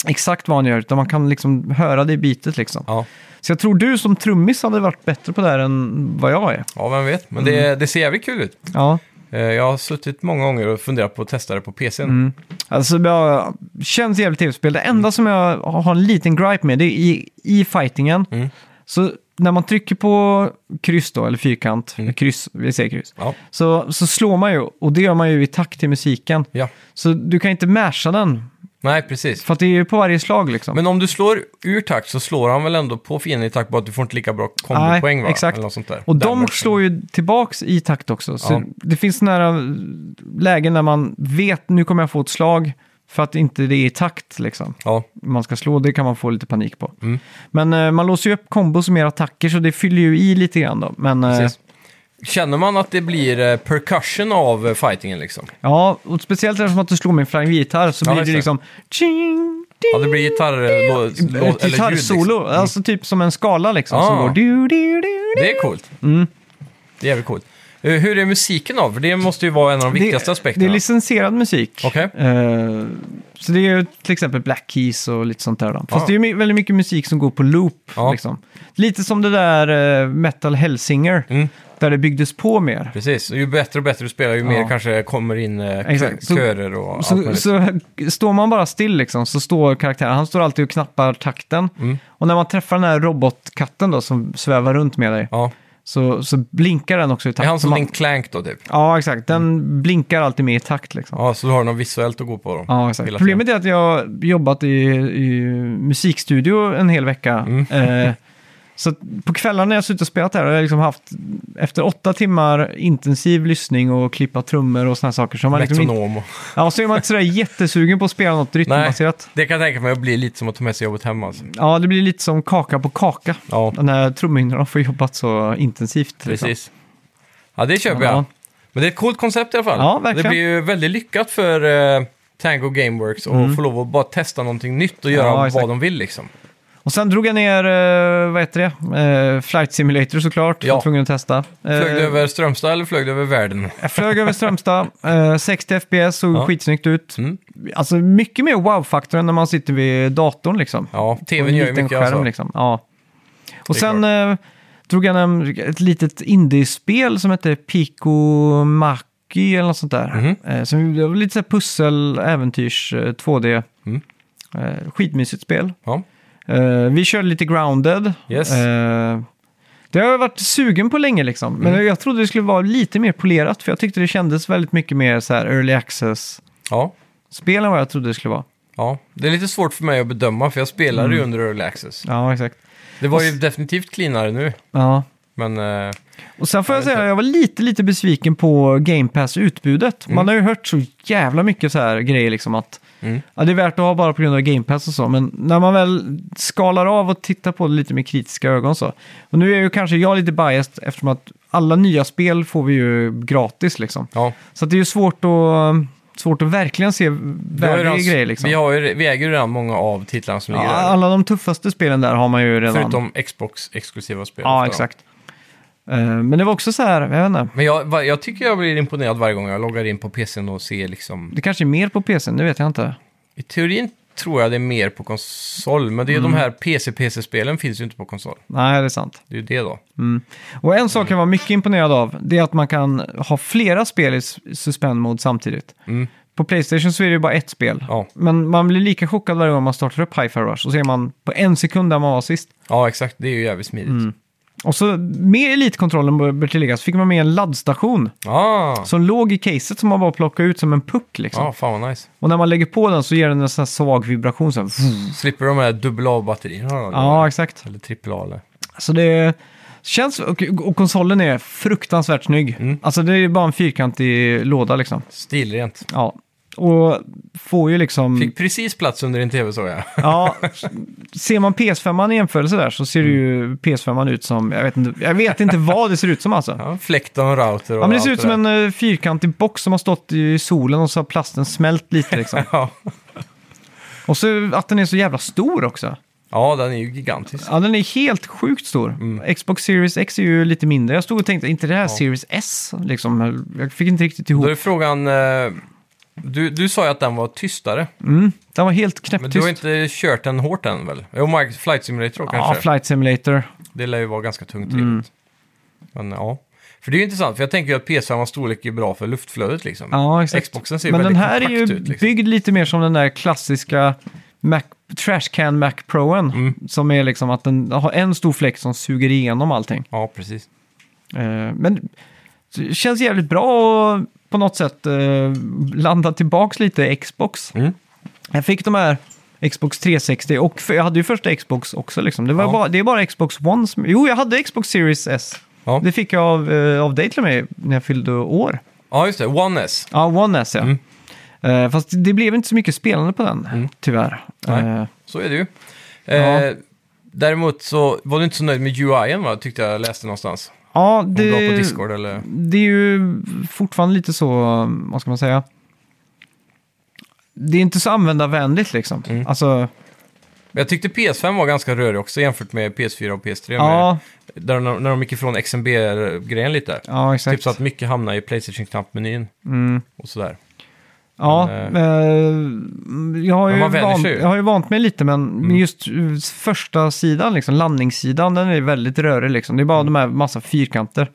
[SPEAKER 2] exakt vad han gör, utan man kan liksom höra det i bitet liksom.
[SPEAKER 1] Ja.
[SPEAKER 2] Så jag tror du som trummis hade varit bättre på det här än vad jag är. Mm.
[SPEAKER 1] ja, vem vet. Men det, det ser jävligt kul ut.
[SPEAKER 2] Ja,
[SPEAKER 1] Eh, Jag har suttit många gånger och funderat på att testa det på PCn.
[SPEAKER 2] Alltså, jag känns jävligt tv-spel. Det enda som jag har en liten gripe med, det är i, i fightingen.
[SPEAKER 1] Mm.
[SPEAKER 2] Så när man trycker på kryss då, eller fyrkant,
[SPEAKER 1] Mm.
[SPEAKER 2] kryss, vi säger kryss,
[SPEAKER 1] Ja.
[SPEAKER 2] så, så slår man ju, och det gör man ju i takt till musiken.
[SPEAKER 1] ja.
[SPEAKER 2] Så du kan inte masha den,
[SPEAKER 1] Nej, precis.
[SPEAKER 2] för att det är ju på varje slag liksom.
[SPEAKER 1] Men om du slår ur takt så slår han väl ändå på fienden i takt bara att du får inte lika bra kombopoäng va?
[SPEAKER 2] exakt.
[SPEAKER 1] Eller något sånt där.
[SPEAKER 2] Och de
[SPEAKER 1] Damage.
[SPEAKER 2] slår ju tillbaks i takt också. Så
[SPEAKER 1] Ja.
[SPEAKER 2] det finns några lägen när man vet, nu kommer jag få ett slag, för att inte det är i takt liksom.
[SPEAKER 1] Ja,
[SPEAKER 2] man ska slå, det kan man få lite panik på.
[SPEAKER 1] Mm.
[SPEAKER 2] Men eh, man låser ju upp kombos och mer attacker, så det fyller ju i lite grann då. Men eh,
[SPEAKER 1] precis. Känner man att det blir eh, percussion av eh, fightingen liksom?
[SPEAKER 2] ja, och speciellt eftersom att du slår med en flanggitarr så
[SPEAKER 1] Ja,
[SPEAKER 2] blir
[SPEAKER 1] just
[SPEAKER 2] det
[SPEAKER 1] det.
[SPEAKER 2] liksom... Ching, ding,
[SPEAKER 1] Ja, det blir gitarr... eh, lå- lå-
[SPEAKER 2] ett
[SPEAKER 1] eller ljud,
[SPEAKER 2] gitarrsolo,
[SPEAKER 1] liksom.
[SPEAKER 2] alltså typ som en skala liksom. Som
[SPEAKER 1] Ah.
[SPEAKER 2] går du, du, du, du.
[SPEAKER 1] Det är coolt.
[SPEAKER 2] Mm.
[SPEAKER 1] Det är jävligt coolt. Eh, Hur är musiken då? För det måste ju vara en av de viktigaste aspekterna.
[SPEAKER 2] det är licensierad musik.
[SPEAKER 1] Okej.
[SPEAKER 2] Eh, så det är ju till exempel Black Keys och lite sånt där. Då. Fast
[SPEAKER 1] Ah.
[SPEAKER 2] det är ju my- väldigt mycket musik som går på loop.
[SPEAKER 1] Ja.
[SPEAKER 2] Liksom. Lite som det där eh, Metal Hellsinger,
[SPEAKER 1] Mm.
[SPEAKER 2] där det byggdes på mer.
[SPEAKER 1] Precis, och ju bättre och bättre du spelar ju mer kanske kommer in eh, kö-
[SPEAKER 2] Exakt. Så-
[SPEAKER 1] körer och allt
[SPEAKER 2] Så,
[SPEAKER 1] möjligt.
[SPEAKER 2] så står man bara still liksom, så står karaktären, han står alltid och knappar takten.
[SPEAKER 1] Mm.
[SPEAKER 2] Och när man träffar den här robotkatten då som svävar runt med dig,
[SPEAKER 1] Ja,
[SPEAKER 2] så, så blinkar den också i
[SPEAKER 1] det
[SPEAKER 2] takt.
[SPEAKER 1] är han som
[SPEAKER 2] Så man-
[SPEAKER 1] Link Clank då typ.
[SPEAKER 2] Ja, exakt. Den blinkar alltid med i takt liksom. Ja.
[SPEAKER 1] Ja, så du har något visuellt att gå på då.
[SPEAKER 2] exakt.
[SPEAKER 1] Hela tiden.
[SPEAKER 2] Problemet är att jag jobbat i, i musikstudio en hel vecka.
[SPEAKER 1] Mm.
[SPEAKER 2] Eh, så att på kvällarna när jag suttit och spelat där har jag liksom haft, efter åtta timmar intensiv lyssning och klippa trummor och sådana saker. Så, har man liksom inte,
[SPEAKER 1] Metronom och...
[SPEAKER 2] ja, så är man inte sådär jättesugen på att spela något rytmbaserat.
[SPEAKER 1] Det kan jag tänka mig att bli lite som att ta med sig jobbet hem alltså.
[SPEAKER 2] Ja, det blir lite som kaka på kaka.
[SPEAKER 1] Ja,
[SPEAKER 2] När trumhinnorna får jobbat så intensivt. liksom.
[SPEAKER 1] precis. Ja, det köper
[SPEAKER 2] Ja.
[SPEAKER 1] jag. Men det är ett coolt koncept i alla fall.
[SPEAKER 2] Ja, verkligen.
[SPEAKER 1] Det blir ju väldigt lyckat för eh, Tango Gameworks och få lov att bara testa någonting nytt och göra
[SPEAKER 2] Mm. Ja,
[SPEAKER 1] vad
[SPEAKER 2] exakt.
[SPEAKER 1] de vill liksom.
[SPEAKER 2] Och sen drog jag ner, eh, vad heter det, eh, Flight Simulator såklart.
[SPEAKER 1] Ja.
[SPEAKER 2] Jag var tvungen att testa. Eh,
[SPEAKER 1] Flög du över Strömstad eller flög du över världen?
[SPEAKER 2] Jag flög över Strömstad, eh, 60 FPS, såg
[SPEAKER 1] Ja.
[SPEAKER 2] skitsnyggt ut.
[SPEAKER 1] Mm.
[SPEAKER 2] Alltså mycket mer wow-faktor än när man sitter vid datorn liksom.
[SPEAKER 1] Ja,
[SPEAKER 2] På en
[SPEAKER 1] tvn gör ju
[SPEAKER 2] liten
[SPEAKER 1] mycket
[SPEAKER 2] skärm,
[SPEAKER 1] alltså.
[SPEAKER 2] liksom. Ja. Och
[SPEAKER 1] Det är
[SPEAKER 2] sen eh, drog jag ner ett litet indiespel som hette Pico Maki eller något sånt där.
[SPEAKER 1] Mhm.
[SPEAKER 2] Eh, som det var lite så här pussel, äventyrs, eh, 2D.
[SPEAKER 1] Mm.
[SPEAKER 2] Eh, skitmysigt spel.
[SPEAKER 1] Ja.
[SPEAKER 2] Eh, vi körde lite grounded.
[SPEAKER 1] Yes.
[SPEAKER 2] Eh, det har jag varit sugen på länge liksom. Men
[SPEAKER 1] Mm.
[SPEAKER 2] jag trodde det skulle vara lite mer polerat. För jag tyckte det kändes väldigt mycket mer så här early access-spel
[SPEAKER 1] ja.
[SPEAKER 2] än vad jag trodde det skulle vara.
[SPEAKER 1] Ja, det är lite svårt för mig att bedöma för jag spelade
[SPEAKER 2] Mm.
[SPEAKER 1] ju under Early Access.
[SPEAKER 2] Ja, exakt.
[SPEAKER 1] Det var ju definitivt cleanare nu,
[SPEAKER 2] Ja.
[SPEAKER 1] men eh,
[SPEAKER 2] Och sen får
[SPEAKER 1] Ja,
[SPEAKER 2] jag säga
[SPEAKER 1] inte.
[SPEAKER 2] att jag var lite, lite besviken på Game Pass-utbudet. Man har ju hört så jävla mycket så här grejer liksom att
[SPEAKER 1] Mm.
[SPEAKER 2] ja, det är värt att ha bara på grund av Game Pass och så. Men när man väl skalar av och tittar på det lite med kritiska ögon så. Och nu är ju kanske jag lite biased eftersom att alla nya spel får vi ju gratis liksom.
[SPEAKER 1] ja.
[SPEAKER 2] Så att det är ju svårt att, svårt att verkligen se
[SPEAKER 1] Vi har ju
[SPEAKER 2] värde i
[SPEAKER 1] redan-
[SPEAKER 2] grejer liksom.
[SPEAKER 1] vi, har ju, vi äger ju redan många av titlarna som
[SPEAKER 2] ja,
[SPEAKER 1] ligger där.
[SPEAKER 2] alla de tuffaste spelen där har man ju redan.
[SPEAKER 1] Förutom Xbox-exklusiva spel.
[SPEAKER 2] ja,
[SPEAKER 1] ofta.
[SPEAKER 2] exakt. Eh, men det var också så här, jag vet inte.
[SPEAKER 1] Men jag, va- jag tycker jag blir imponerad varje gång jag loggar in på PCn och ser liksom...
[SPEAKER 2] Det kanske är mer på PC, det vet jag inte.
[SPEAKER 1] I teorin tror jag det är mer på konsol, men det är ju
[SPEAKER 2] Mm.
[SPEAKER 1] de här PC-PC-spelen finns ju inte på konsol.
[SPEAKER 2] Nej, det är sant.
[SPEAKER 1] Det är ju det då.
[SPEAKER 2] Och en sak jag var mycket imponerad av, det är att man kan ha flera spel i s- suspend mode samtidigt. På Playstation så är det ju bara ett spel.
[SPEAKER 1] Ja.
[SPEAKER 2] Men man blir lika chockad varje gång man startar upp Hi-Fi Rush och ser man på en sekund där man var sist.
[SPEAKER 1] Ja, exakt. Det är ju jävligt smidigt.
[SPEAKER 2] Mm. Och så med elitkontrollen bör- bör tilläggas fick man med en laddstation
[SPEAKER 1] Ah,
[SPEAKER 2] som låg i caset som man bara plockade ut som en puck liksom.
[SPEAKER 1] ah, fan vad nice.
[SPEAKER 2] Och när man lägger på den så ger den en sån här svag vibration. Så här,
[SPEAKER 1] Slipper de här AA-batterierna då?
[SPEAKER 2] ja, exakt.
[SPEAKER 1] Eller AAA eller?
[SPEAKER 2] Så det känns... Och, och konsolen är fruktansvärt snygg. Alltså det är ju bara en fyrkantig låda liksom.
[SPEAKER 1] Stilrent.
[SPEAKER 2] Ja, och får ju liksom...
[SPEAKER 1] Fick precis plats under din tv såg jag.
[SPEAKER 2] Ja, ser man PS5 i jämförelse där så ser det ju
[SPEAKER 1] Mm.
[SPEAKER 2] PS5 ut som... Jag vet inte, jag vet inte vad det ser ut som alltså. Ja.
[SPEAKER 1] Ja, fläkt och en router och
[SPEAKER 2] men det ser
[SPEAKER 1] allt
[SPEAKER 2] ut som
[SPEAKER 1] där.
[SPEAKER 2] en eh, fyrkantig box som har stått i solen och så har plasten smält lite liksom.
[SPEAKER 1] Ja.
[SPEAKER 2] Och så att den är så jävla stor också.
[SPEAKER 1] ja, den är ju gigantisk.
[SPEAKER 2] Ja, den är helt sjukt stor.
[SPEAKER 1] Mm.
[SPEAKER 2] Xbox Series X är ju lite mindre. Jag stod och tänkte, inte det här Series S liksom? Jag fick inte riktigt ihop.
[SPEAKER 1] Då är frågan, eh, du, du sa ju att den var tystare,
[SPEAKER 2] Mm, den var helt
[SPEAKER 1] men du har
[SPEAKER 2] knäpptyst.
[SPEAKER 1] inte kört den hårt än väl? Jo, Microsoft Flight Simulator
[SPEAKER 2] Ja,
[SPEAKER 1] kanske.
[SPEAKER 2] Flight Simulator. Mm.
[SPEAKER 1] det lär ju vara ganska tungt drivet. Men ja. För det är ju intressant, för jag tänker ju att PS5 storlek är bra för luftflödet liksom.
[SPEAKER 2] Ja, exakt.
[SPEAKER 1] Xboxen ser
[SPEAKER 2] Men den
[SPEAKER 1] väldigt
[SPEAKER 2] här är
[SPEAKER 1] kompakt
[SPEAKER 2] ju
[SPEAKER 1] ut liksom.
[SPEAKER 2] byggd lite mer som den där klassiska Mac, Trashcan Mac Proen.
[SPEAKER 1] Mm.
[SPEAKER 2] Som är liksom att den har en stor fläkt som suger igenom allting.
[SPEAKER 1] Ja, precis.
[SPEAKER 2] Eh, men det känns jävligt bra att på något sätt eh, landa tillbaks lite i Xbox.
[SPEAKER 1] Mm.
[SPEAKER 2] Jag fick de här Xbox 360 och för, jag hade ju första Xbox också liksom. Det, var
[SPEAKER 1] Ja.
[SPEAKER 2] bara, det är bara Xbox One som... Jo, jag hade Xbox Series S.
[SPEAKER 1] Ja.
[SPEAKER 2] Det fick jag av, eh, av dig till mig när jag fyllde år.
[SPEAKER 1] ja, just det. One S.
[SPEAKER 2] Ja, One S ja.
[SPEAKER 1] Mm.
[SPEAKER 2] Eh, fast det blev inte så mycket spelande på den, tyvärr.
[SPEAKER 1] Nej.
[SPEAKER 2] Eh,
[SPEAKER 1] Så är det ju.
[SPEAKER 2] Ja.
[SPEAKER 1] Eh, däremot så var du inte så nöjd med UIen va? Tyckte jag läste någonstans.
[SPEAKER 2] ja,
[SPEAKER 1] Om du var på
[SPEAKER 2] det,
[SPEAKER 1] Discord eller?
[SPEAKER 2] det är ju fortfarande lite så, vad ska man säga? Det är inte så användarvänligt liksom.
[SPEAKER 1] Mm.
[SPEAKER 2] Alltså,
[SPEAKER 1] Men jag tyckte PS5 var ganska rörig också jämfört med PS4 och PS3.
[SPEAKER 2] ja,
[SPEAKER 1] Med, där de, när de gick ifrån XMB-grejen lite.
[SPEAKER 2] ja,
[SPEAKER 1] Typ
[SPEAKER 2] exakt. Mm.
[SPEAKER 1] så att mycket hamnar i Playstation-knappmenyn och sådär.
[SPEAKER 2] ja,
[SPEAKER 1] men,
[SPEAKER 2] eh, jag, har
[SPEAKER 1] men
[SPEAKER 2] ju
[SPEAKER 1] man vänjer
[SPEAKER 2] vant,
[SPEAKER 1] sig ju. Mm.
[SPEAKER 2] jag har ju vant mig lite, men men just eh, första sidan, liksom, landningssidan, den är väldigt rörig. Liksom. Det är bara de här massa fyrkanter.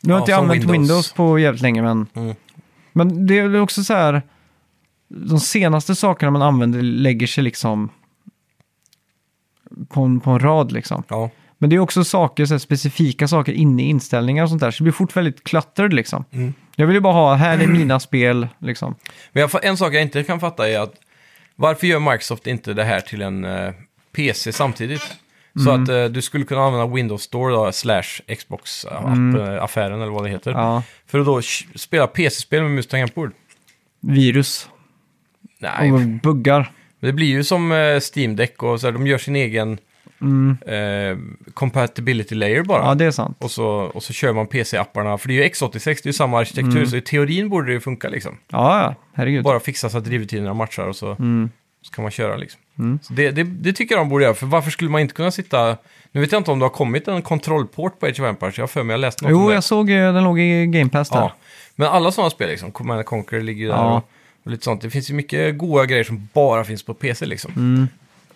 [SPEAKER 2] Nu har
[SPEAKER 1] Mm. Ja,
[SPEAKER 2] inte jag
[SPEAKER 1] som
[SPEAKER 2] använt Windows.
[SPEAKER 1] Windows
[SPEAKER 2] på jävligt länge, men,
[SPEAKER 1] Mm.
[SPEAKER 2] men det är också så här, de senaste sakerna man använder lägger sig liksom på en, på en rad liksom.
[SPEAKER 1] Ja,
[SPEAKER 2] Men det är också saker, så här, specifika saker inne i inställningar och sånt där. Så det blir fort väldigt cluttered liksom.
[SPEAKER 1] Mm.
[SPEAKER 2] Jag vill ju bara ha, här är mina spel liksom.
[SPEAKER 1] Men jag, fa- en sak jag inte kan fatta är att varför gör Microsoft inte det här till en eh, PC samtidigt? Så
[SPEAKER 2] Mm.
[SPEAKER 1] att eh, du skulle kunna använda Windows Store då, slash eh, Xbox-affären eller vad det heter.
[SPEAKER 2] Mm. Ja.
[SPEAKER 1] För att då sh- spela PC-spel med mus och tangentbord.
[SPEAKER 2] Virus
[SPEAKER 1] Nej,
[SPEAKER 2] och buggar.
[SPEAKER 1] det blir ju som eh, Steam Deck och så här, de gör sin egen eh, compatibility layer bara.
[SPEAKER 2] Mm. Ja, det är sant.
[SPEAKER 1] och, så, och så kör man PC-apparna, för det är ju X86, det är ju samma arkitektur,
[SPEAKER 2] Mm.
[SPEAKER 1] så i teorin borde det ju funka liksom.
[SPEAKER 2] Ja, ja, herregud.
[SPEAKER 1] bara fixa så att drivtiderna matchar och så,
[SPEAKER 2] Mm.
[SPEAKER 1] så kan man köra liksom. Så det, det, det tycker jag de borde göra, för varför skulle man inte kunna sitta... Nu vet jag inte om det har kommit en kontrollport på Age of Empires, jag har för mig jag läste något om
[SPEAKER 2] Jo,
[SPEAKER 1] det.
[SPEAKER 2] jag såg eh, den låg i Game Pass där.
[SPEAKER 1] ja. Men alla sådana spel, liksom, Command and Conquer ligger ju där
[SPEAKER 2] Ja.
[SPEAKER 1] och, och lite sånt. Det finns ju mycket goda grejer som bara finns på PC liksom.
[SPEAKER 2] Mm.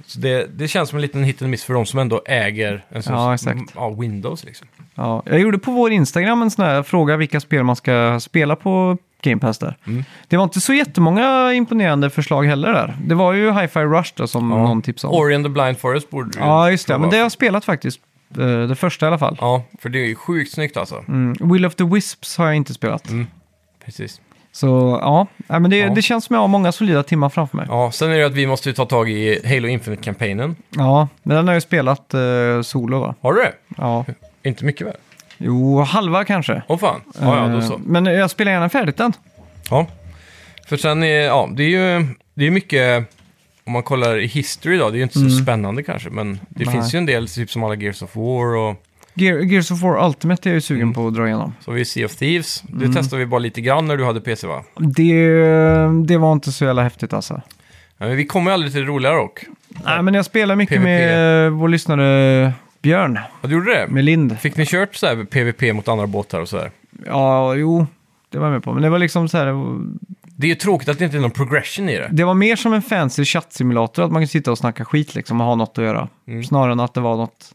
[SPEAKER 1] Så det, det känns som en liten hit and miss för de som ändå äger en sån,
[SPEAKER 2] Ja, exakt.
[SPEAKER 1] ja, Windows liksom.
[SPEAKER 2] Ja, jag gjorde på vår Instagram en sån här fråga vilka spel man ska spela på Game Pass där.
[SPEAKER 1] Mm.
[SPEAKER 2] Det var inte så jättemånga imponerande förslag heller där. Det var ju Hi-Fi Rush då, som någon tipsade om.
[SPEAKER 1] Ori and the Blind Forest borde du ju
[SPEAKER 2] ja, just det.
[SPEAKER 1] prova.
[SPEAKER 2] Men det har jag spelat faktiskt. eh, Det första i alla fall.
[SPEAKER 1] Ja, för det är ju sjukt snyggt alltså.
[SPEAKER 2] Mm. Will of the Wisps har jag inte spelat.
[SPEAKER 1] Precis.
[SPEAKER 2] Så ja, Nej, men det,
[SPEAKER 1] Mm. Ja.
[SPEAKER 2] det känns som jag har många solida timmar framför mig. Ja,
[SPEAKER 1] Ja, sen är det ju att vi måste ju ta tag i Halo Infinite-kampanjen.
[SPEAKER 2] men den har jag ju spelat eh, solo va?
[SPEAKER 1] Har du det?
[SPEAKER 2] Ja.
[SPEAKER 1] Inte mycket väl?
[SPEAKER 2] Jo, halva kanske.
[SPEAKER 1] Åh fan. Ja, ja, då så.
[SPEAKER 2] Eh, Men jag spelar gärna färdigt den.
[SPEAKER 1] Ja. För sen är, ja, det är ju det är mycket, om man kollar i history då, det är ju inte så spännande kanske, men det
[SPEAKER 2] Nej.
[SPEAKER 1] finns ju en del, typ som alla Gears of War och
[SPEAKER 2] Gear, Gears of War Ultimate är jag ju sugen
[SPEAKER 1] Mm.
[SPEAKER 2] på att dra igenom.
[SPEAKER 1] så har vi ju Sea of Thieves. Det testade vi bara lite grann när du hade PC va?
[SPEAKER 2] Det, det var inte så jävla häftigt alltså.
[SPEAKER 1] Ja, men vi kommer ju aldrig till det roligare dock.
[SPEAKER 2] Nej, men jag spelar mycket
[SPEAKER 1] PvP.
[SPEAKER 2] med eh, vår lyssnare Björn,
[SPEAKER 1] Ja, du gjorde det?
[SPEAKER 2] med Lind.
[SPEAKER 1] Fick ni kört så här PVP mot andra båtar och sådär?
[SPEAKER 2] Ja, jo, det var jag med på. Men det var liksom så här,
[SPEAKER 1] Det är ju tråkigt att det inte är någon progression i det.
[SPEAKER 2] det var mer som en fancy chattsimulator, att man kan sitta och snacka skit liksom och ha något att göra.
[SPEAKER 1] Mm.
[SPEAKER 2] Snarare än att det var något...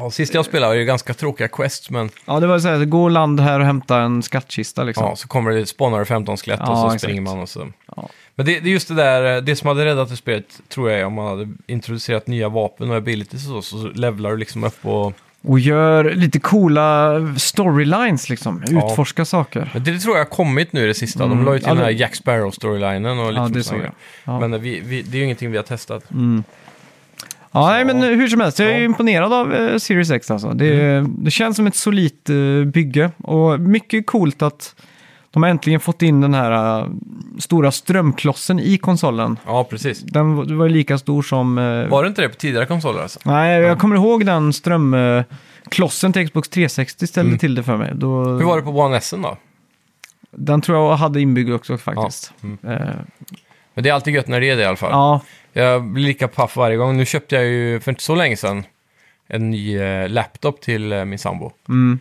[SPEAKER 1] Ja, sist jag spelade var det ju ganska tråkiga quests, men
[SPEAKER 2] Ja, det var så här, gå och land här och hämta en skattkista liksom.
[SPEAKER 1] Ja, så kommer det spånar det 15 skelett
[SPEAKER 2] Ja,
[SPEAKER 1] och så
[SPEAKER 2] exakt.
[SPEAKER 1] springer man och så.
[SPEAKER 2] Ja.
[SPEAKER 1] Men det, det är just det där, eh, det som hade räddat det spelet tror jag är om man hade introducerat nya vapen och abilities och så, så levlar du liksom upp och...
[SPEAKER 2] Och gör lite coola storylines liksom,
[SPEAKER 1] Ja.
[SPEAKER 2] utforska saker.
[SPEAKER 1] Men det, tror jag har kommit nu i det sista, de la ju
[SPEAKER 2] Mm.
[SPEAKER 1] till
[SPEAKER 2] Ja,
[SPEAKER 1] den här
[SPEAKER 2] det-
[SPEAKER 1] Jack Sparrow-storylinen och lite
[SPEAKER 2] Ja,
[SPEAKER 1] sånt
[SPEAKER 2] det
[SPEAKER 1] sådana
[SPEAKER 2] såg jag.
[SPEAKER 1] grejer.
[SPEAKER 2] Ja. Mm.
[SPEAKER 1] Men eh, vi, vi, det är ju ingenting vi har testat.
[SPEAKER 2] Ja, nej, men eh, hur som helst, jag är
[SPEAKER 1] Ja. Mm.
[SPEAKER 2] imponerad av eh, Series X alltså. Det, det känns som ett solitt eh, bygge och mycket coolt att de har äntligen fått in den här eh, stora strömklossen i konsolen.
[SPEAKER 1] Ja, precis.
[SPEAKER 2] Den var- var ju lika stor som... eh,
[SPEAKER 1] Var det inte det på tidigare konsoler alltså?
[SPEAKER 2] Nej, jag kommer ihåg den strömklossen till Xbox 360 ställde till det för mig. Då,
[SPEAKER 1] Mm. Hur var det på One S då?
[SPEAKER 2] Den tror jag hade inbyggd också faktiskt. Ja,
[SPEAKER 1] mm.
[SPEAKER 2] eh,
[SPEAKER 1] Men det är alltid gött när det är det i alla fall.
[SPEAKER 2] ja.
[SPEAKER 1] Jag blir lika paff varje gång. Nu köpte jag ju för inte så länge sedan en ny eh, laptop till eh, min sambo.
[SPEAKER 2] mm.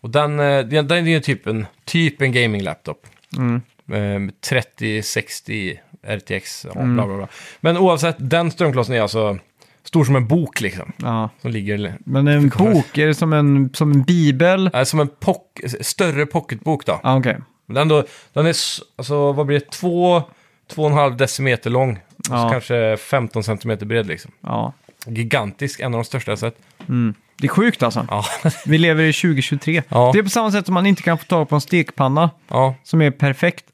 [SPEAKER 1] Och den, eh, den, den är ju typ en, typ en gaming-laptop.
[SPEAKER 2] Mm.
[SPEAKER 1] Eh,
[SPEAKER 2] Mm.
[SPEAKER 1] 3060 RTX, ja, bla bla bla. Men oavsett, den strömklossen är alltså stor som en bok liksom.
[SPEAKER 2] Ja.
[SPEAKER 1] Som ligger...
[SPEAKER 2] Men en bok, är det som en, som en bibel?
[SPEAKER 1] Nej, som en pock, större pocketbok då.
[SPEAKER 2] Ja, okej.
[SPEAKER 1] Men den, då, den är, s- alltså vad blir det, två, två och en halv decimeter lång. Och
[SPEAKER 2] Ja.
[SPEAKER 1] så kanske 15 centimeter bred liksom.
[SPEAKER 2] Ja.
[SPEAKER 1] Gigantisk, en av de största jag sett.
[SPEAKER 2] Det är sjukt alltså.
[SPEAKER 1] Ja,
[SPEAKER 2] Vi lever i 2023.
[SPEAKER 1] Ja.
[SPEAKER 2] Det är på samma sätt som man inte kan få tag på en stekpanna
[SPEAKER 1] ja,
[SPEAKER 2] som är perfekt.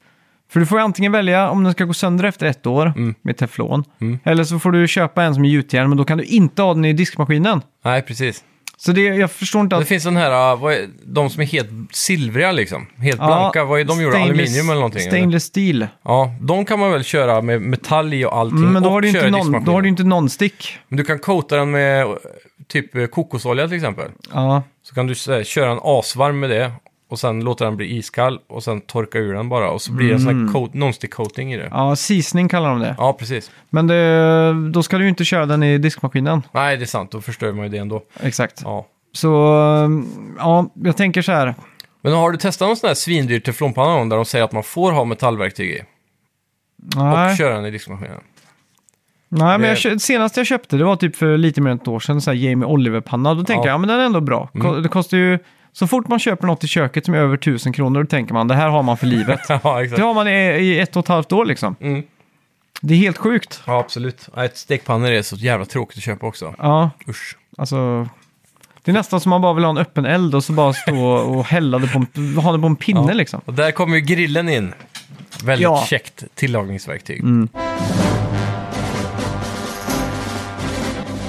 [SPEAKER 2] För du får ju antingen välja om den ska gå sönder efter ett år
[SPEAKER 1] Mm.
[SPEAKER 2] med teflon. Eller så får du köpa en som är gjutjärn, men då kan du inte ha den i diskmaskinen.
[SPEAKER 1] nej precis.
[SPEAKER 2] Så det, jag förstår inte
[SPEAKER 1] Det
[SPEAKER 2] att...
[SPEAKER 1] finns den här, uh, vad är, de som är helt silvriga liksom. Helt
[SPEAKER 2] Ja,
[SPEAKER 1] blanka, vad är de gjorda?
[SPEAKER 2] stainless-
[SPEAKER 1] Aluminium eller någonting? eller?
[SPEAKER 2] Stainless steel.
[SPEAKER 1] Ja, de kan man väl köra med metall i och allting.
[SPEAKER 2] Mm, men då
[SPEAKER 1] och
[SPEAKER 2] har, du inte
[SPEAKER 1] köra i
[SPEAKER 2] någon, då
[SPEAKER 1] diskmaskinen.
[SPEAKER 2] har du inte non-stick.
[SPEAKER 1] Men du kan coata den med eh, typ eh, kokosolja till exempel.
[SPEAKER 2] Ja,
[SPEAKER 1] Så kan du så här, köra en asvarm med det och sen låta den bli iskall och sen torka ur den bara. Och så blir det en sån
[SPEAKER 2] Mm.
[SPEAKER 1] här coat, non-stick coating i det. Ja.
[SPEAKER 2] ja seasoning kallar de det.
[SPEAKER 1] precis.
[SPEAKER 2] Men det, då ska du ju inte köra den i diskmaskinen.
[SPEAKER 1] Nej, det är sant. Då förstör man ju det ändå.
[SPEAKER 2] Exakt.
[SPEAKER 1] Ja.
[SPEAKER 2] Så, ja, jag tänker så här.
[SPEAKER 1] Men har du testat någon sån här svindyr teflonpanna någon gång där de säger att man får ha metallverktyg i?
[SPEAKER 2] Nej.
[SPEAKER 1] Och köra den i diskmaskinen?
[SPEAKER 2] Nej, men
[SPEAKER 1] Det-
[SPEAKER 2] jag, kö- senast jag köpte det var typ för lite mer än ett år sedan, så här Jamie Oliver-panna. Då tänkte
[SPEAKER 1] Ja. Mm.
[SPEAKER 2] jag, ja men den är ändå bra. Ko- Det kostar ju, så fort man köper något i köket som är över 1000 kronor, då tänker man det här har man för livet.
[SPEAKER 1] ja,
[SPEAKER 2] det
[SPEAKER 1] exakt.
[SPEAKER 2] har man i, i ett och ett halvt år liksom.
[SPEAKER 1] Mm.
[SPEAKER 2] Det är helt sjukt.
[SPEAKER 1] Ja, absolut. Nej, Ett stekpannor är så jävla tråkigt att köpa också.
[SPEAKER 2] Ja,
[SPEAKER 1] Usch.
[SPEAKER 2] alltså. Det är nästan som man bara vill ha en öppen eld och så bara stå och hälla det på en, ha det på en pinne
[SPEAKER 1] Ja.
[SPEAKER 2] liksom.
[SPEAKER 1] Och där kommer ju grillen in. Väldigt
[SPEAKER 2] Ja. Mm.
[SPEAKER 1] käckt tillagningsverktyg.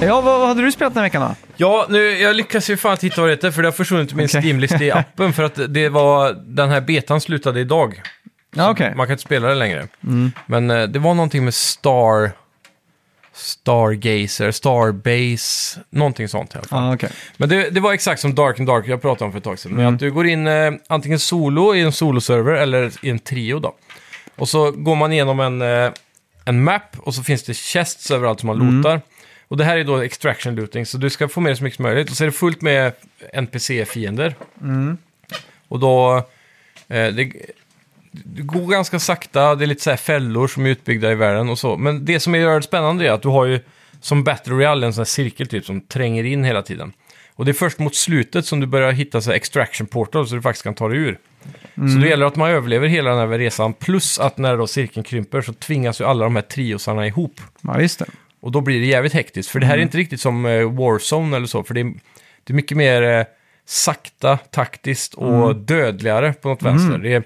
[SPEAKER 2] Ja, vad, vad hade du spelat den här veckan då?
[SPEAKER 1] Ja, nu, jag lyckas ju fan inte hitta vad det heter, för det har försvunnit ur min
[SPEAKER 2] Okej.
[SPEAKER 1] Steam-lista i appen, för att det var, den här betan slutade idag.
[SPEAKER 2] Ja, okej.
[SPEAKER 1] Man kan inte spela det längre.
[SPEAKER 2] Mm.
[SPEAKER 1] Men eh, det var någonting med Star... Stargazer, Starbase, någonting sånt i alla fall.
[SPEAKER 2] Ja, okej.
[SPEAKER 1] Men det, det var exakt som Dark and Dark jag pratade om för ett tag sedan. Men att du går in eh, antingen solo i en soloserver eller i en trio då. Och så går man igenom en, eh, en map och så finns det chests överallt som man lootar. Och det här är då extraction looting, så du ska få med dig så mycket som möjligt. Och så är det fullt med NPC-fiender. Och då... Eh, det, det går ganska sakta, det är lite så här fällor som är utbyggda i världen och så. Men det som gör det spännande är att du har ju som Battle Royale en sån här cirkel typ som tränger in hela tiden. Och det är först mot slutet som du börjar hitta så här extraction portal så du faktiskt kan ta dig ur. Så det gäller att man överlever hela den här resan, plus att när då cirkeln krymper så tvingas ju alla de här triosarna ihop.
[SPEAKER 2] Ja, just det.
[SPEAKER 1] Och då blir det jävligt hektiskt, för det här är inte riktigt som eh, Warzone eller så, för det är, det är mycket mer eh, sakta, taktiskt och dödligare på något vänster. Det är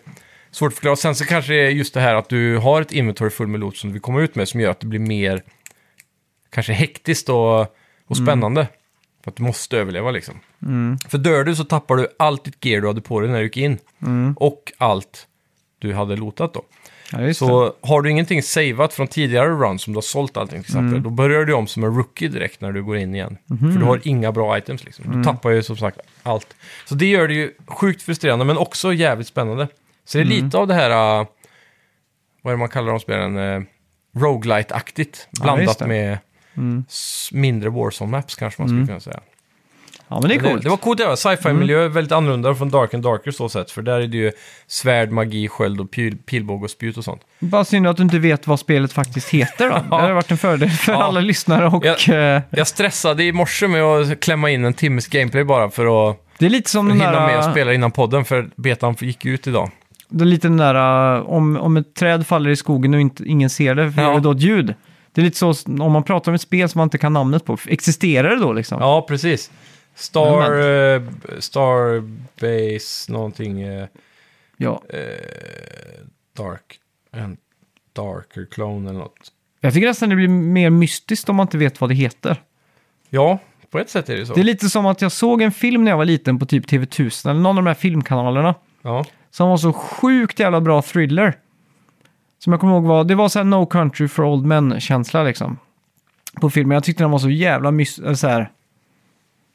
[SPEAKER 1] svårt att förklara. Sen så kanske det är just det här att du har ett inventory full med loot som du vill komma ut med som gör att det blir mer kanske hektiskt och, och spännande. För att du måste överleva liksom. För dör du så tappar du allt ditt gear du hade på dig när du gick in. Och allt du hade lootat då.
[SPEAKER 2] Ja, just det.
[SPEAKER 1] Så har du ingenting saveat från tidigare runs, som du har sålt allting till exempel,
[SPEAKER 2] Mm.
[SPEAKER 1] då börjar du om som en rookie direkt när du går in igen. För
[SPEAKER 2] Mhm.
[SPEAKER 1] du har inga bra items liksom.
[SPEAKER 2] Mm.
[SPEAKER 1] Du tappar ju som sagt allt. Så det gör det ju sjukt frustrerande, men också jävligt spännande. Så det är
[SPEAKER 2] Mm.
[SPEAKER 1] lite av det här, äh, vad är det man kallar de spelen, uh, roguelite-aktigt. Blandat
[SPEAKER 2] just det. Mm.
[SPEAKER 1] med s- mindre Warzone-maps kanske man skulle kunna säga.
[SPEAKER 2] Ja, men det är
[SPEAKER 1] Men
[SPEAKER 2] coolt. Mm.
[SPEAKER 1] Det, det var coolt att göra. Sci-fi-miljö är väldigt annorlunda från Dark and Darker så sett. För där är det ju svärd, magi, sköld och pil, pilbåge och spjut och sånt.
[SPEAKER 2] Bara synd att du inte vet vad spelet faktiskt heter då. Det hade varit en fördel för
[SPEAKER 1] Ja.
[SPEAKER 2] alla lyssnare och...
[SPEAKER 1] Ja.
[SPEAKER 2] eh,
[SPEAKER 1] Jag stressade i morse med att klämma in en timmes gameplay bara för att
[SPEAKER 2] Det är lite som den
[SPEAKER 1] hinna med att
[SPEAKER 2] där,
[SPEAKER 1] spela innan podden, för betan gick ju ut idag.
[SPEAKER 2] det är lite den där eh, om, om ett träd faller i skogen och inte, ingen ser det, för
[SPEAKER 1] Ja.
[SPEAKER 2] gör det då ett ljud? Det är lite så s- om man pratar om ett spel som man inte kan namnet på, existerar det då liksom?
[SPEAKER 1] Ja, precis. Star... eh, Starbase någonting... eh,
[SPEAKER 2] Ja.
[SPEAKER 1] dark... En darker clone eller något.
[SPEAKER 2] Jag tycker nästan det blir mer mystiskt om man inte vet vad det heter.
[SPEAKER 1] Ja, på ett sätt är det så.
[SPEAKER 2] Det är lite som att jag såg en film när jag var liten på typ TV1000 eller någon av de här filmkanalerna.
[SPEAKER 1] Ja.
[SPEAKER 2] som var så sjukt jävla bra thriller. Som jag kommer ihåg var, det var så här No Country for Old Men-känsla liksom. På filmen. Jag tyckte den var så jävla mys... eller Så här.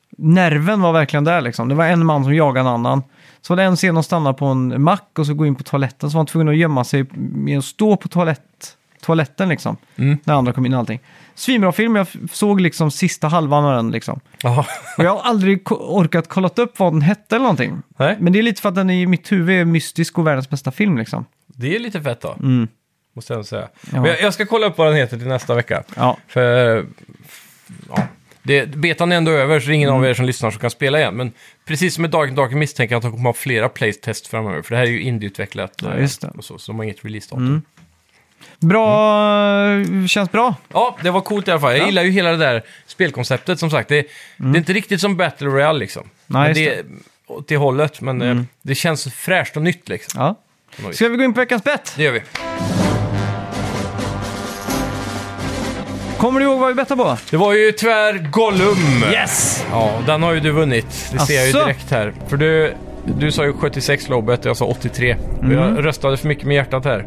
[SPEAKER 2] Nerven var verkligen där liksom. Det var en man som jagade en annan. Så var det en scen de stannade på en mack och så gå in på toaletten. Så var han tvungen att gömma sig med att stå på toalett, toaletten liksom.
[SPEAKER 1] Mm.
[SPEAKER 2] När andra kom in och allting. Svinbra film, jag f- såg liksom sista halvan av den liksom.
[SPEAKER 1] Jaha.
[SPEAKER 2] Och jag har aldrig ko- orkat kolla upp vad den hette eller någonting.
[SPEAKER 1] Nej,
[SPEAKER 2] Men det är lite för att den i mitt huvud är mystisk och världens bästa film liksom.
[SPEAKER 1] det är lite fett då. Måste jag ändå säga.
[SPEAKER 2] Ja.
[SPEAKER 1] Men jag, jag ska kolla upp vad den heter till nästa vecka.
[SPEAKER 2] Ja.
[SPEAKER 1] För, ja. Det, betan är ändå över, så det är ingen av er som lyssnar som kan spela igen. Men precis som med Dark Dark misstänker jag att de kommer ha flera playtest framöver. För det här är ju indieutvecklat.
[SPEAKER 2] Ja,
[SPEAKER 1] eh,
[SPEAKER 2] just det. Mm.
[SPEAKER 1] Och så, så de har inget release-datum.
[SPEAKER 2] Bra, eh, känns bra.
[SPEAKER 1] Ja, det var coolt i alla fall. Jag gillar ju hela det där spelkonceptet som sagt. Det, det är inte riktigt som Battle Royale liksom.
[SPEAKER 2] Mm. Nej,
[SPEAKER 1] Men
[SPEAKER 2] just Mm.
[SPEAKER 1] det är åt det hållet, men eh, det känns fräscht och nytt liksom.
[SPEAKER 2] Ja.
[SPEAKER 1] Oj.
[SPEAKER 2] Ska vi gå in på veckans bett?
[SPEAKER 1] Det gör vi.
[SPEAKER 2] Kommer du ihåg vad vi bettade på?
[SPEAKER 1] Det var ju tyvärr Gollum.
[SPEAKER 2] Yes!
[SPEAKER 1] Ja, den har ju du vunnit. Det ser jag ju
[SPEAKER 2] Asså?
[SPEAKER 1] direkt här. För du, du sa ju 76 lobbet och jag sa 83. Och
[SPEAKER 2] Mm.
[SPEAKER 1] jag röstade för mycket med hjärtat här.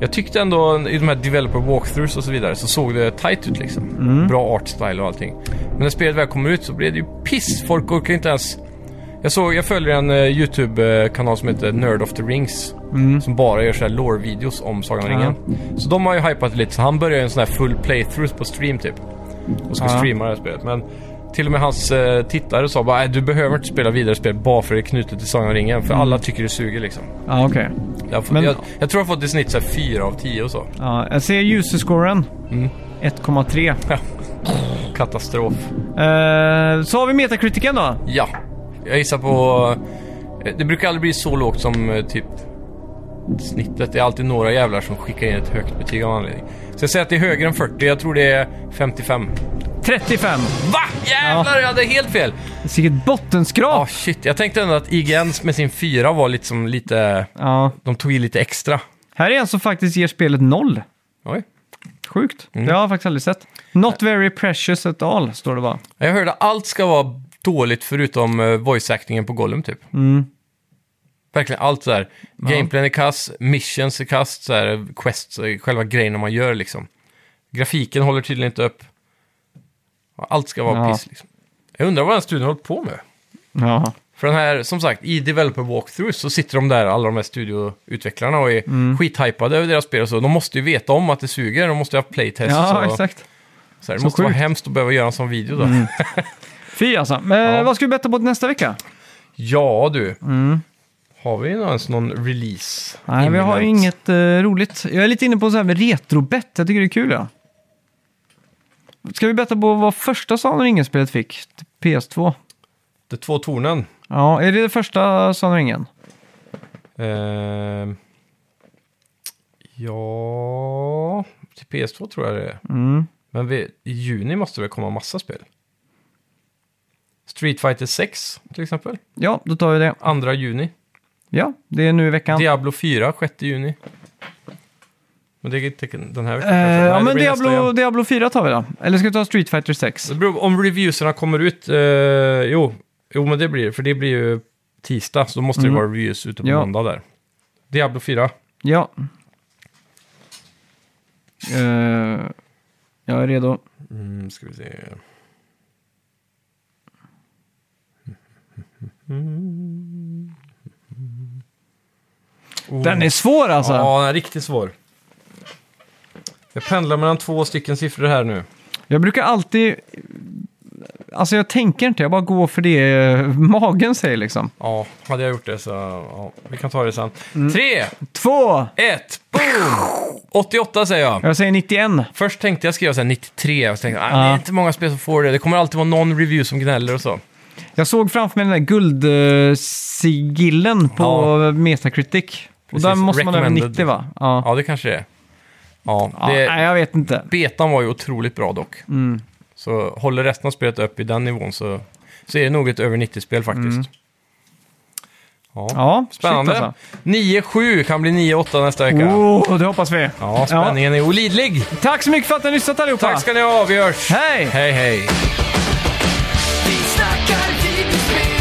[SPEAKER 1] Jag tyckte ändå i de här developer walkthroughs och så vidare så såg det tight ut liksom.
[SPEAKER 2] Mm.
[SPEAKER 1] Bra art style och allting. Men när spelet väl kom ut så blev det ju piss. Folk orkar inte ens... Jag, såg, jag följer en eh, YouTube-kanal som heter Nerd of the Rings.
[SPEAKER 2] Mm.
[SPEAKER 1] Som bara gör så här lore-videos om Sagan om ringen. Så de har ju hypat lite. Så han börjar ju en sån här full playthrough på stream typ och ska streama det här spelet. Men till och med hans eh, tittare sa bara "Nej, du behöver inte spela vidare spel bara för det är knutet till Sagan om ringen. För alla tycker det suger liksom.
[SPEAKER 2] Ja, okej.
[SPEAKER 1] Jag, har fått,
[SPEAKER 2] Mm. Men-
[SPEAKER 1] jag, jag tror jag har fått i snitt så här 4 av 10 och så.
[SPEAKER 2] Ja, jag ser user-scoren. 1,3.
[SPEAKER 1] Katastrof.
[SPEAKER 2] Eh, så har vi metakritiken då.
[SPEAKER 1] Ja. Jag gissar på... eh, Det brukar aldrig bli så lågt som eh, typ snittet. Det är alltid några jävlar som skickar in ett högt betyg av någon anledning. Så jag säger att det är högre än 40. Jag tror det är 55.
[SPEAKER 2] 35.
[SPEAKER 1] Va? Jävlar, jag hade helt fel!
[SPEAKER 2] Vilket
[SPEAKER 1] Ah
[SPEAKER 2] bottenskrap!
[SPEAKER 1] shit. Jag tänkte ändå att IGN med sin 4 var liksom lite...
[SPEAKER 2] Ja.
[SPEAKER 1] De tog i lite extra.
[SPEAKER 2] Här är en som faktiskt ger spelet noll.
[SPEAKER 1] Oj.
[SPEAKER 2] Sjukt. Det har jag faktiskt aldrig sett. Not very precious at all, står det bara.
[SPEAKER 1] Jag hörde att allt ska vara dåligt förutom eh, voice-actingen på Gollum typ.
[SPEAKER 2] Mm.
[SPEAKER 1] Verkligen allt så här. Gameplayen är kass, missions är kast, så här, quests, eh, själva grejerna man gör liksom. Grafiken håller tydligen inte upp. Allt ska vara
[SPEAKER 2] Ja.
[SPEAKER 1] piss liksom. Jag undrar vad den här studion har hållit på med.
[SPEAKER 2] Ja.
[SPEAKER 1] För den här, som sagt, i developer walkthroughs så sitter de där, alla de här studioutvecklarna och är
[SPEAKER 2] Mm.
[SPEAKER 1] skithypade över deras spel och så. De måste ju veta om att det suger, de måste ju ha playtests
[SPEAKER 2] Ja,
[SPEAKER 1] och så.
[SPEAKER 2] exakt.
[SPEAKER 1] så här. Det
[SPEAKER 2] Så
[SPEAKER 1] måste vara
[SPEAKER 2] sjukt. Mm.
[SPEAKER 1] hemskt att behöva göra en sån video då.
[SPEAKER 2] Fy alltså. Men Vad ska vi betta på nästa vecka?
[SPEAKER 1] Ja du. Har vi någon- ens någon release?
[SPEAKER 2] Mm. Nej, vi har
[SPEAKER 1] imminent?
[SPEAKER 2] inget eh, roligt. Jag är lite inne på så här med retrobett. Jag tycker det är kul, ja. Ska vi betta på vad första Sagan om ringen-spelet fick? till PS2.
[SPEAKER 1] De två tornen.
[SPEAKER 2] Ja, är det det första Sagan om ringen?
[SPEAKER 1] Ehm, ja, till PS2 tror jag det är.
[SPEAKER 2] Mm.
[SPEAKER 1] Men vi, i juni måste det komma massa spel. Street Fighter 6 till exempel.
[SPEAKER 2] Ja, då tar vi det.
[SPEAKER 1] 2 juni.
[SPEAKER 2] Ja, det är nu i veckan.
[SPEAKER 1] Diablo 4 6 juni. Men det är inte den här veckan
[SPEAKER 2] Eh,
[SPEAKER 1] kanske. Nej,
[SPEAKER 2] ja,
[SPEAKER 1] det
[SPEAKER 2] men
[SPEAKER 1] blir nästa
[SPEAKER 2] Diablo,
[SPEAKER 1] igen.
[SPEAKER 2] Diablo 4 tar vi då. Eller ska vi ta Street Fighter 6?
[SPEAKER 1] Det beror om reviewserna kommer ut. Eh, jo. jo, men det blir det. För det blir ju tisdag, så då måste det vara reviews ute på
[SPEAKER 2] Mm. Ja.
[SPEAKER 1] måndag där. Diablo 4.
[SPEAKER 2] Ja. Eh, jag är redo.
[SPEAKER 1] Mm, ska vi se. Oh.
[SPEAKER 2] Den är svår alltså.
[SPEAKER 1] Ja, den är riktigt svår. Jag pendlar mellan två stycken siffror här nu.
[SPEAKER 2] Jag brukar alltid... Alltså jag tänker inte, jag bara går för det eh, magen säger liksom.
[SPEAKER 1] Ja, hade jag gjort det så... Ja, vi kan ta det sen.
[SPEAKER 2] Mm.
[SPEAKER 1] Tre,
[SPEAKER 2] Två!
[SPEAKER 1] ett, boom! 88 säger jag.
[SPEAKER 2] Jag säger 91.
[SPEAKER 1] Först tänkte jag skriva så här 93, och så tänkte jag ah,
[SPEAKER 2] Ja.
[SPEAKER 1] det är inte många spel som får det. Det kommer alltid vara någon review som gnäller och så.
[SPEAKER 2] Jag såg framför mig den där guldsigillen på
[SPEAKER 1] Ja.
[SPEAKER 2] Metacritic. Och
[SPEAKER 1] Precis,
[SPEAKER 2] där måste man över
[SPEAKER 1] recommended.
[SPEAKER 2] 90 va? Ja.
[SPEAKER 1] Ja, det kanske det är. Ja,
[SPEAKER 2] Ja,
[SPEAKER 1] det,
[SPEAKER 2] Nej, Mm. jag vet inte.
[SPEAKER 1] Betan var ju otroligt bra dock. Så håller resten av spelet upp i den nivån så, så är det nog ett över 90-spel faktiskt. Ja.
[SPEAKER 2] Mm. Ja,
[SPEAKER 1] Spännande.
[SPEAKER 2] Shit, alltså.
[SPEAKER 1] 9-7 kan bli 9-8 nästa vecka.
[SPEAKER 2] Oh, det hoppas vi.
[SPEAKER 1] Ja, spänningen är olidlig.
[SPEAKER 2] Tack så mycket för att ni har lyssnat allihopa.
[SPEAKER 1] Tack ska ni ha, vi hörs.
[SPEAKER 2] Hej!
[SPEAKER 1] Hej, hej.
[SPEAKER 4] Vi snackar videospel,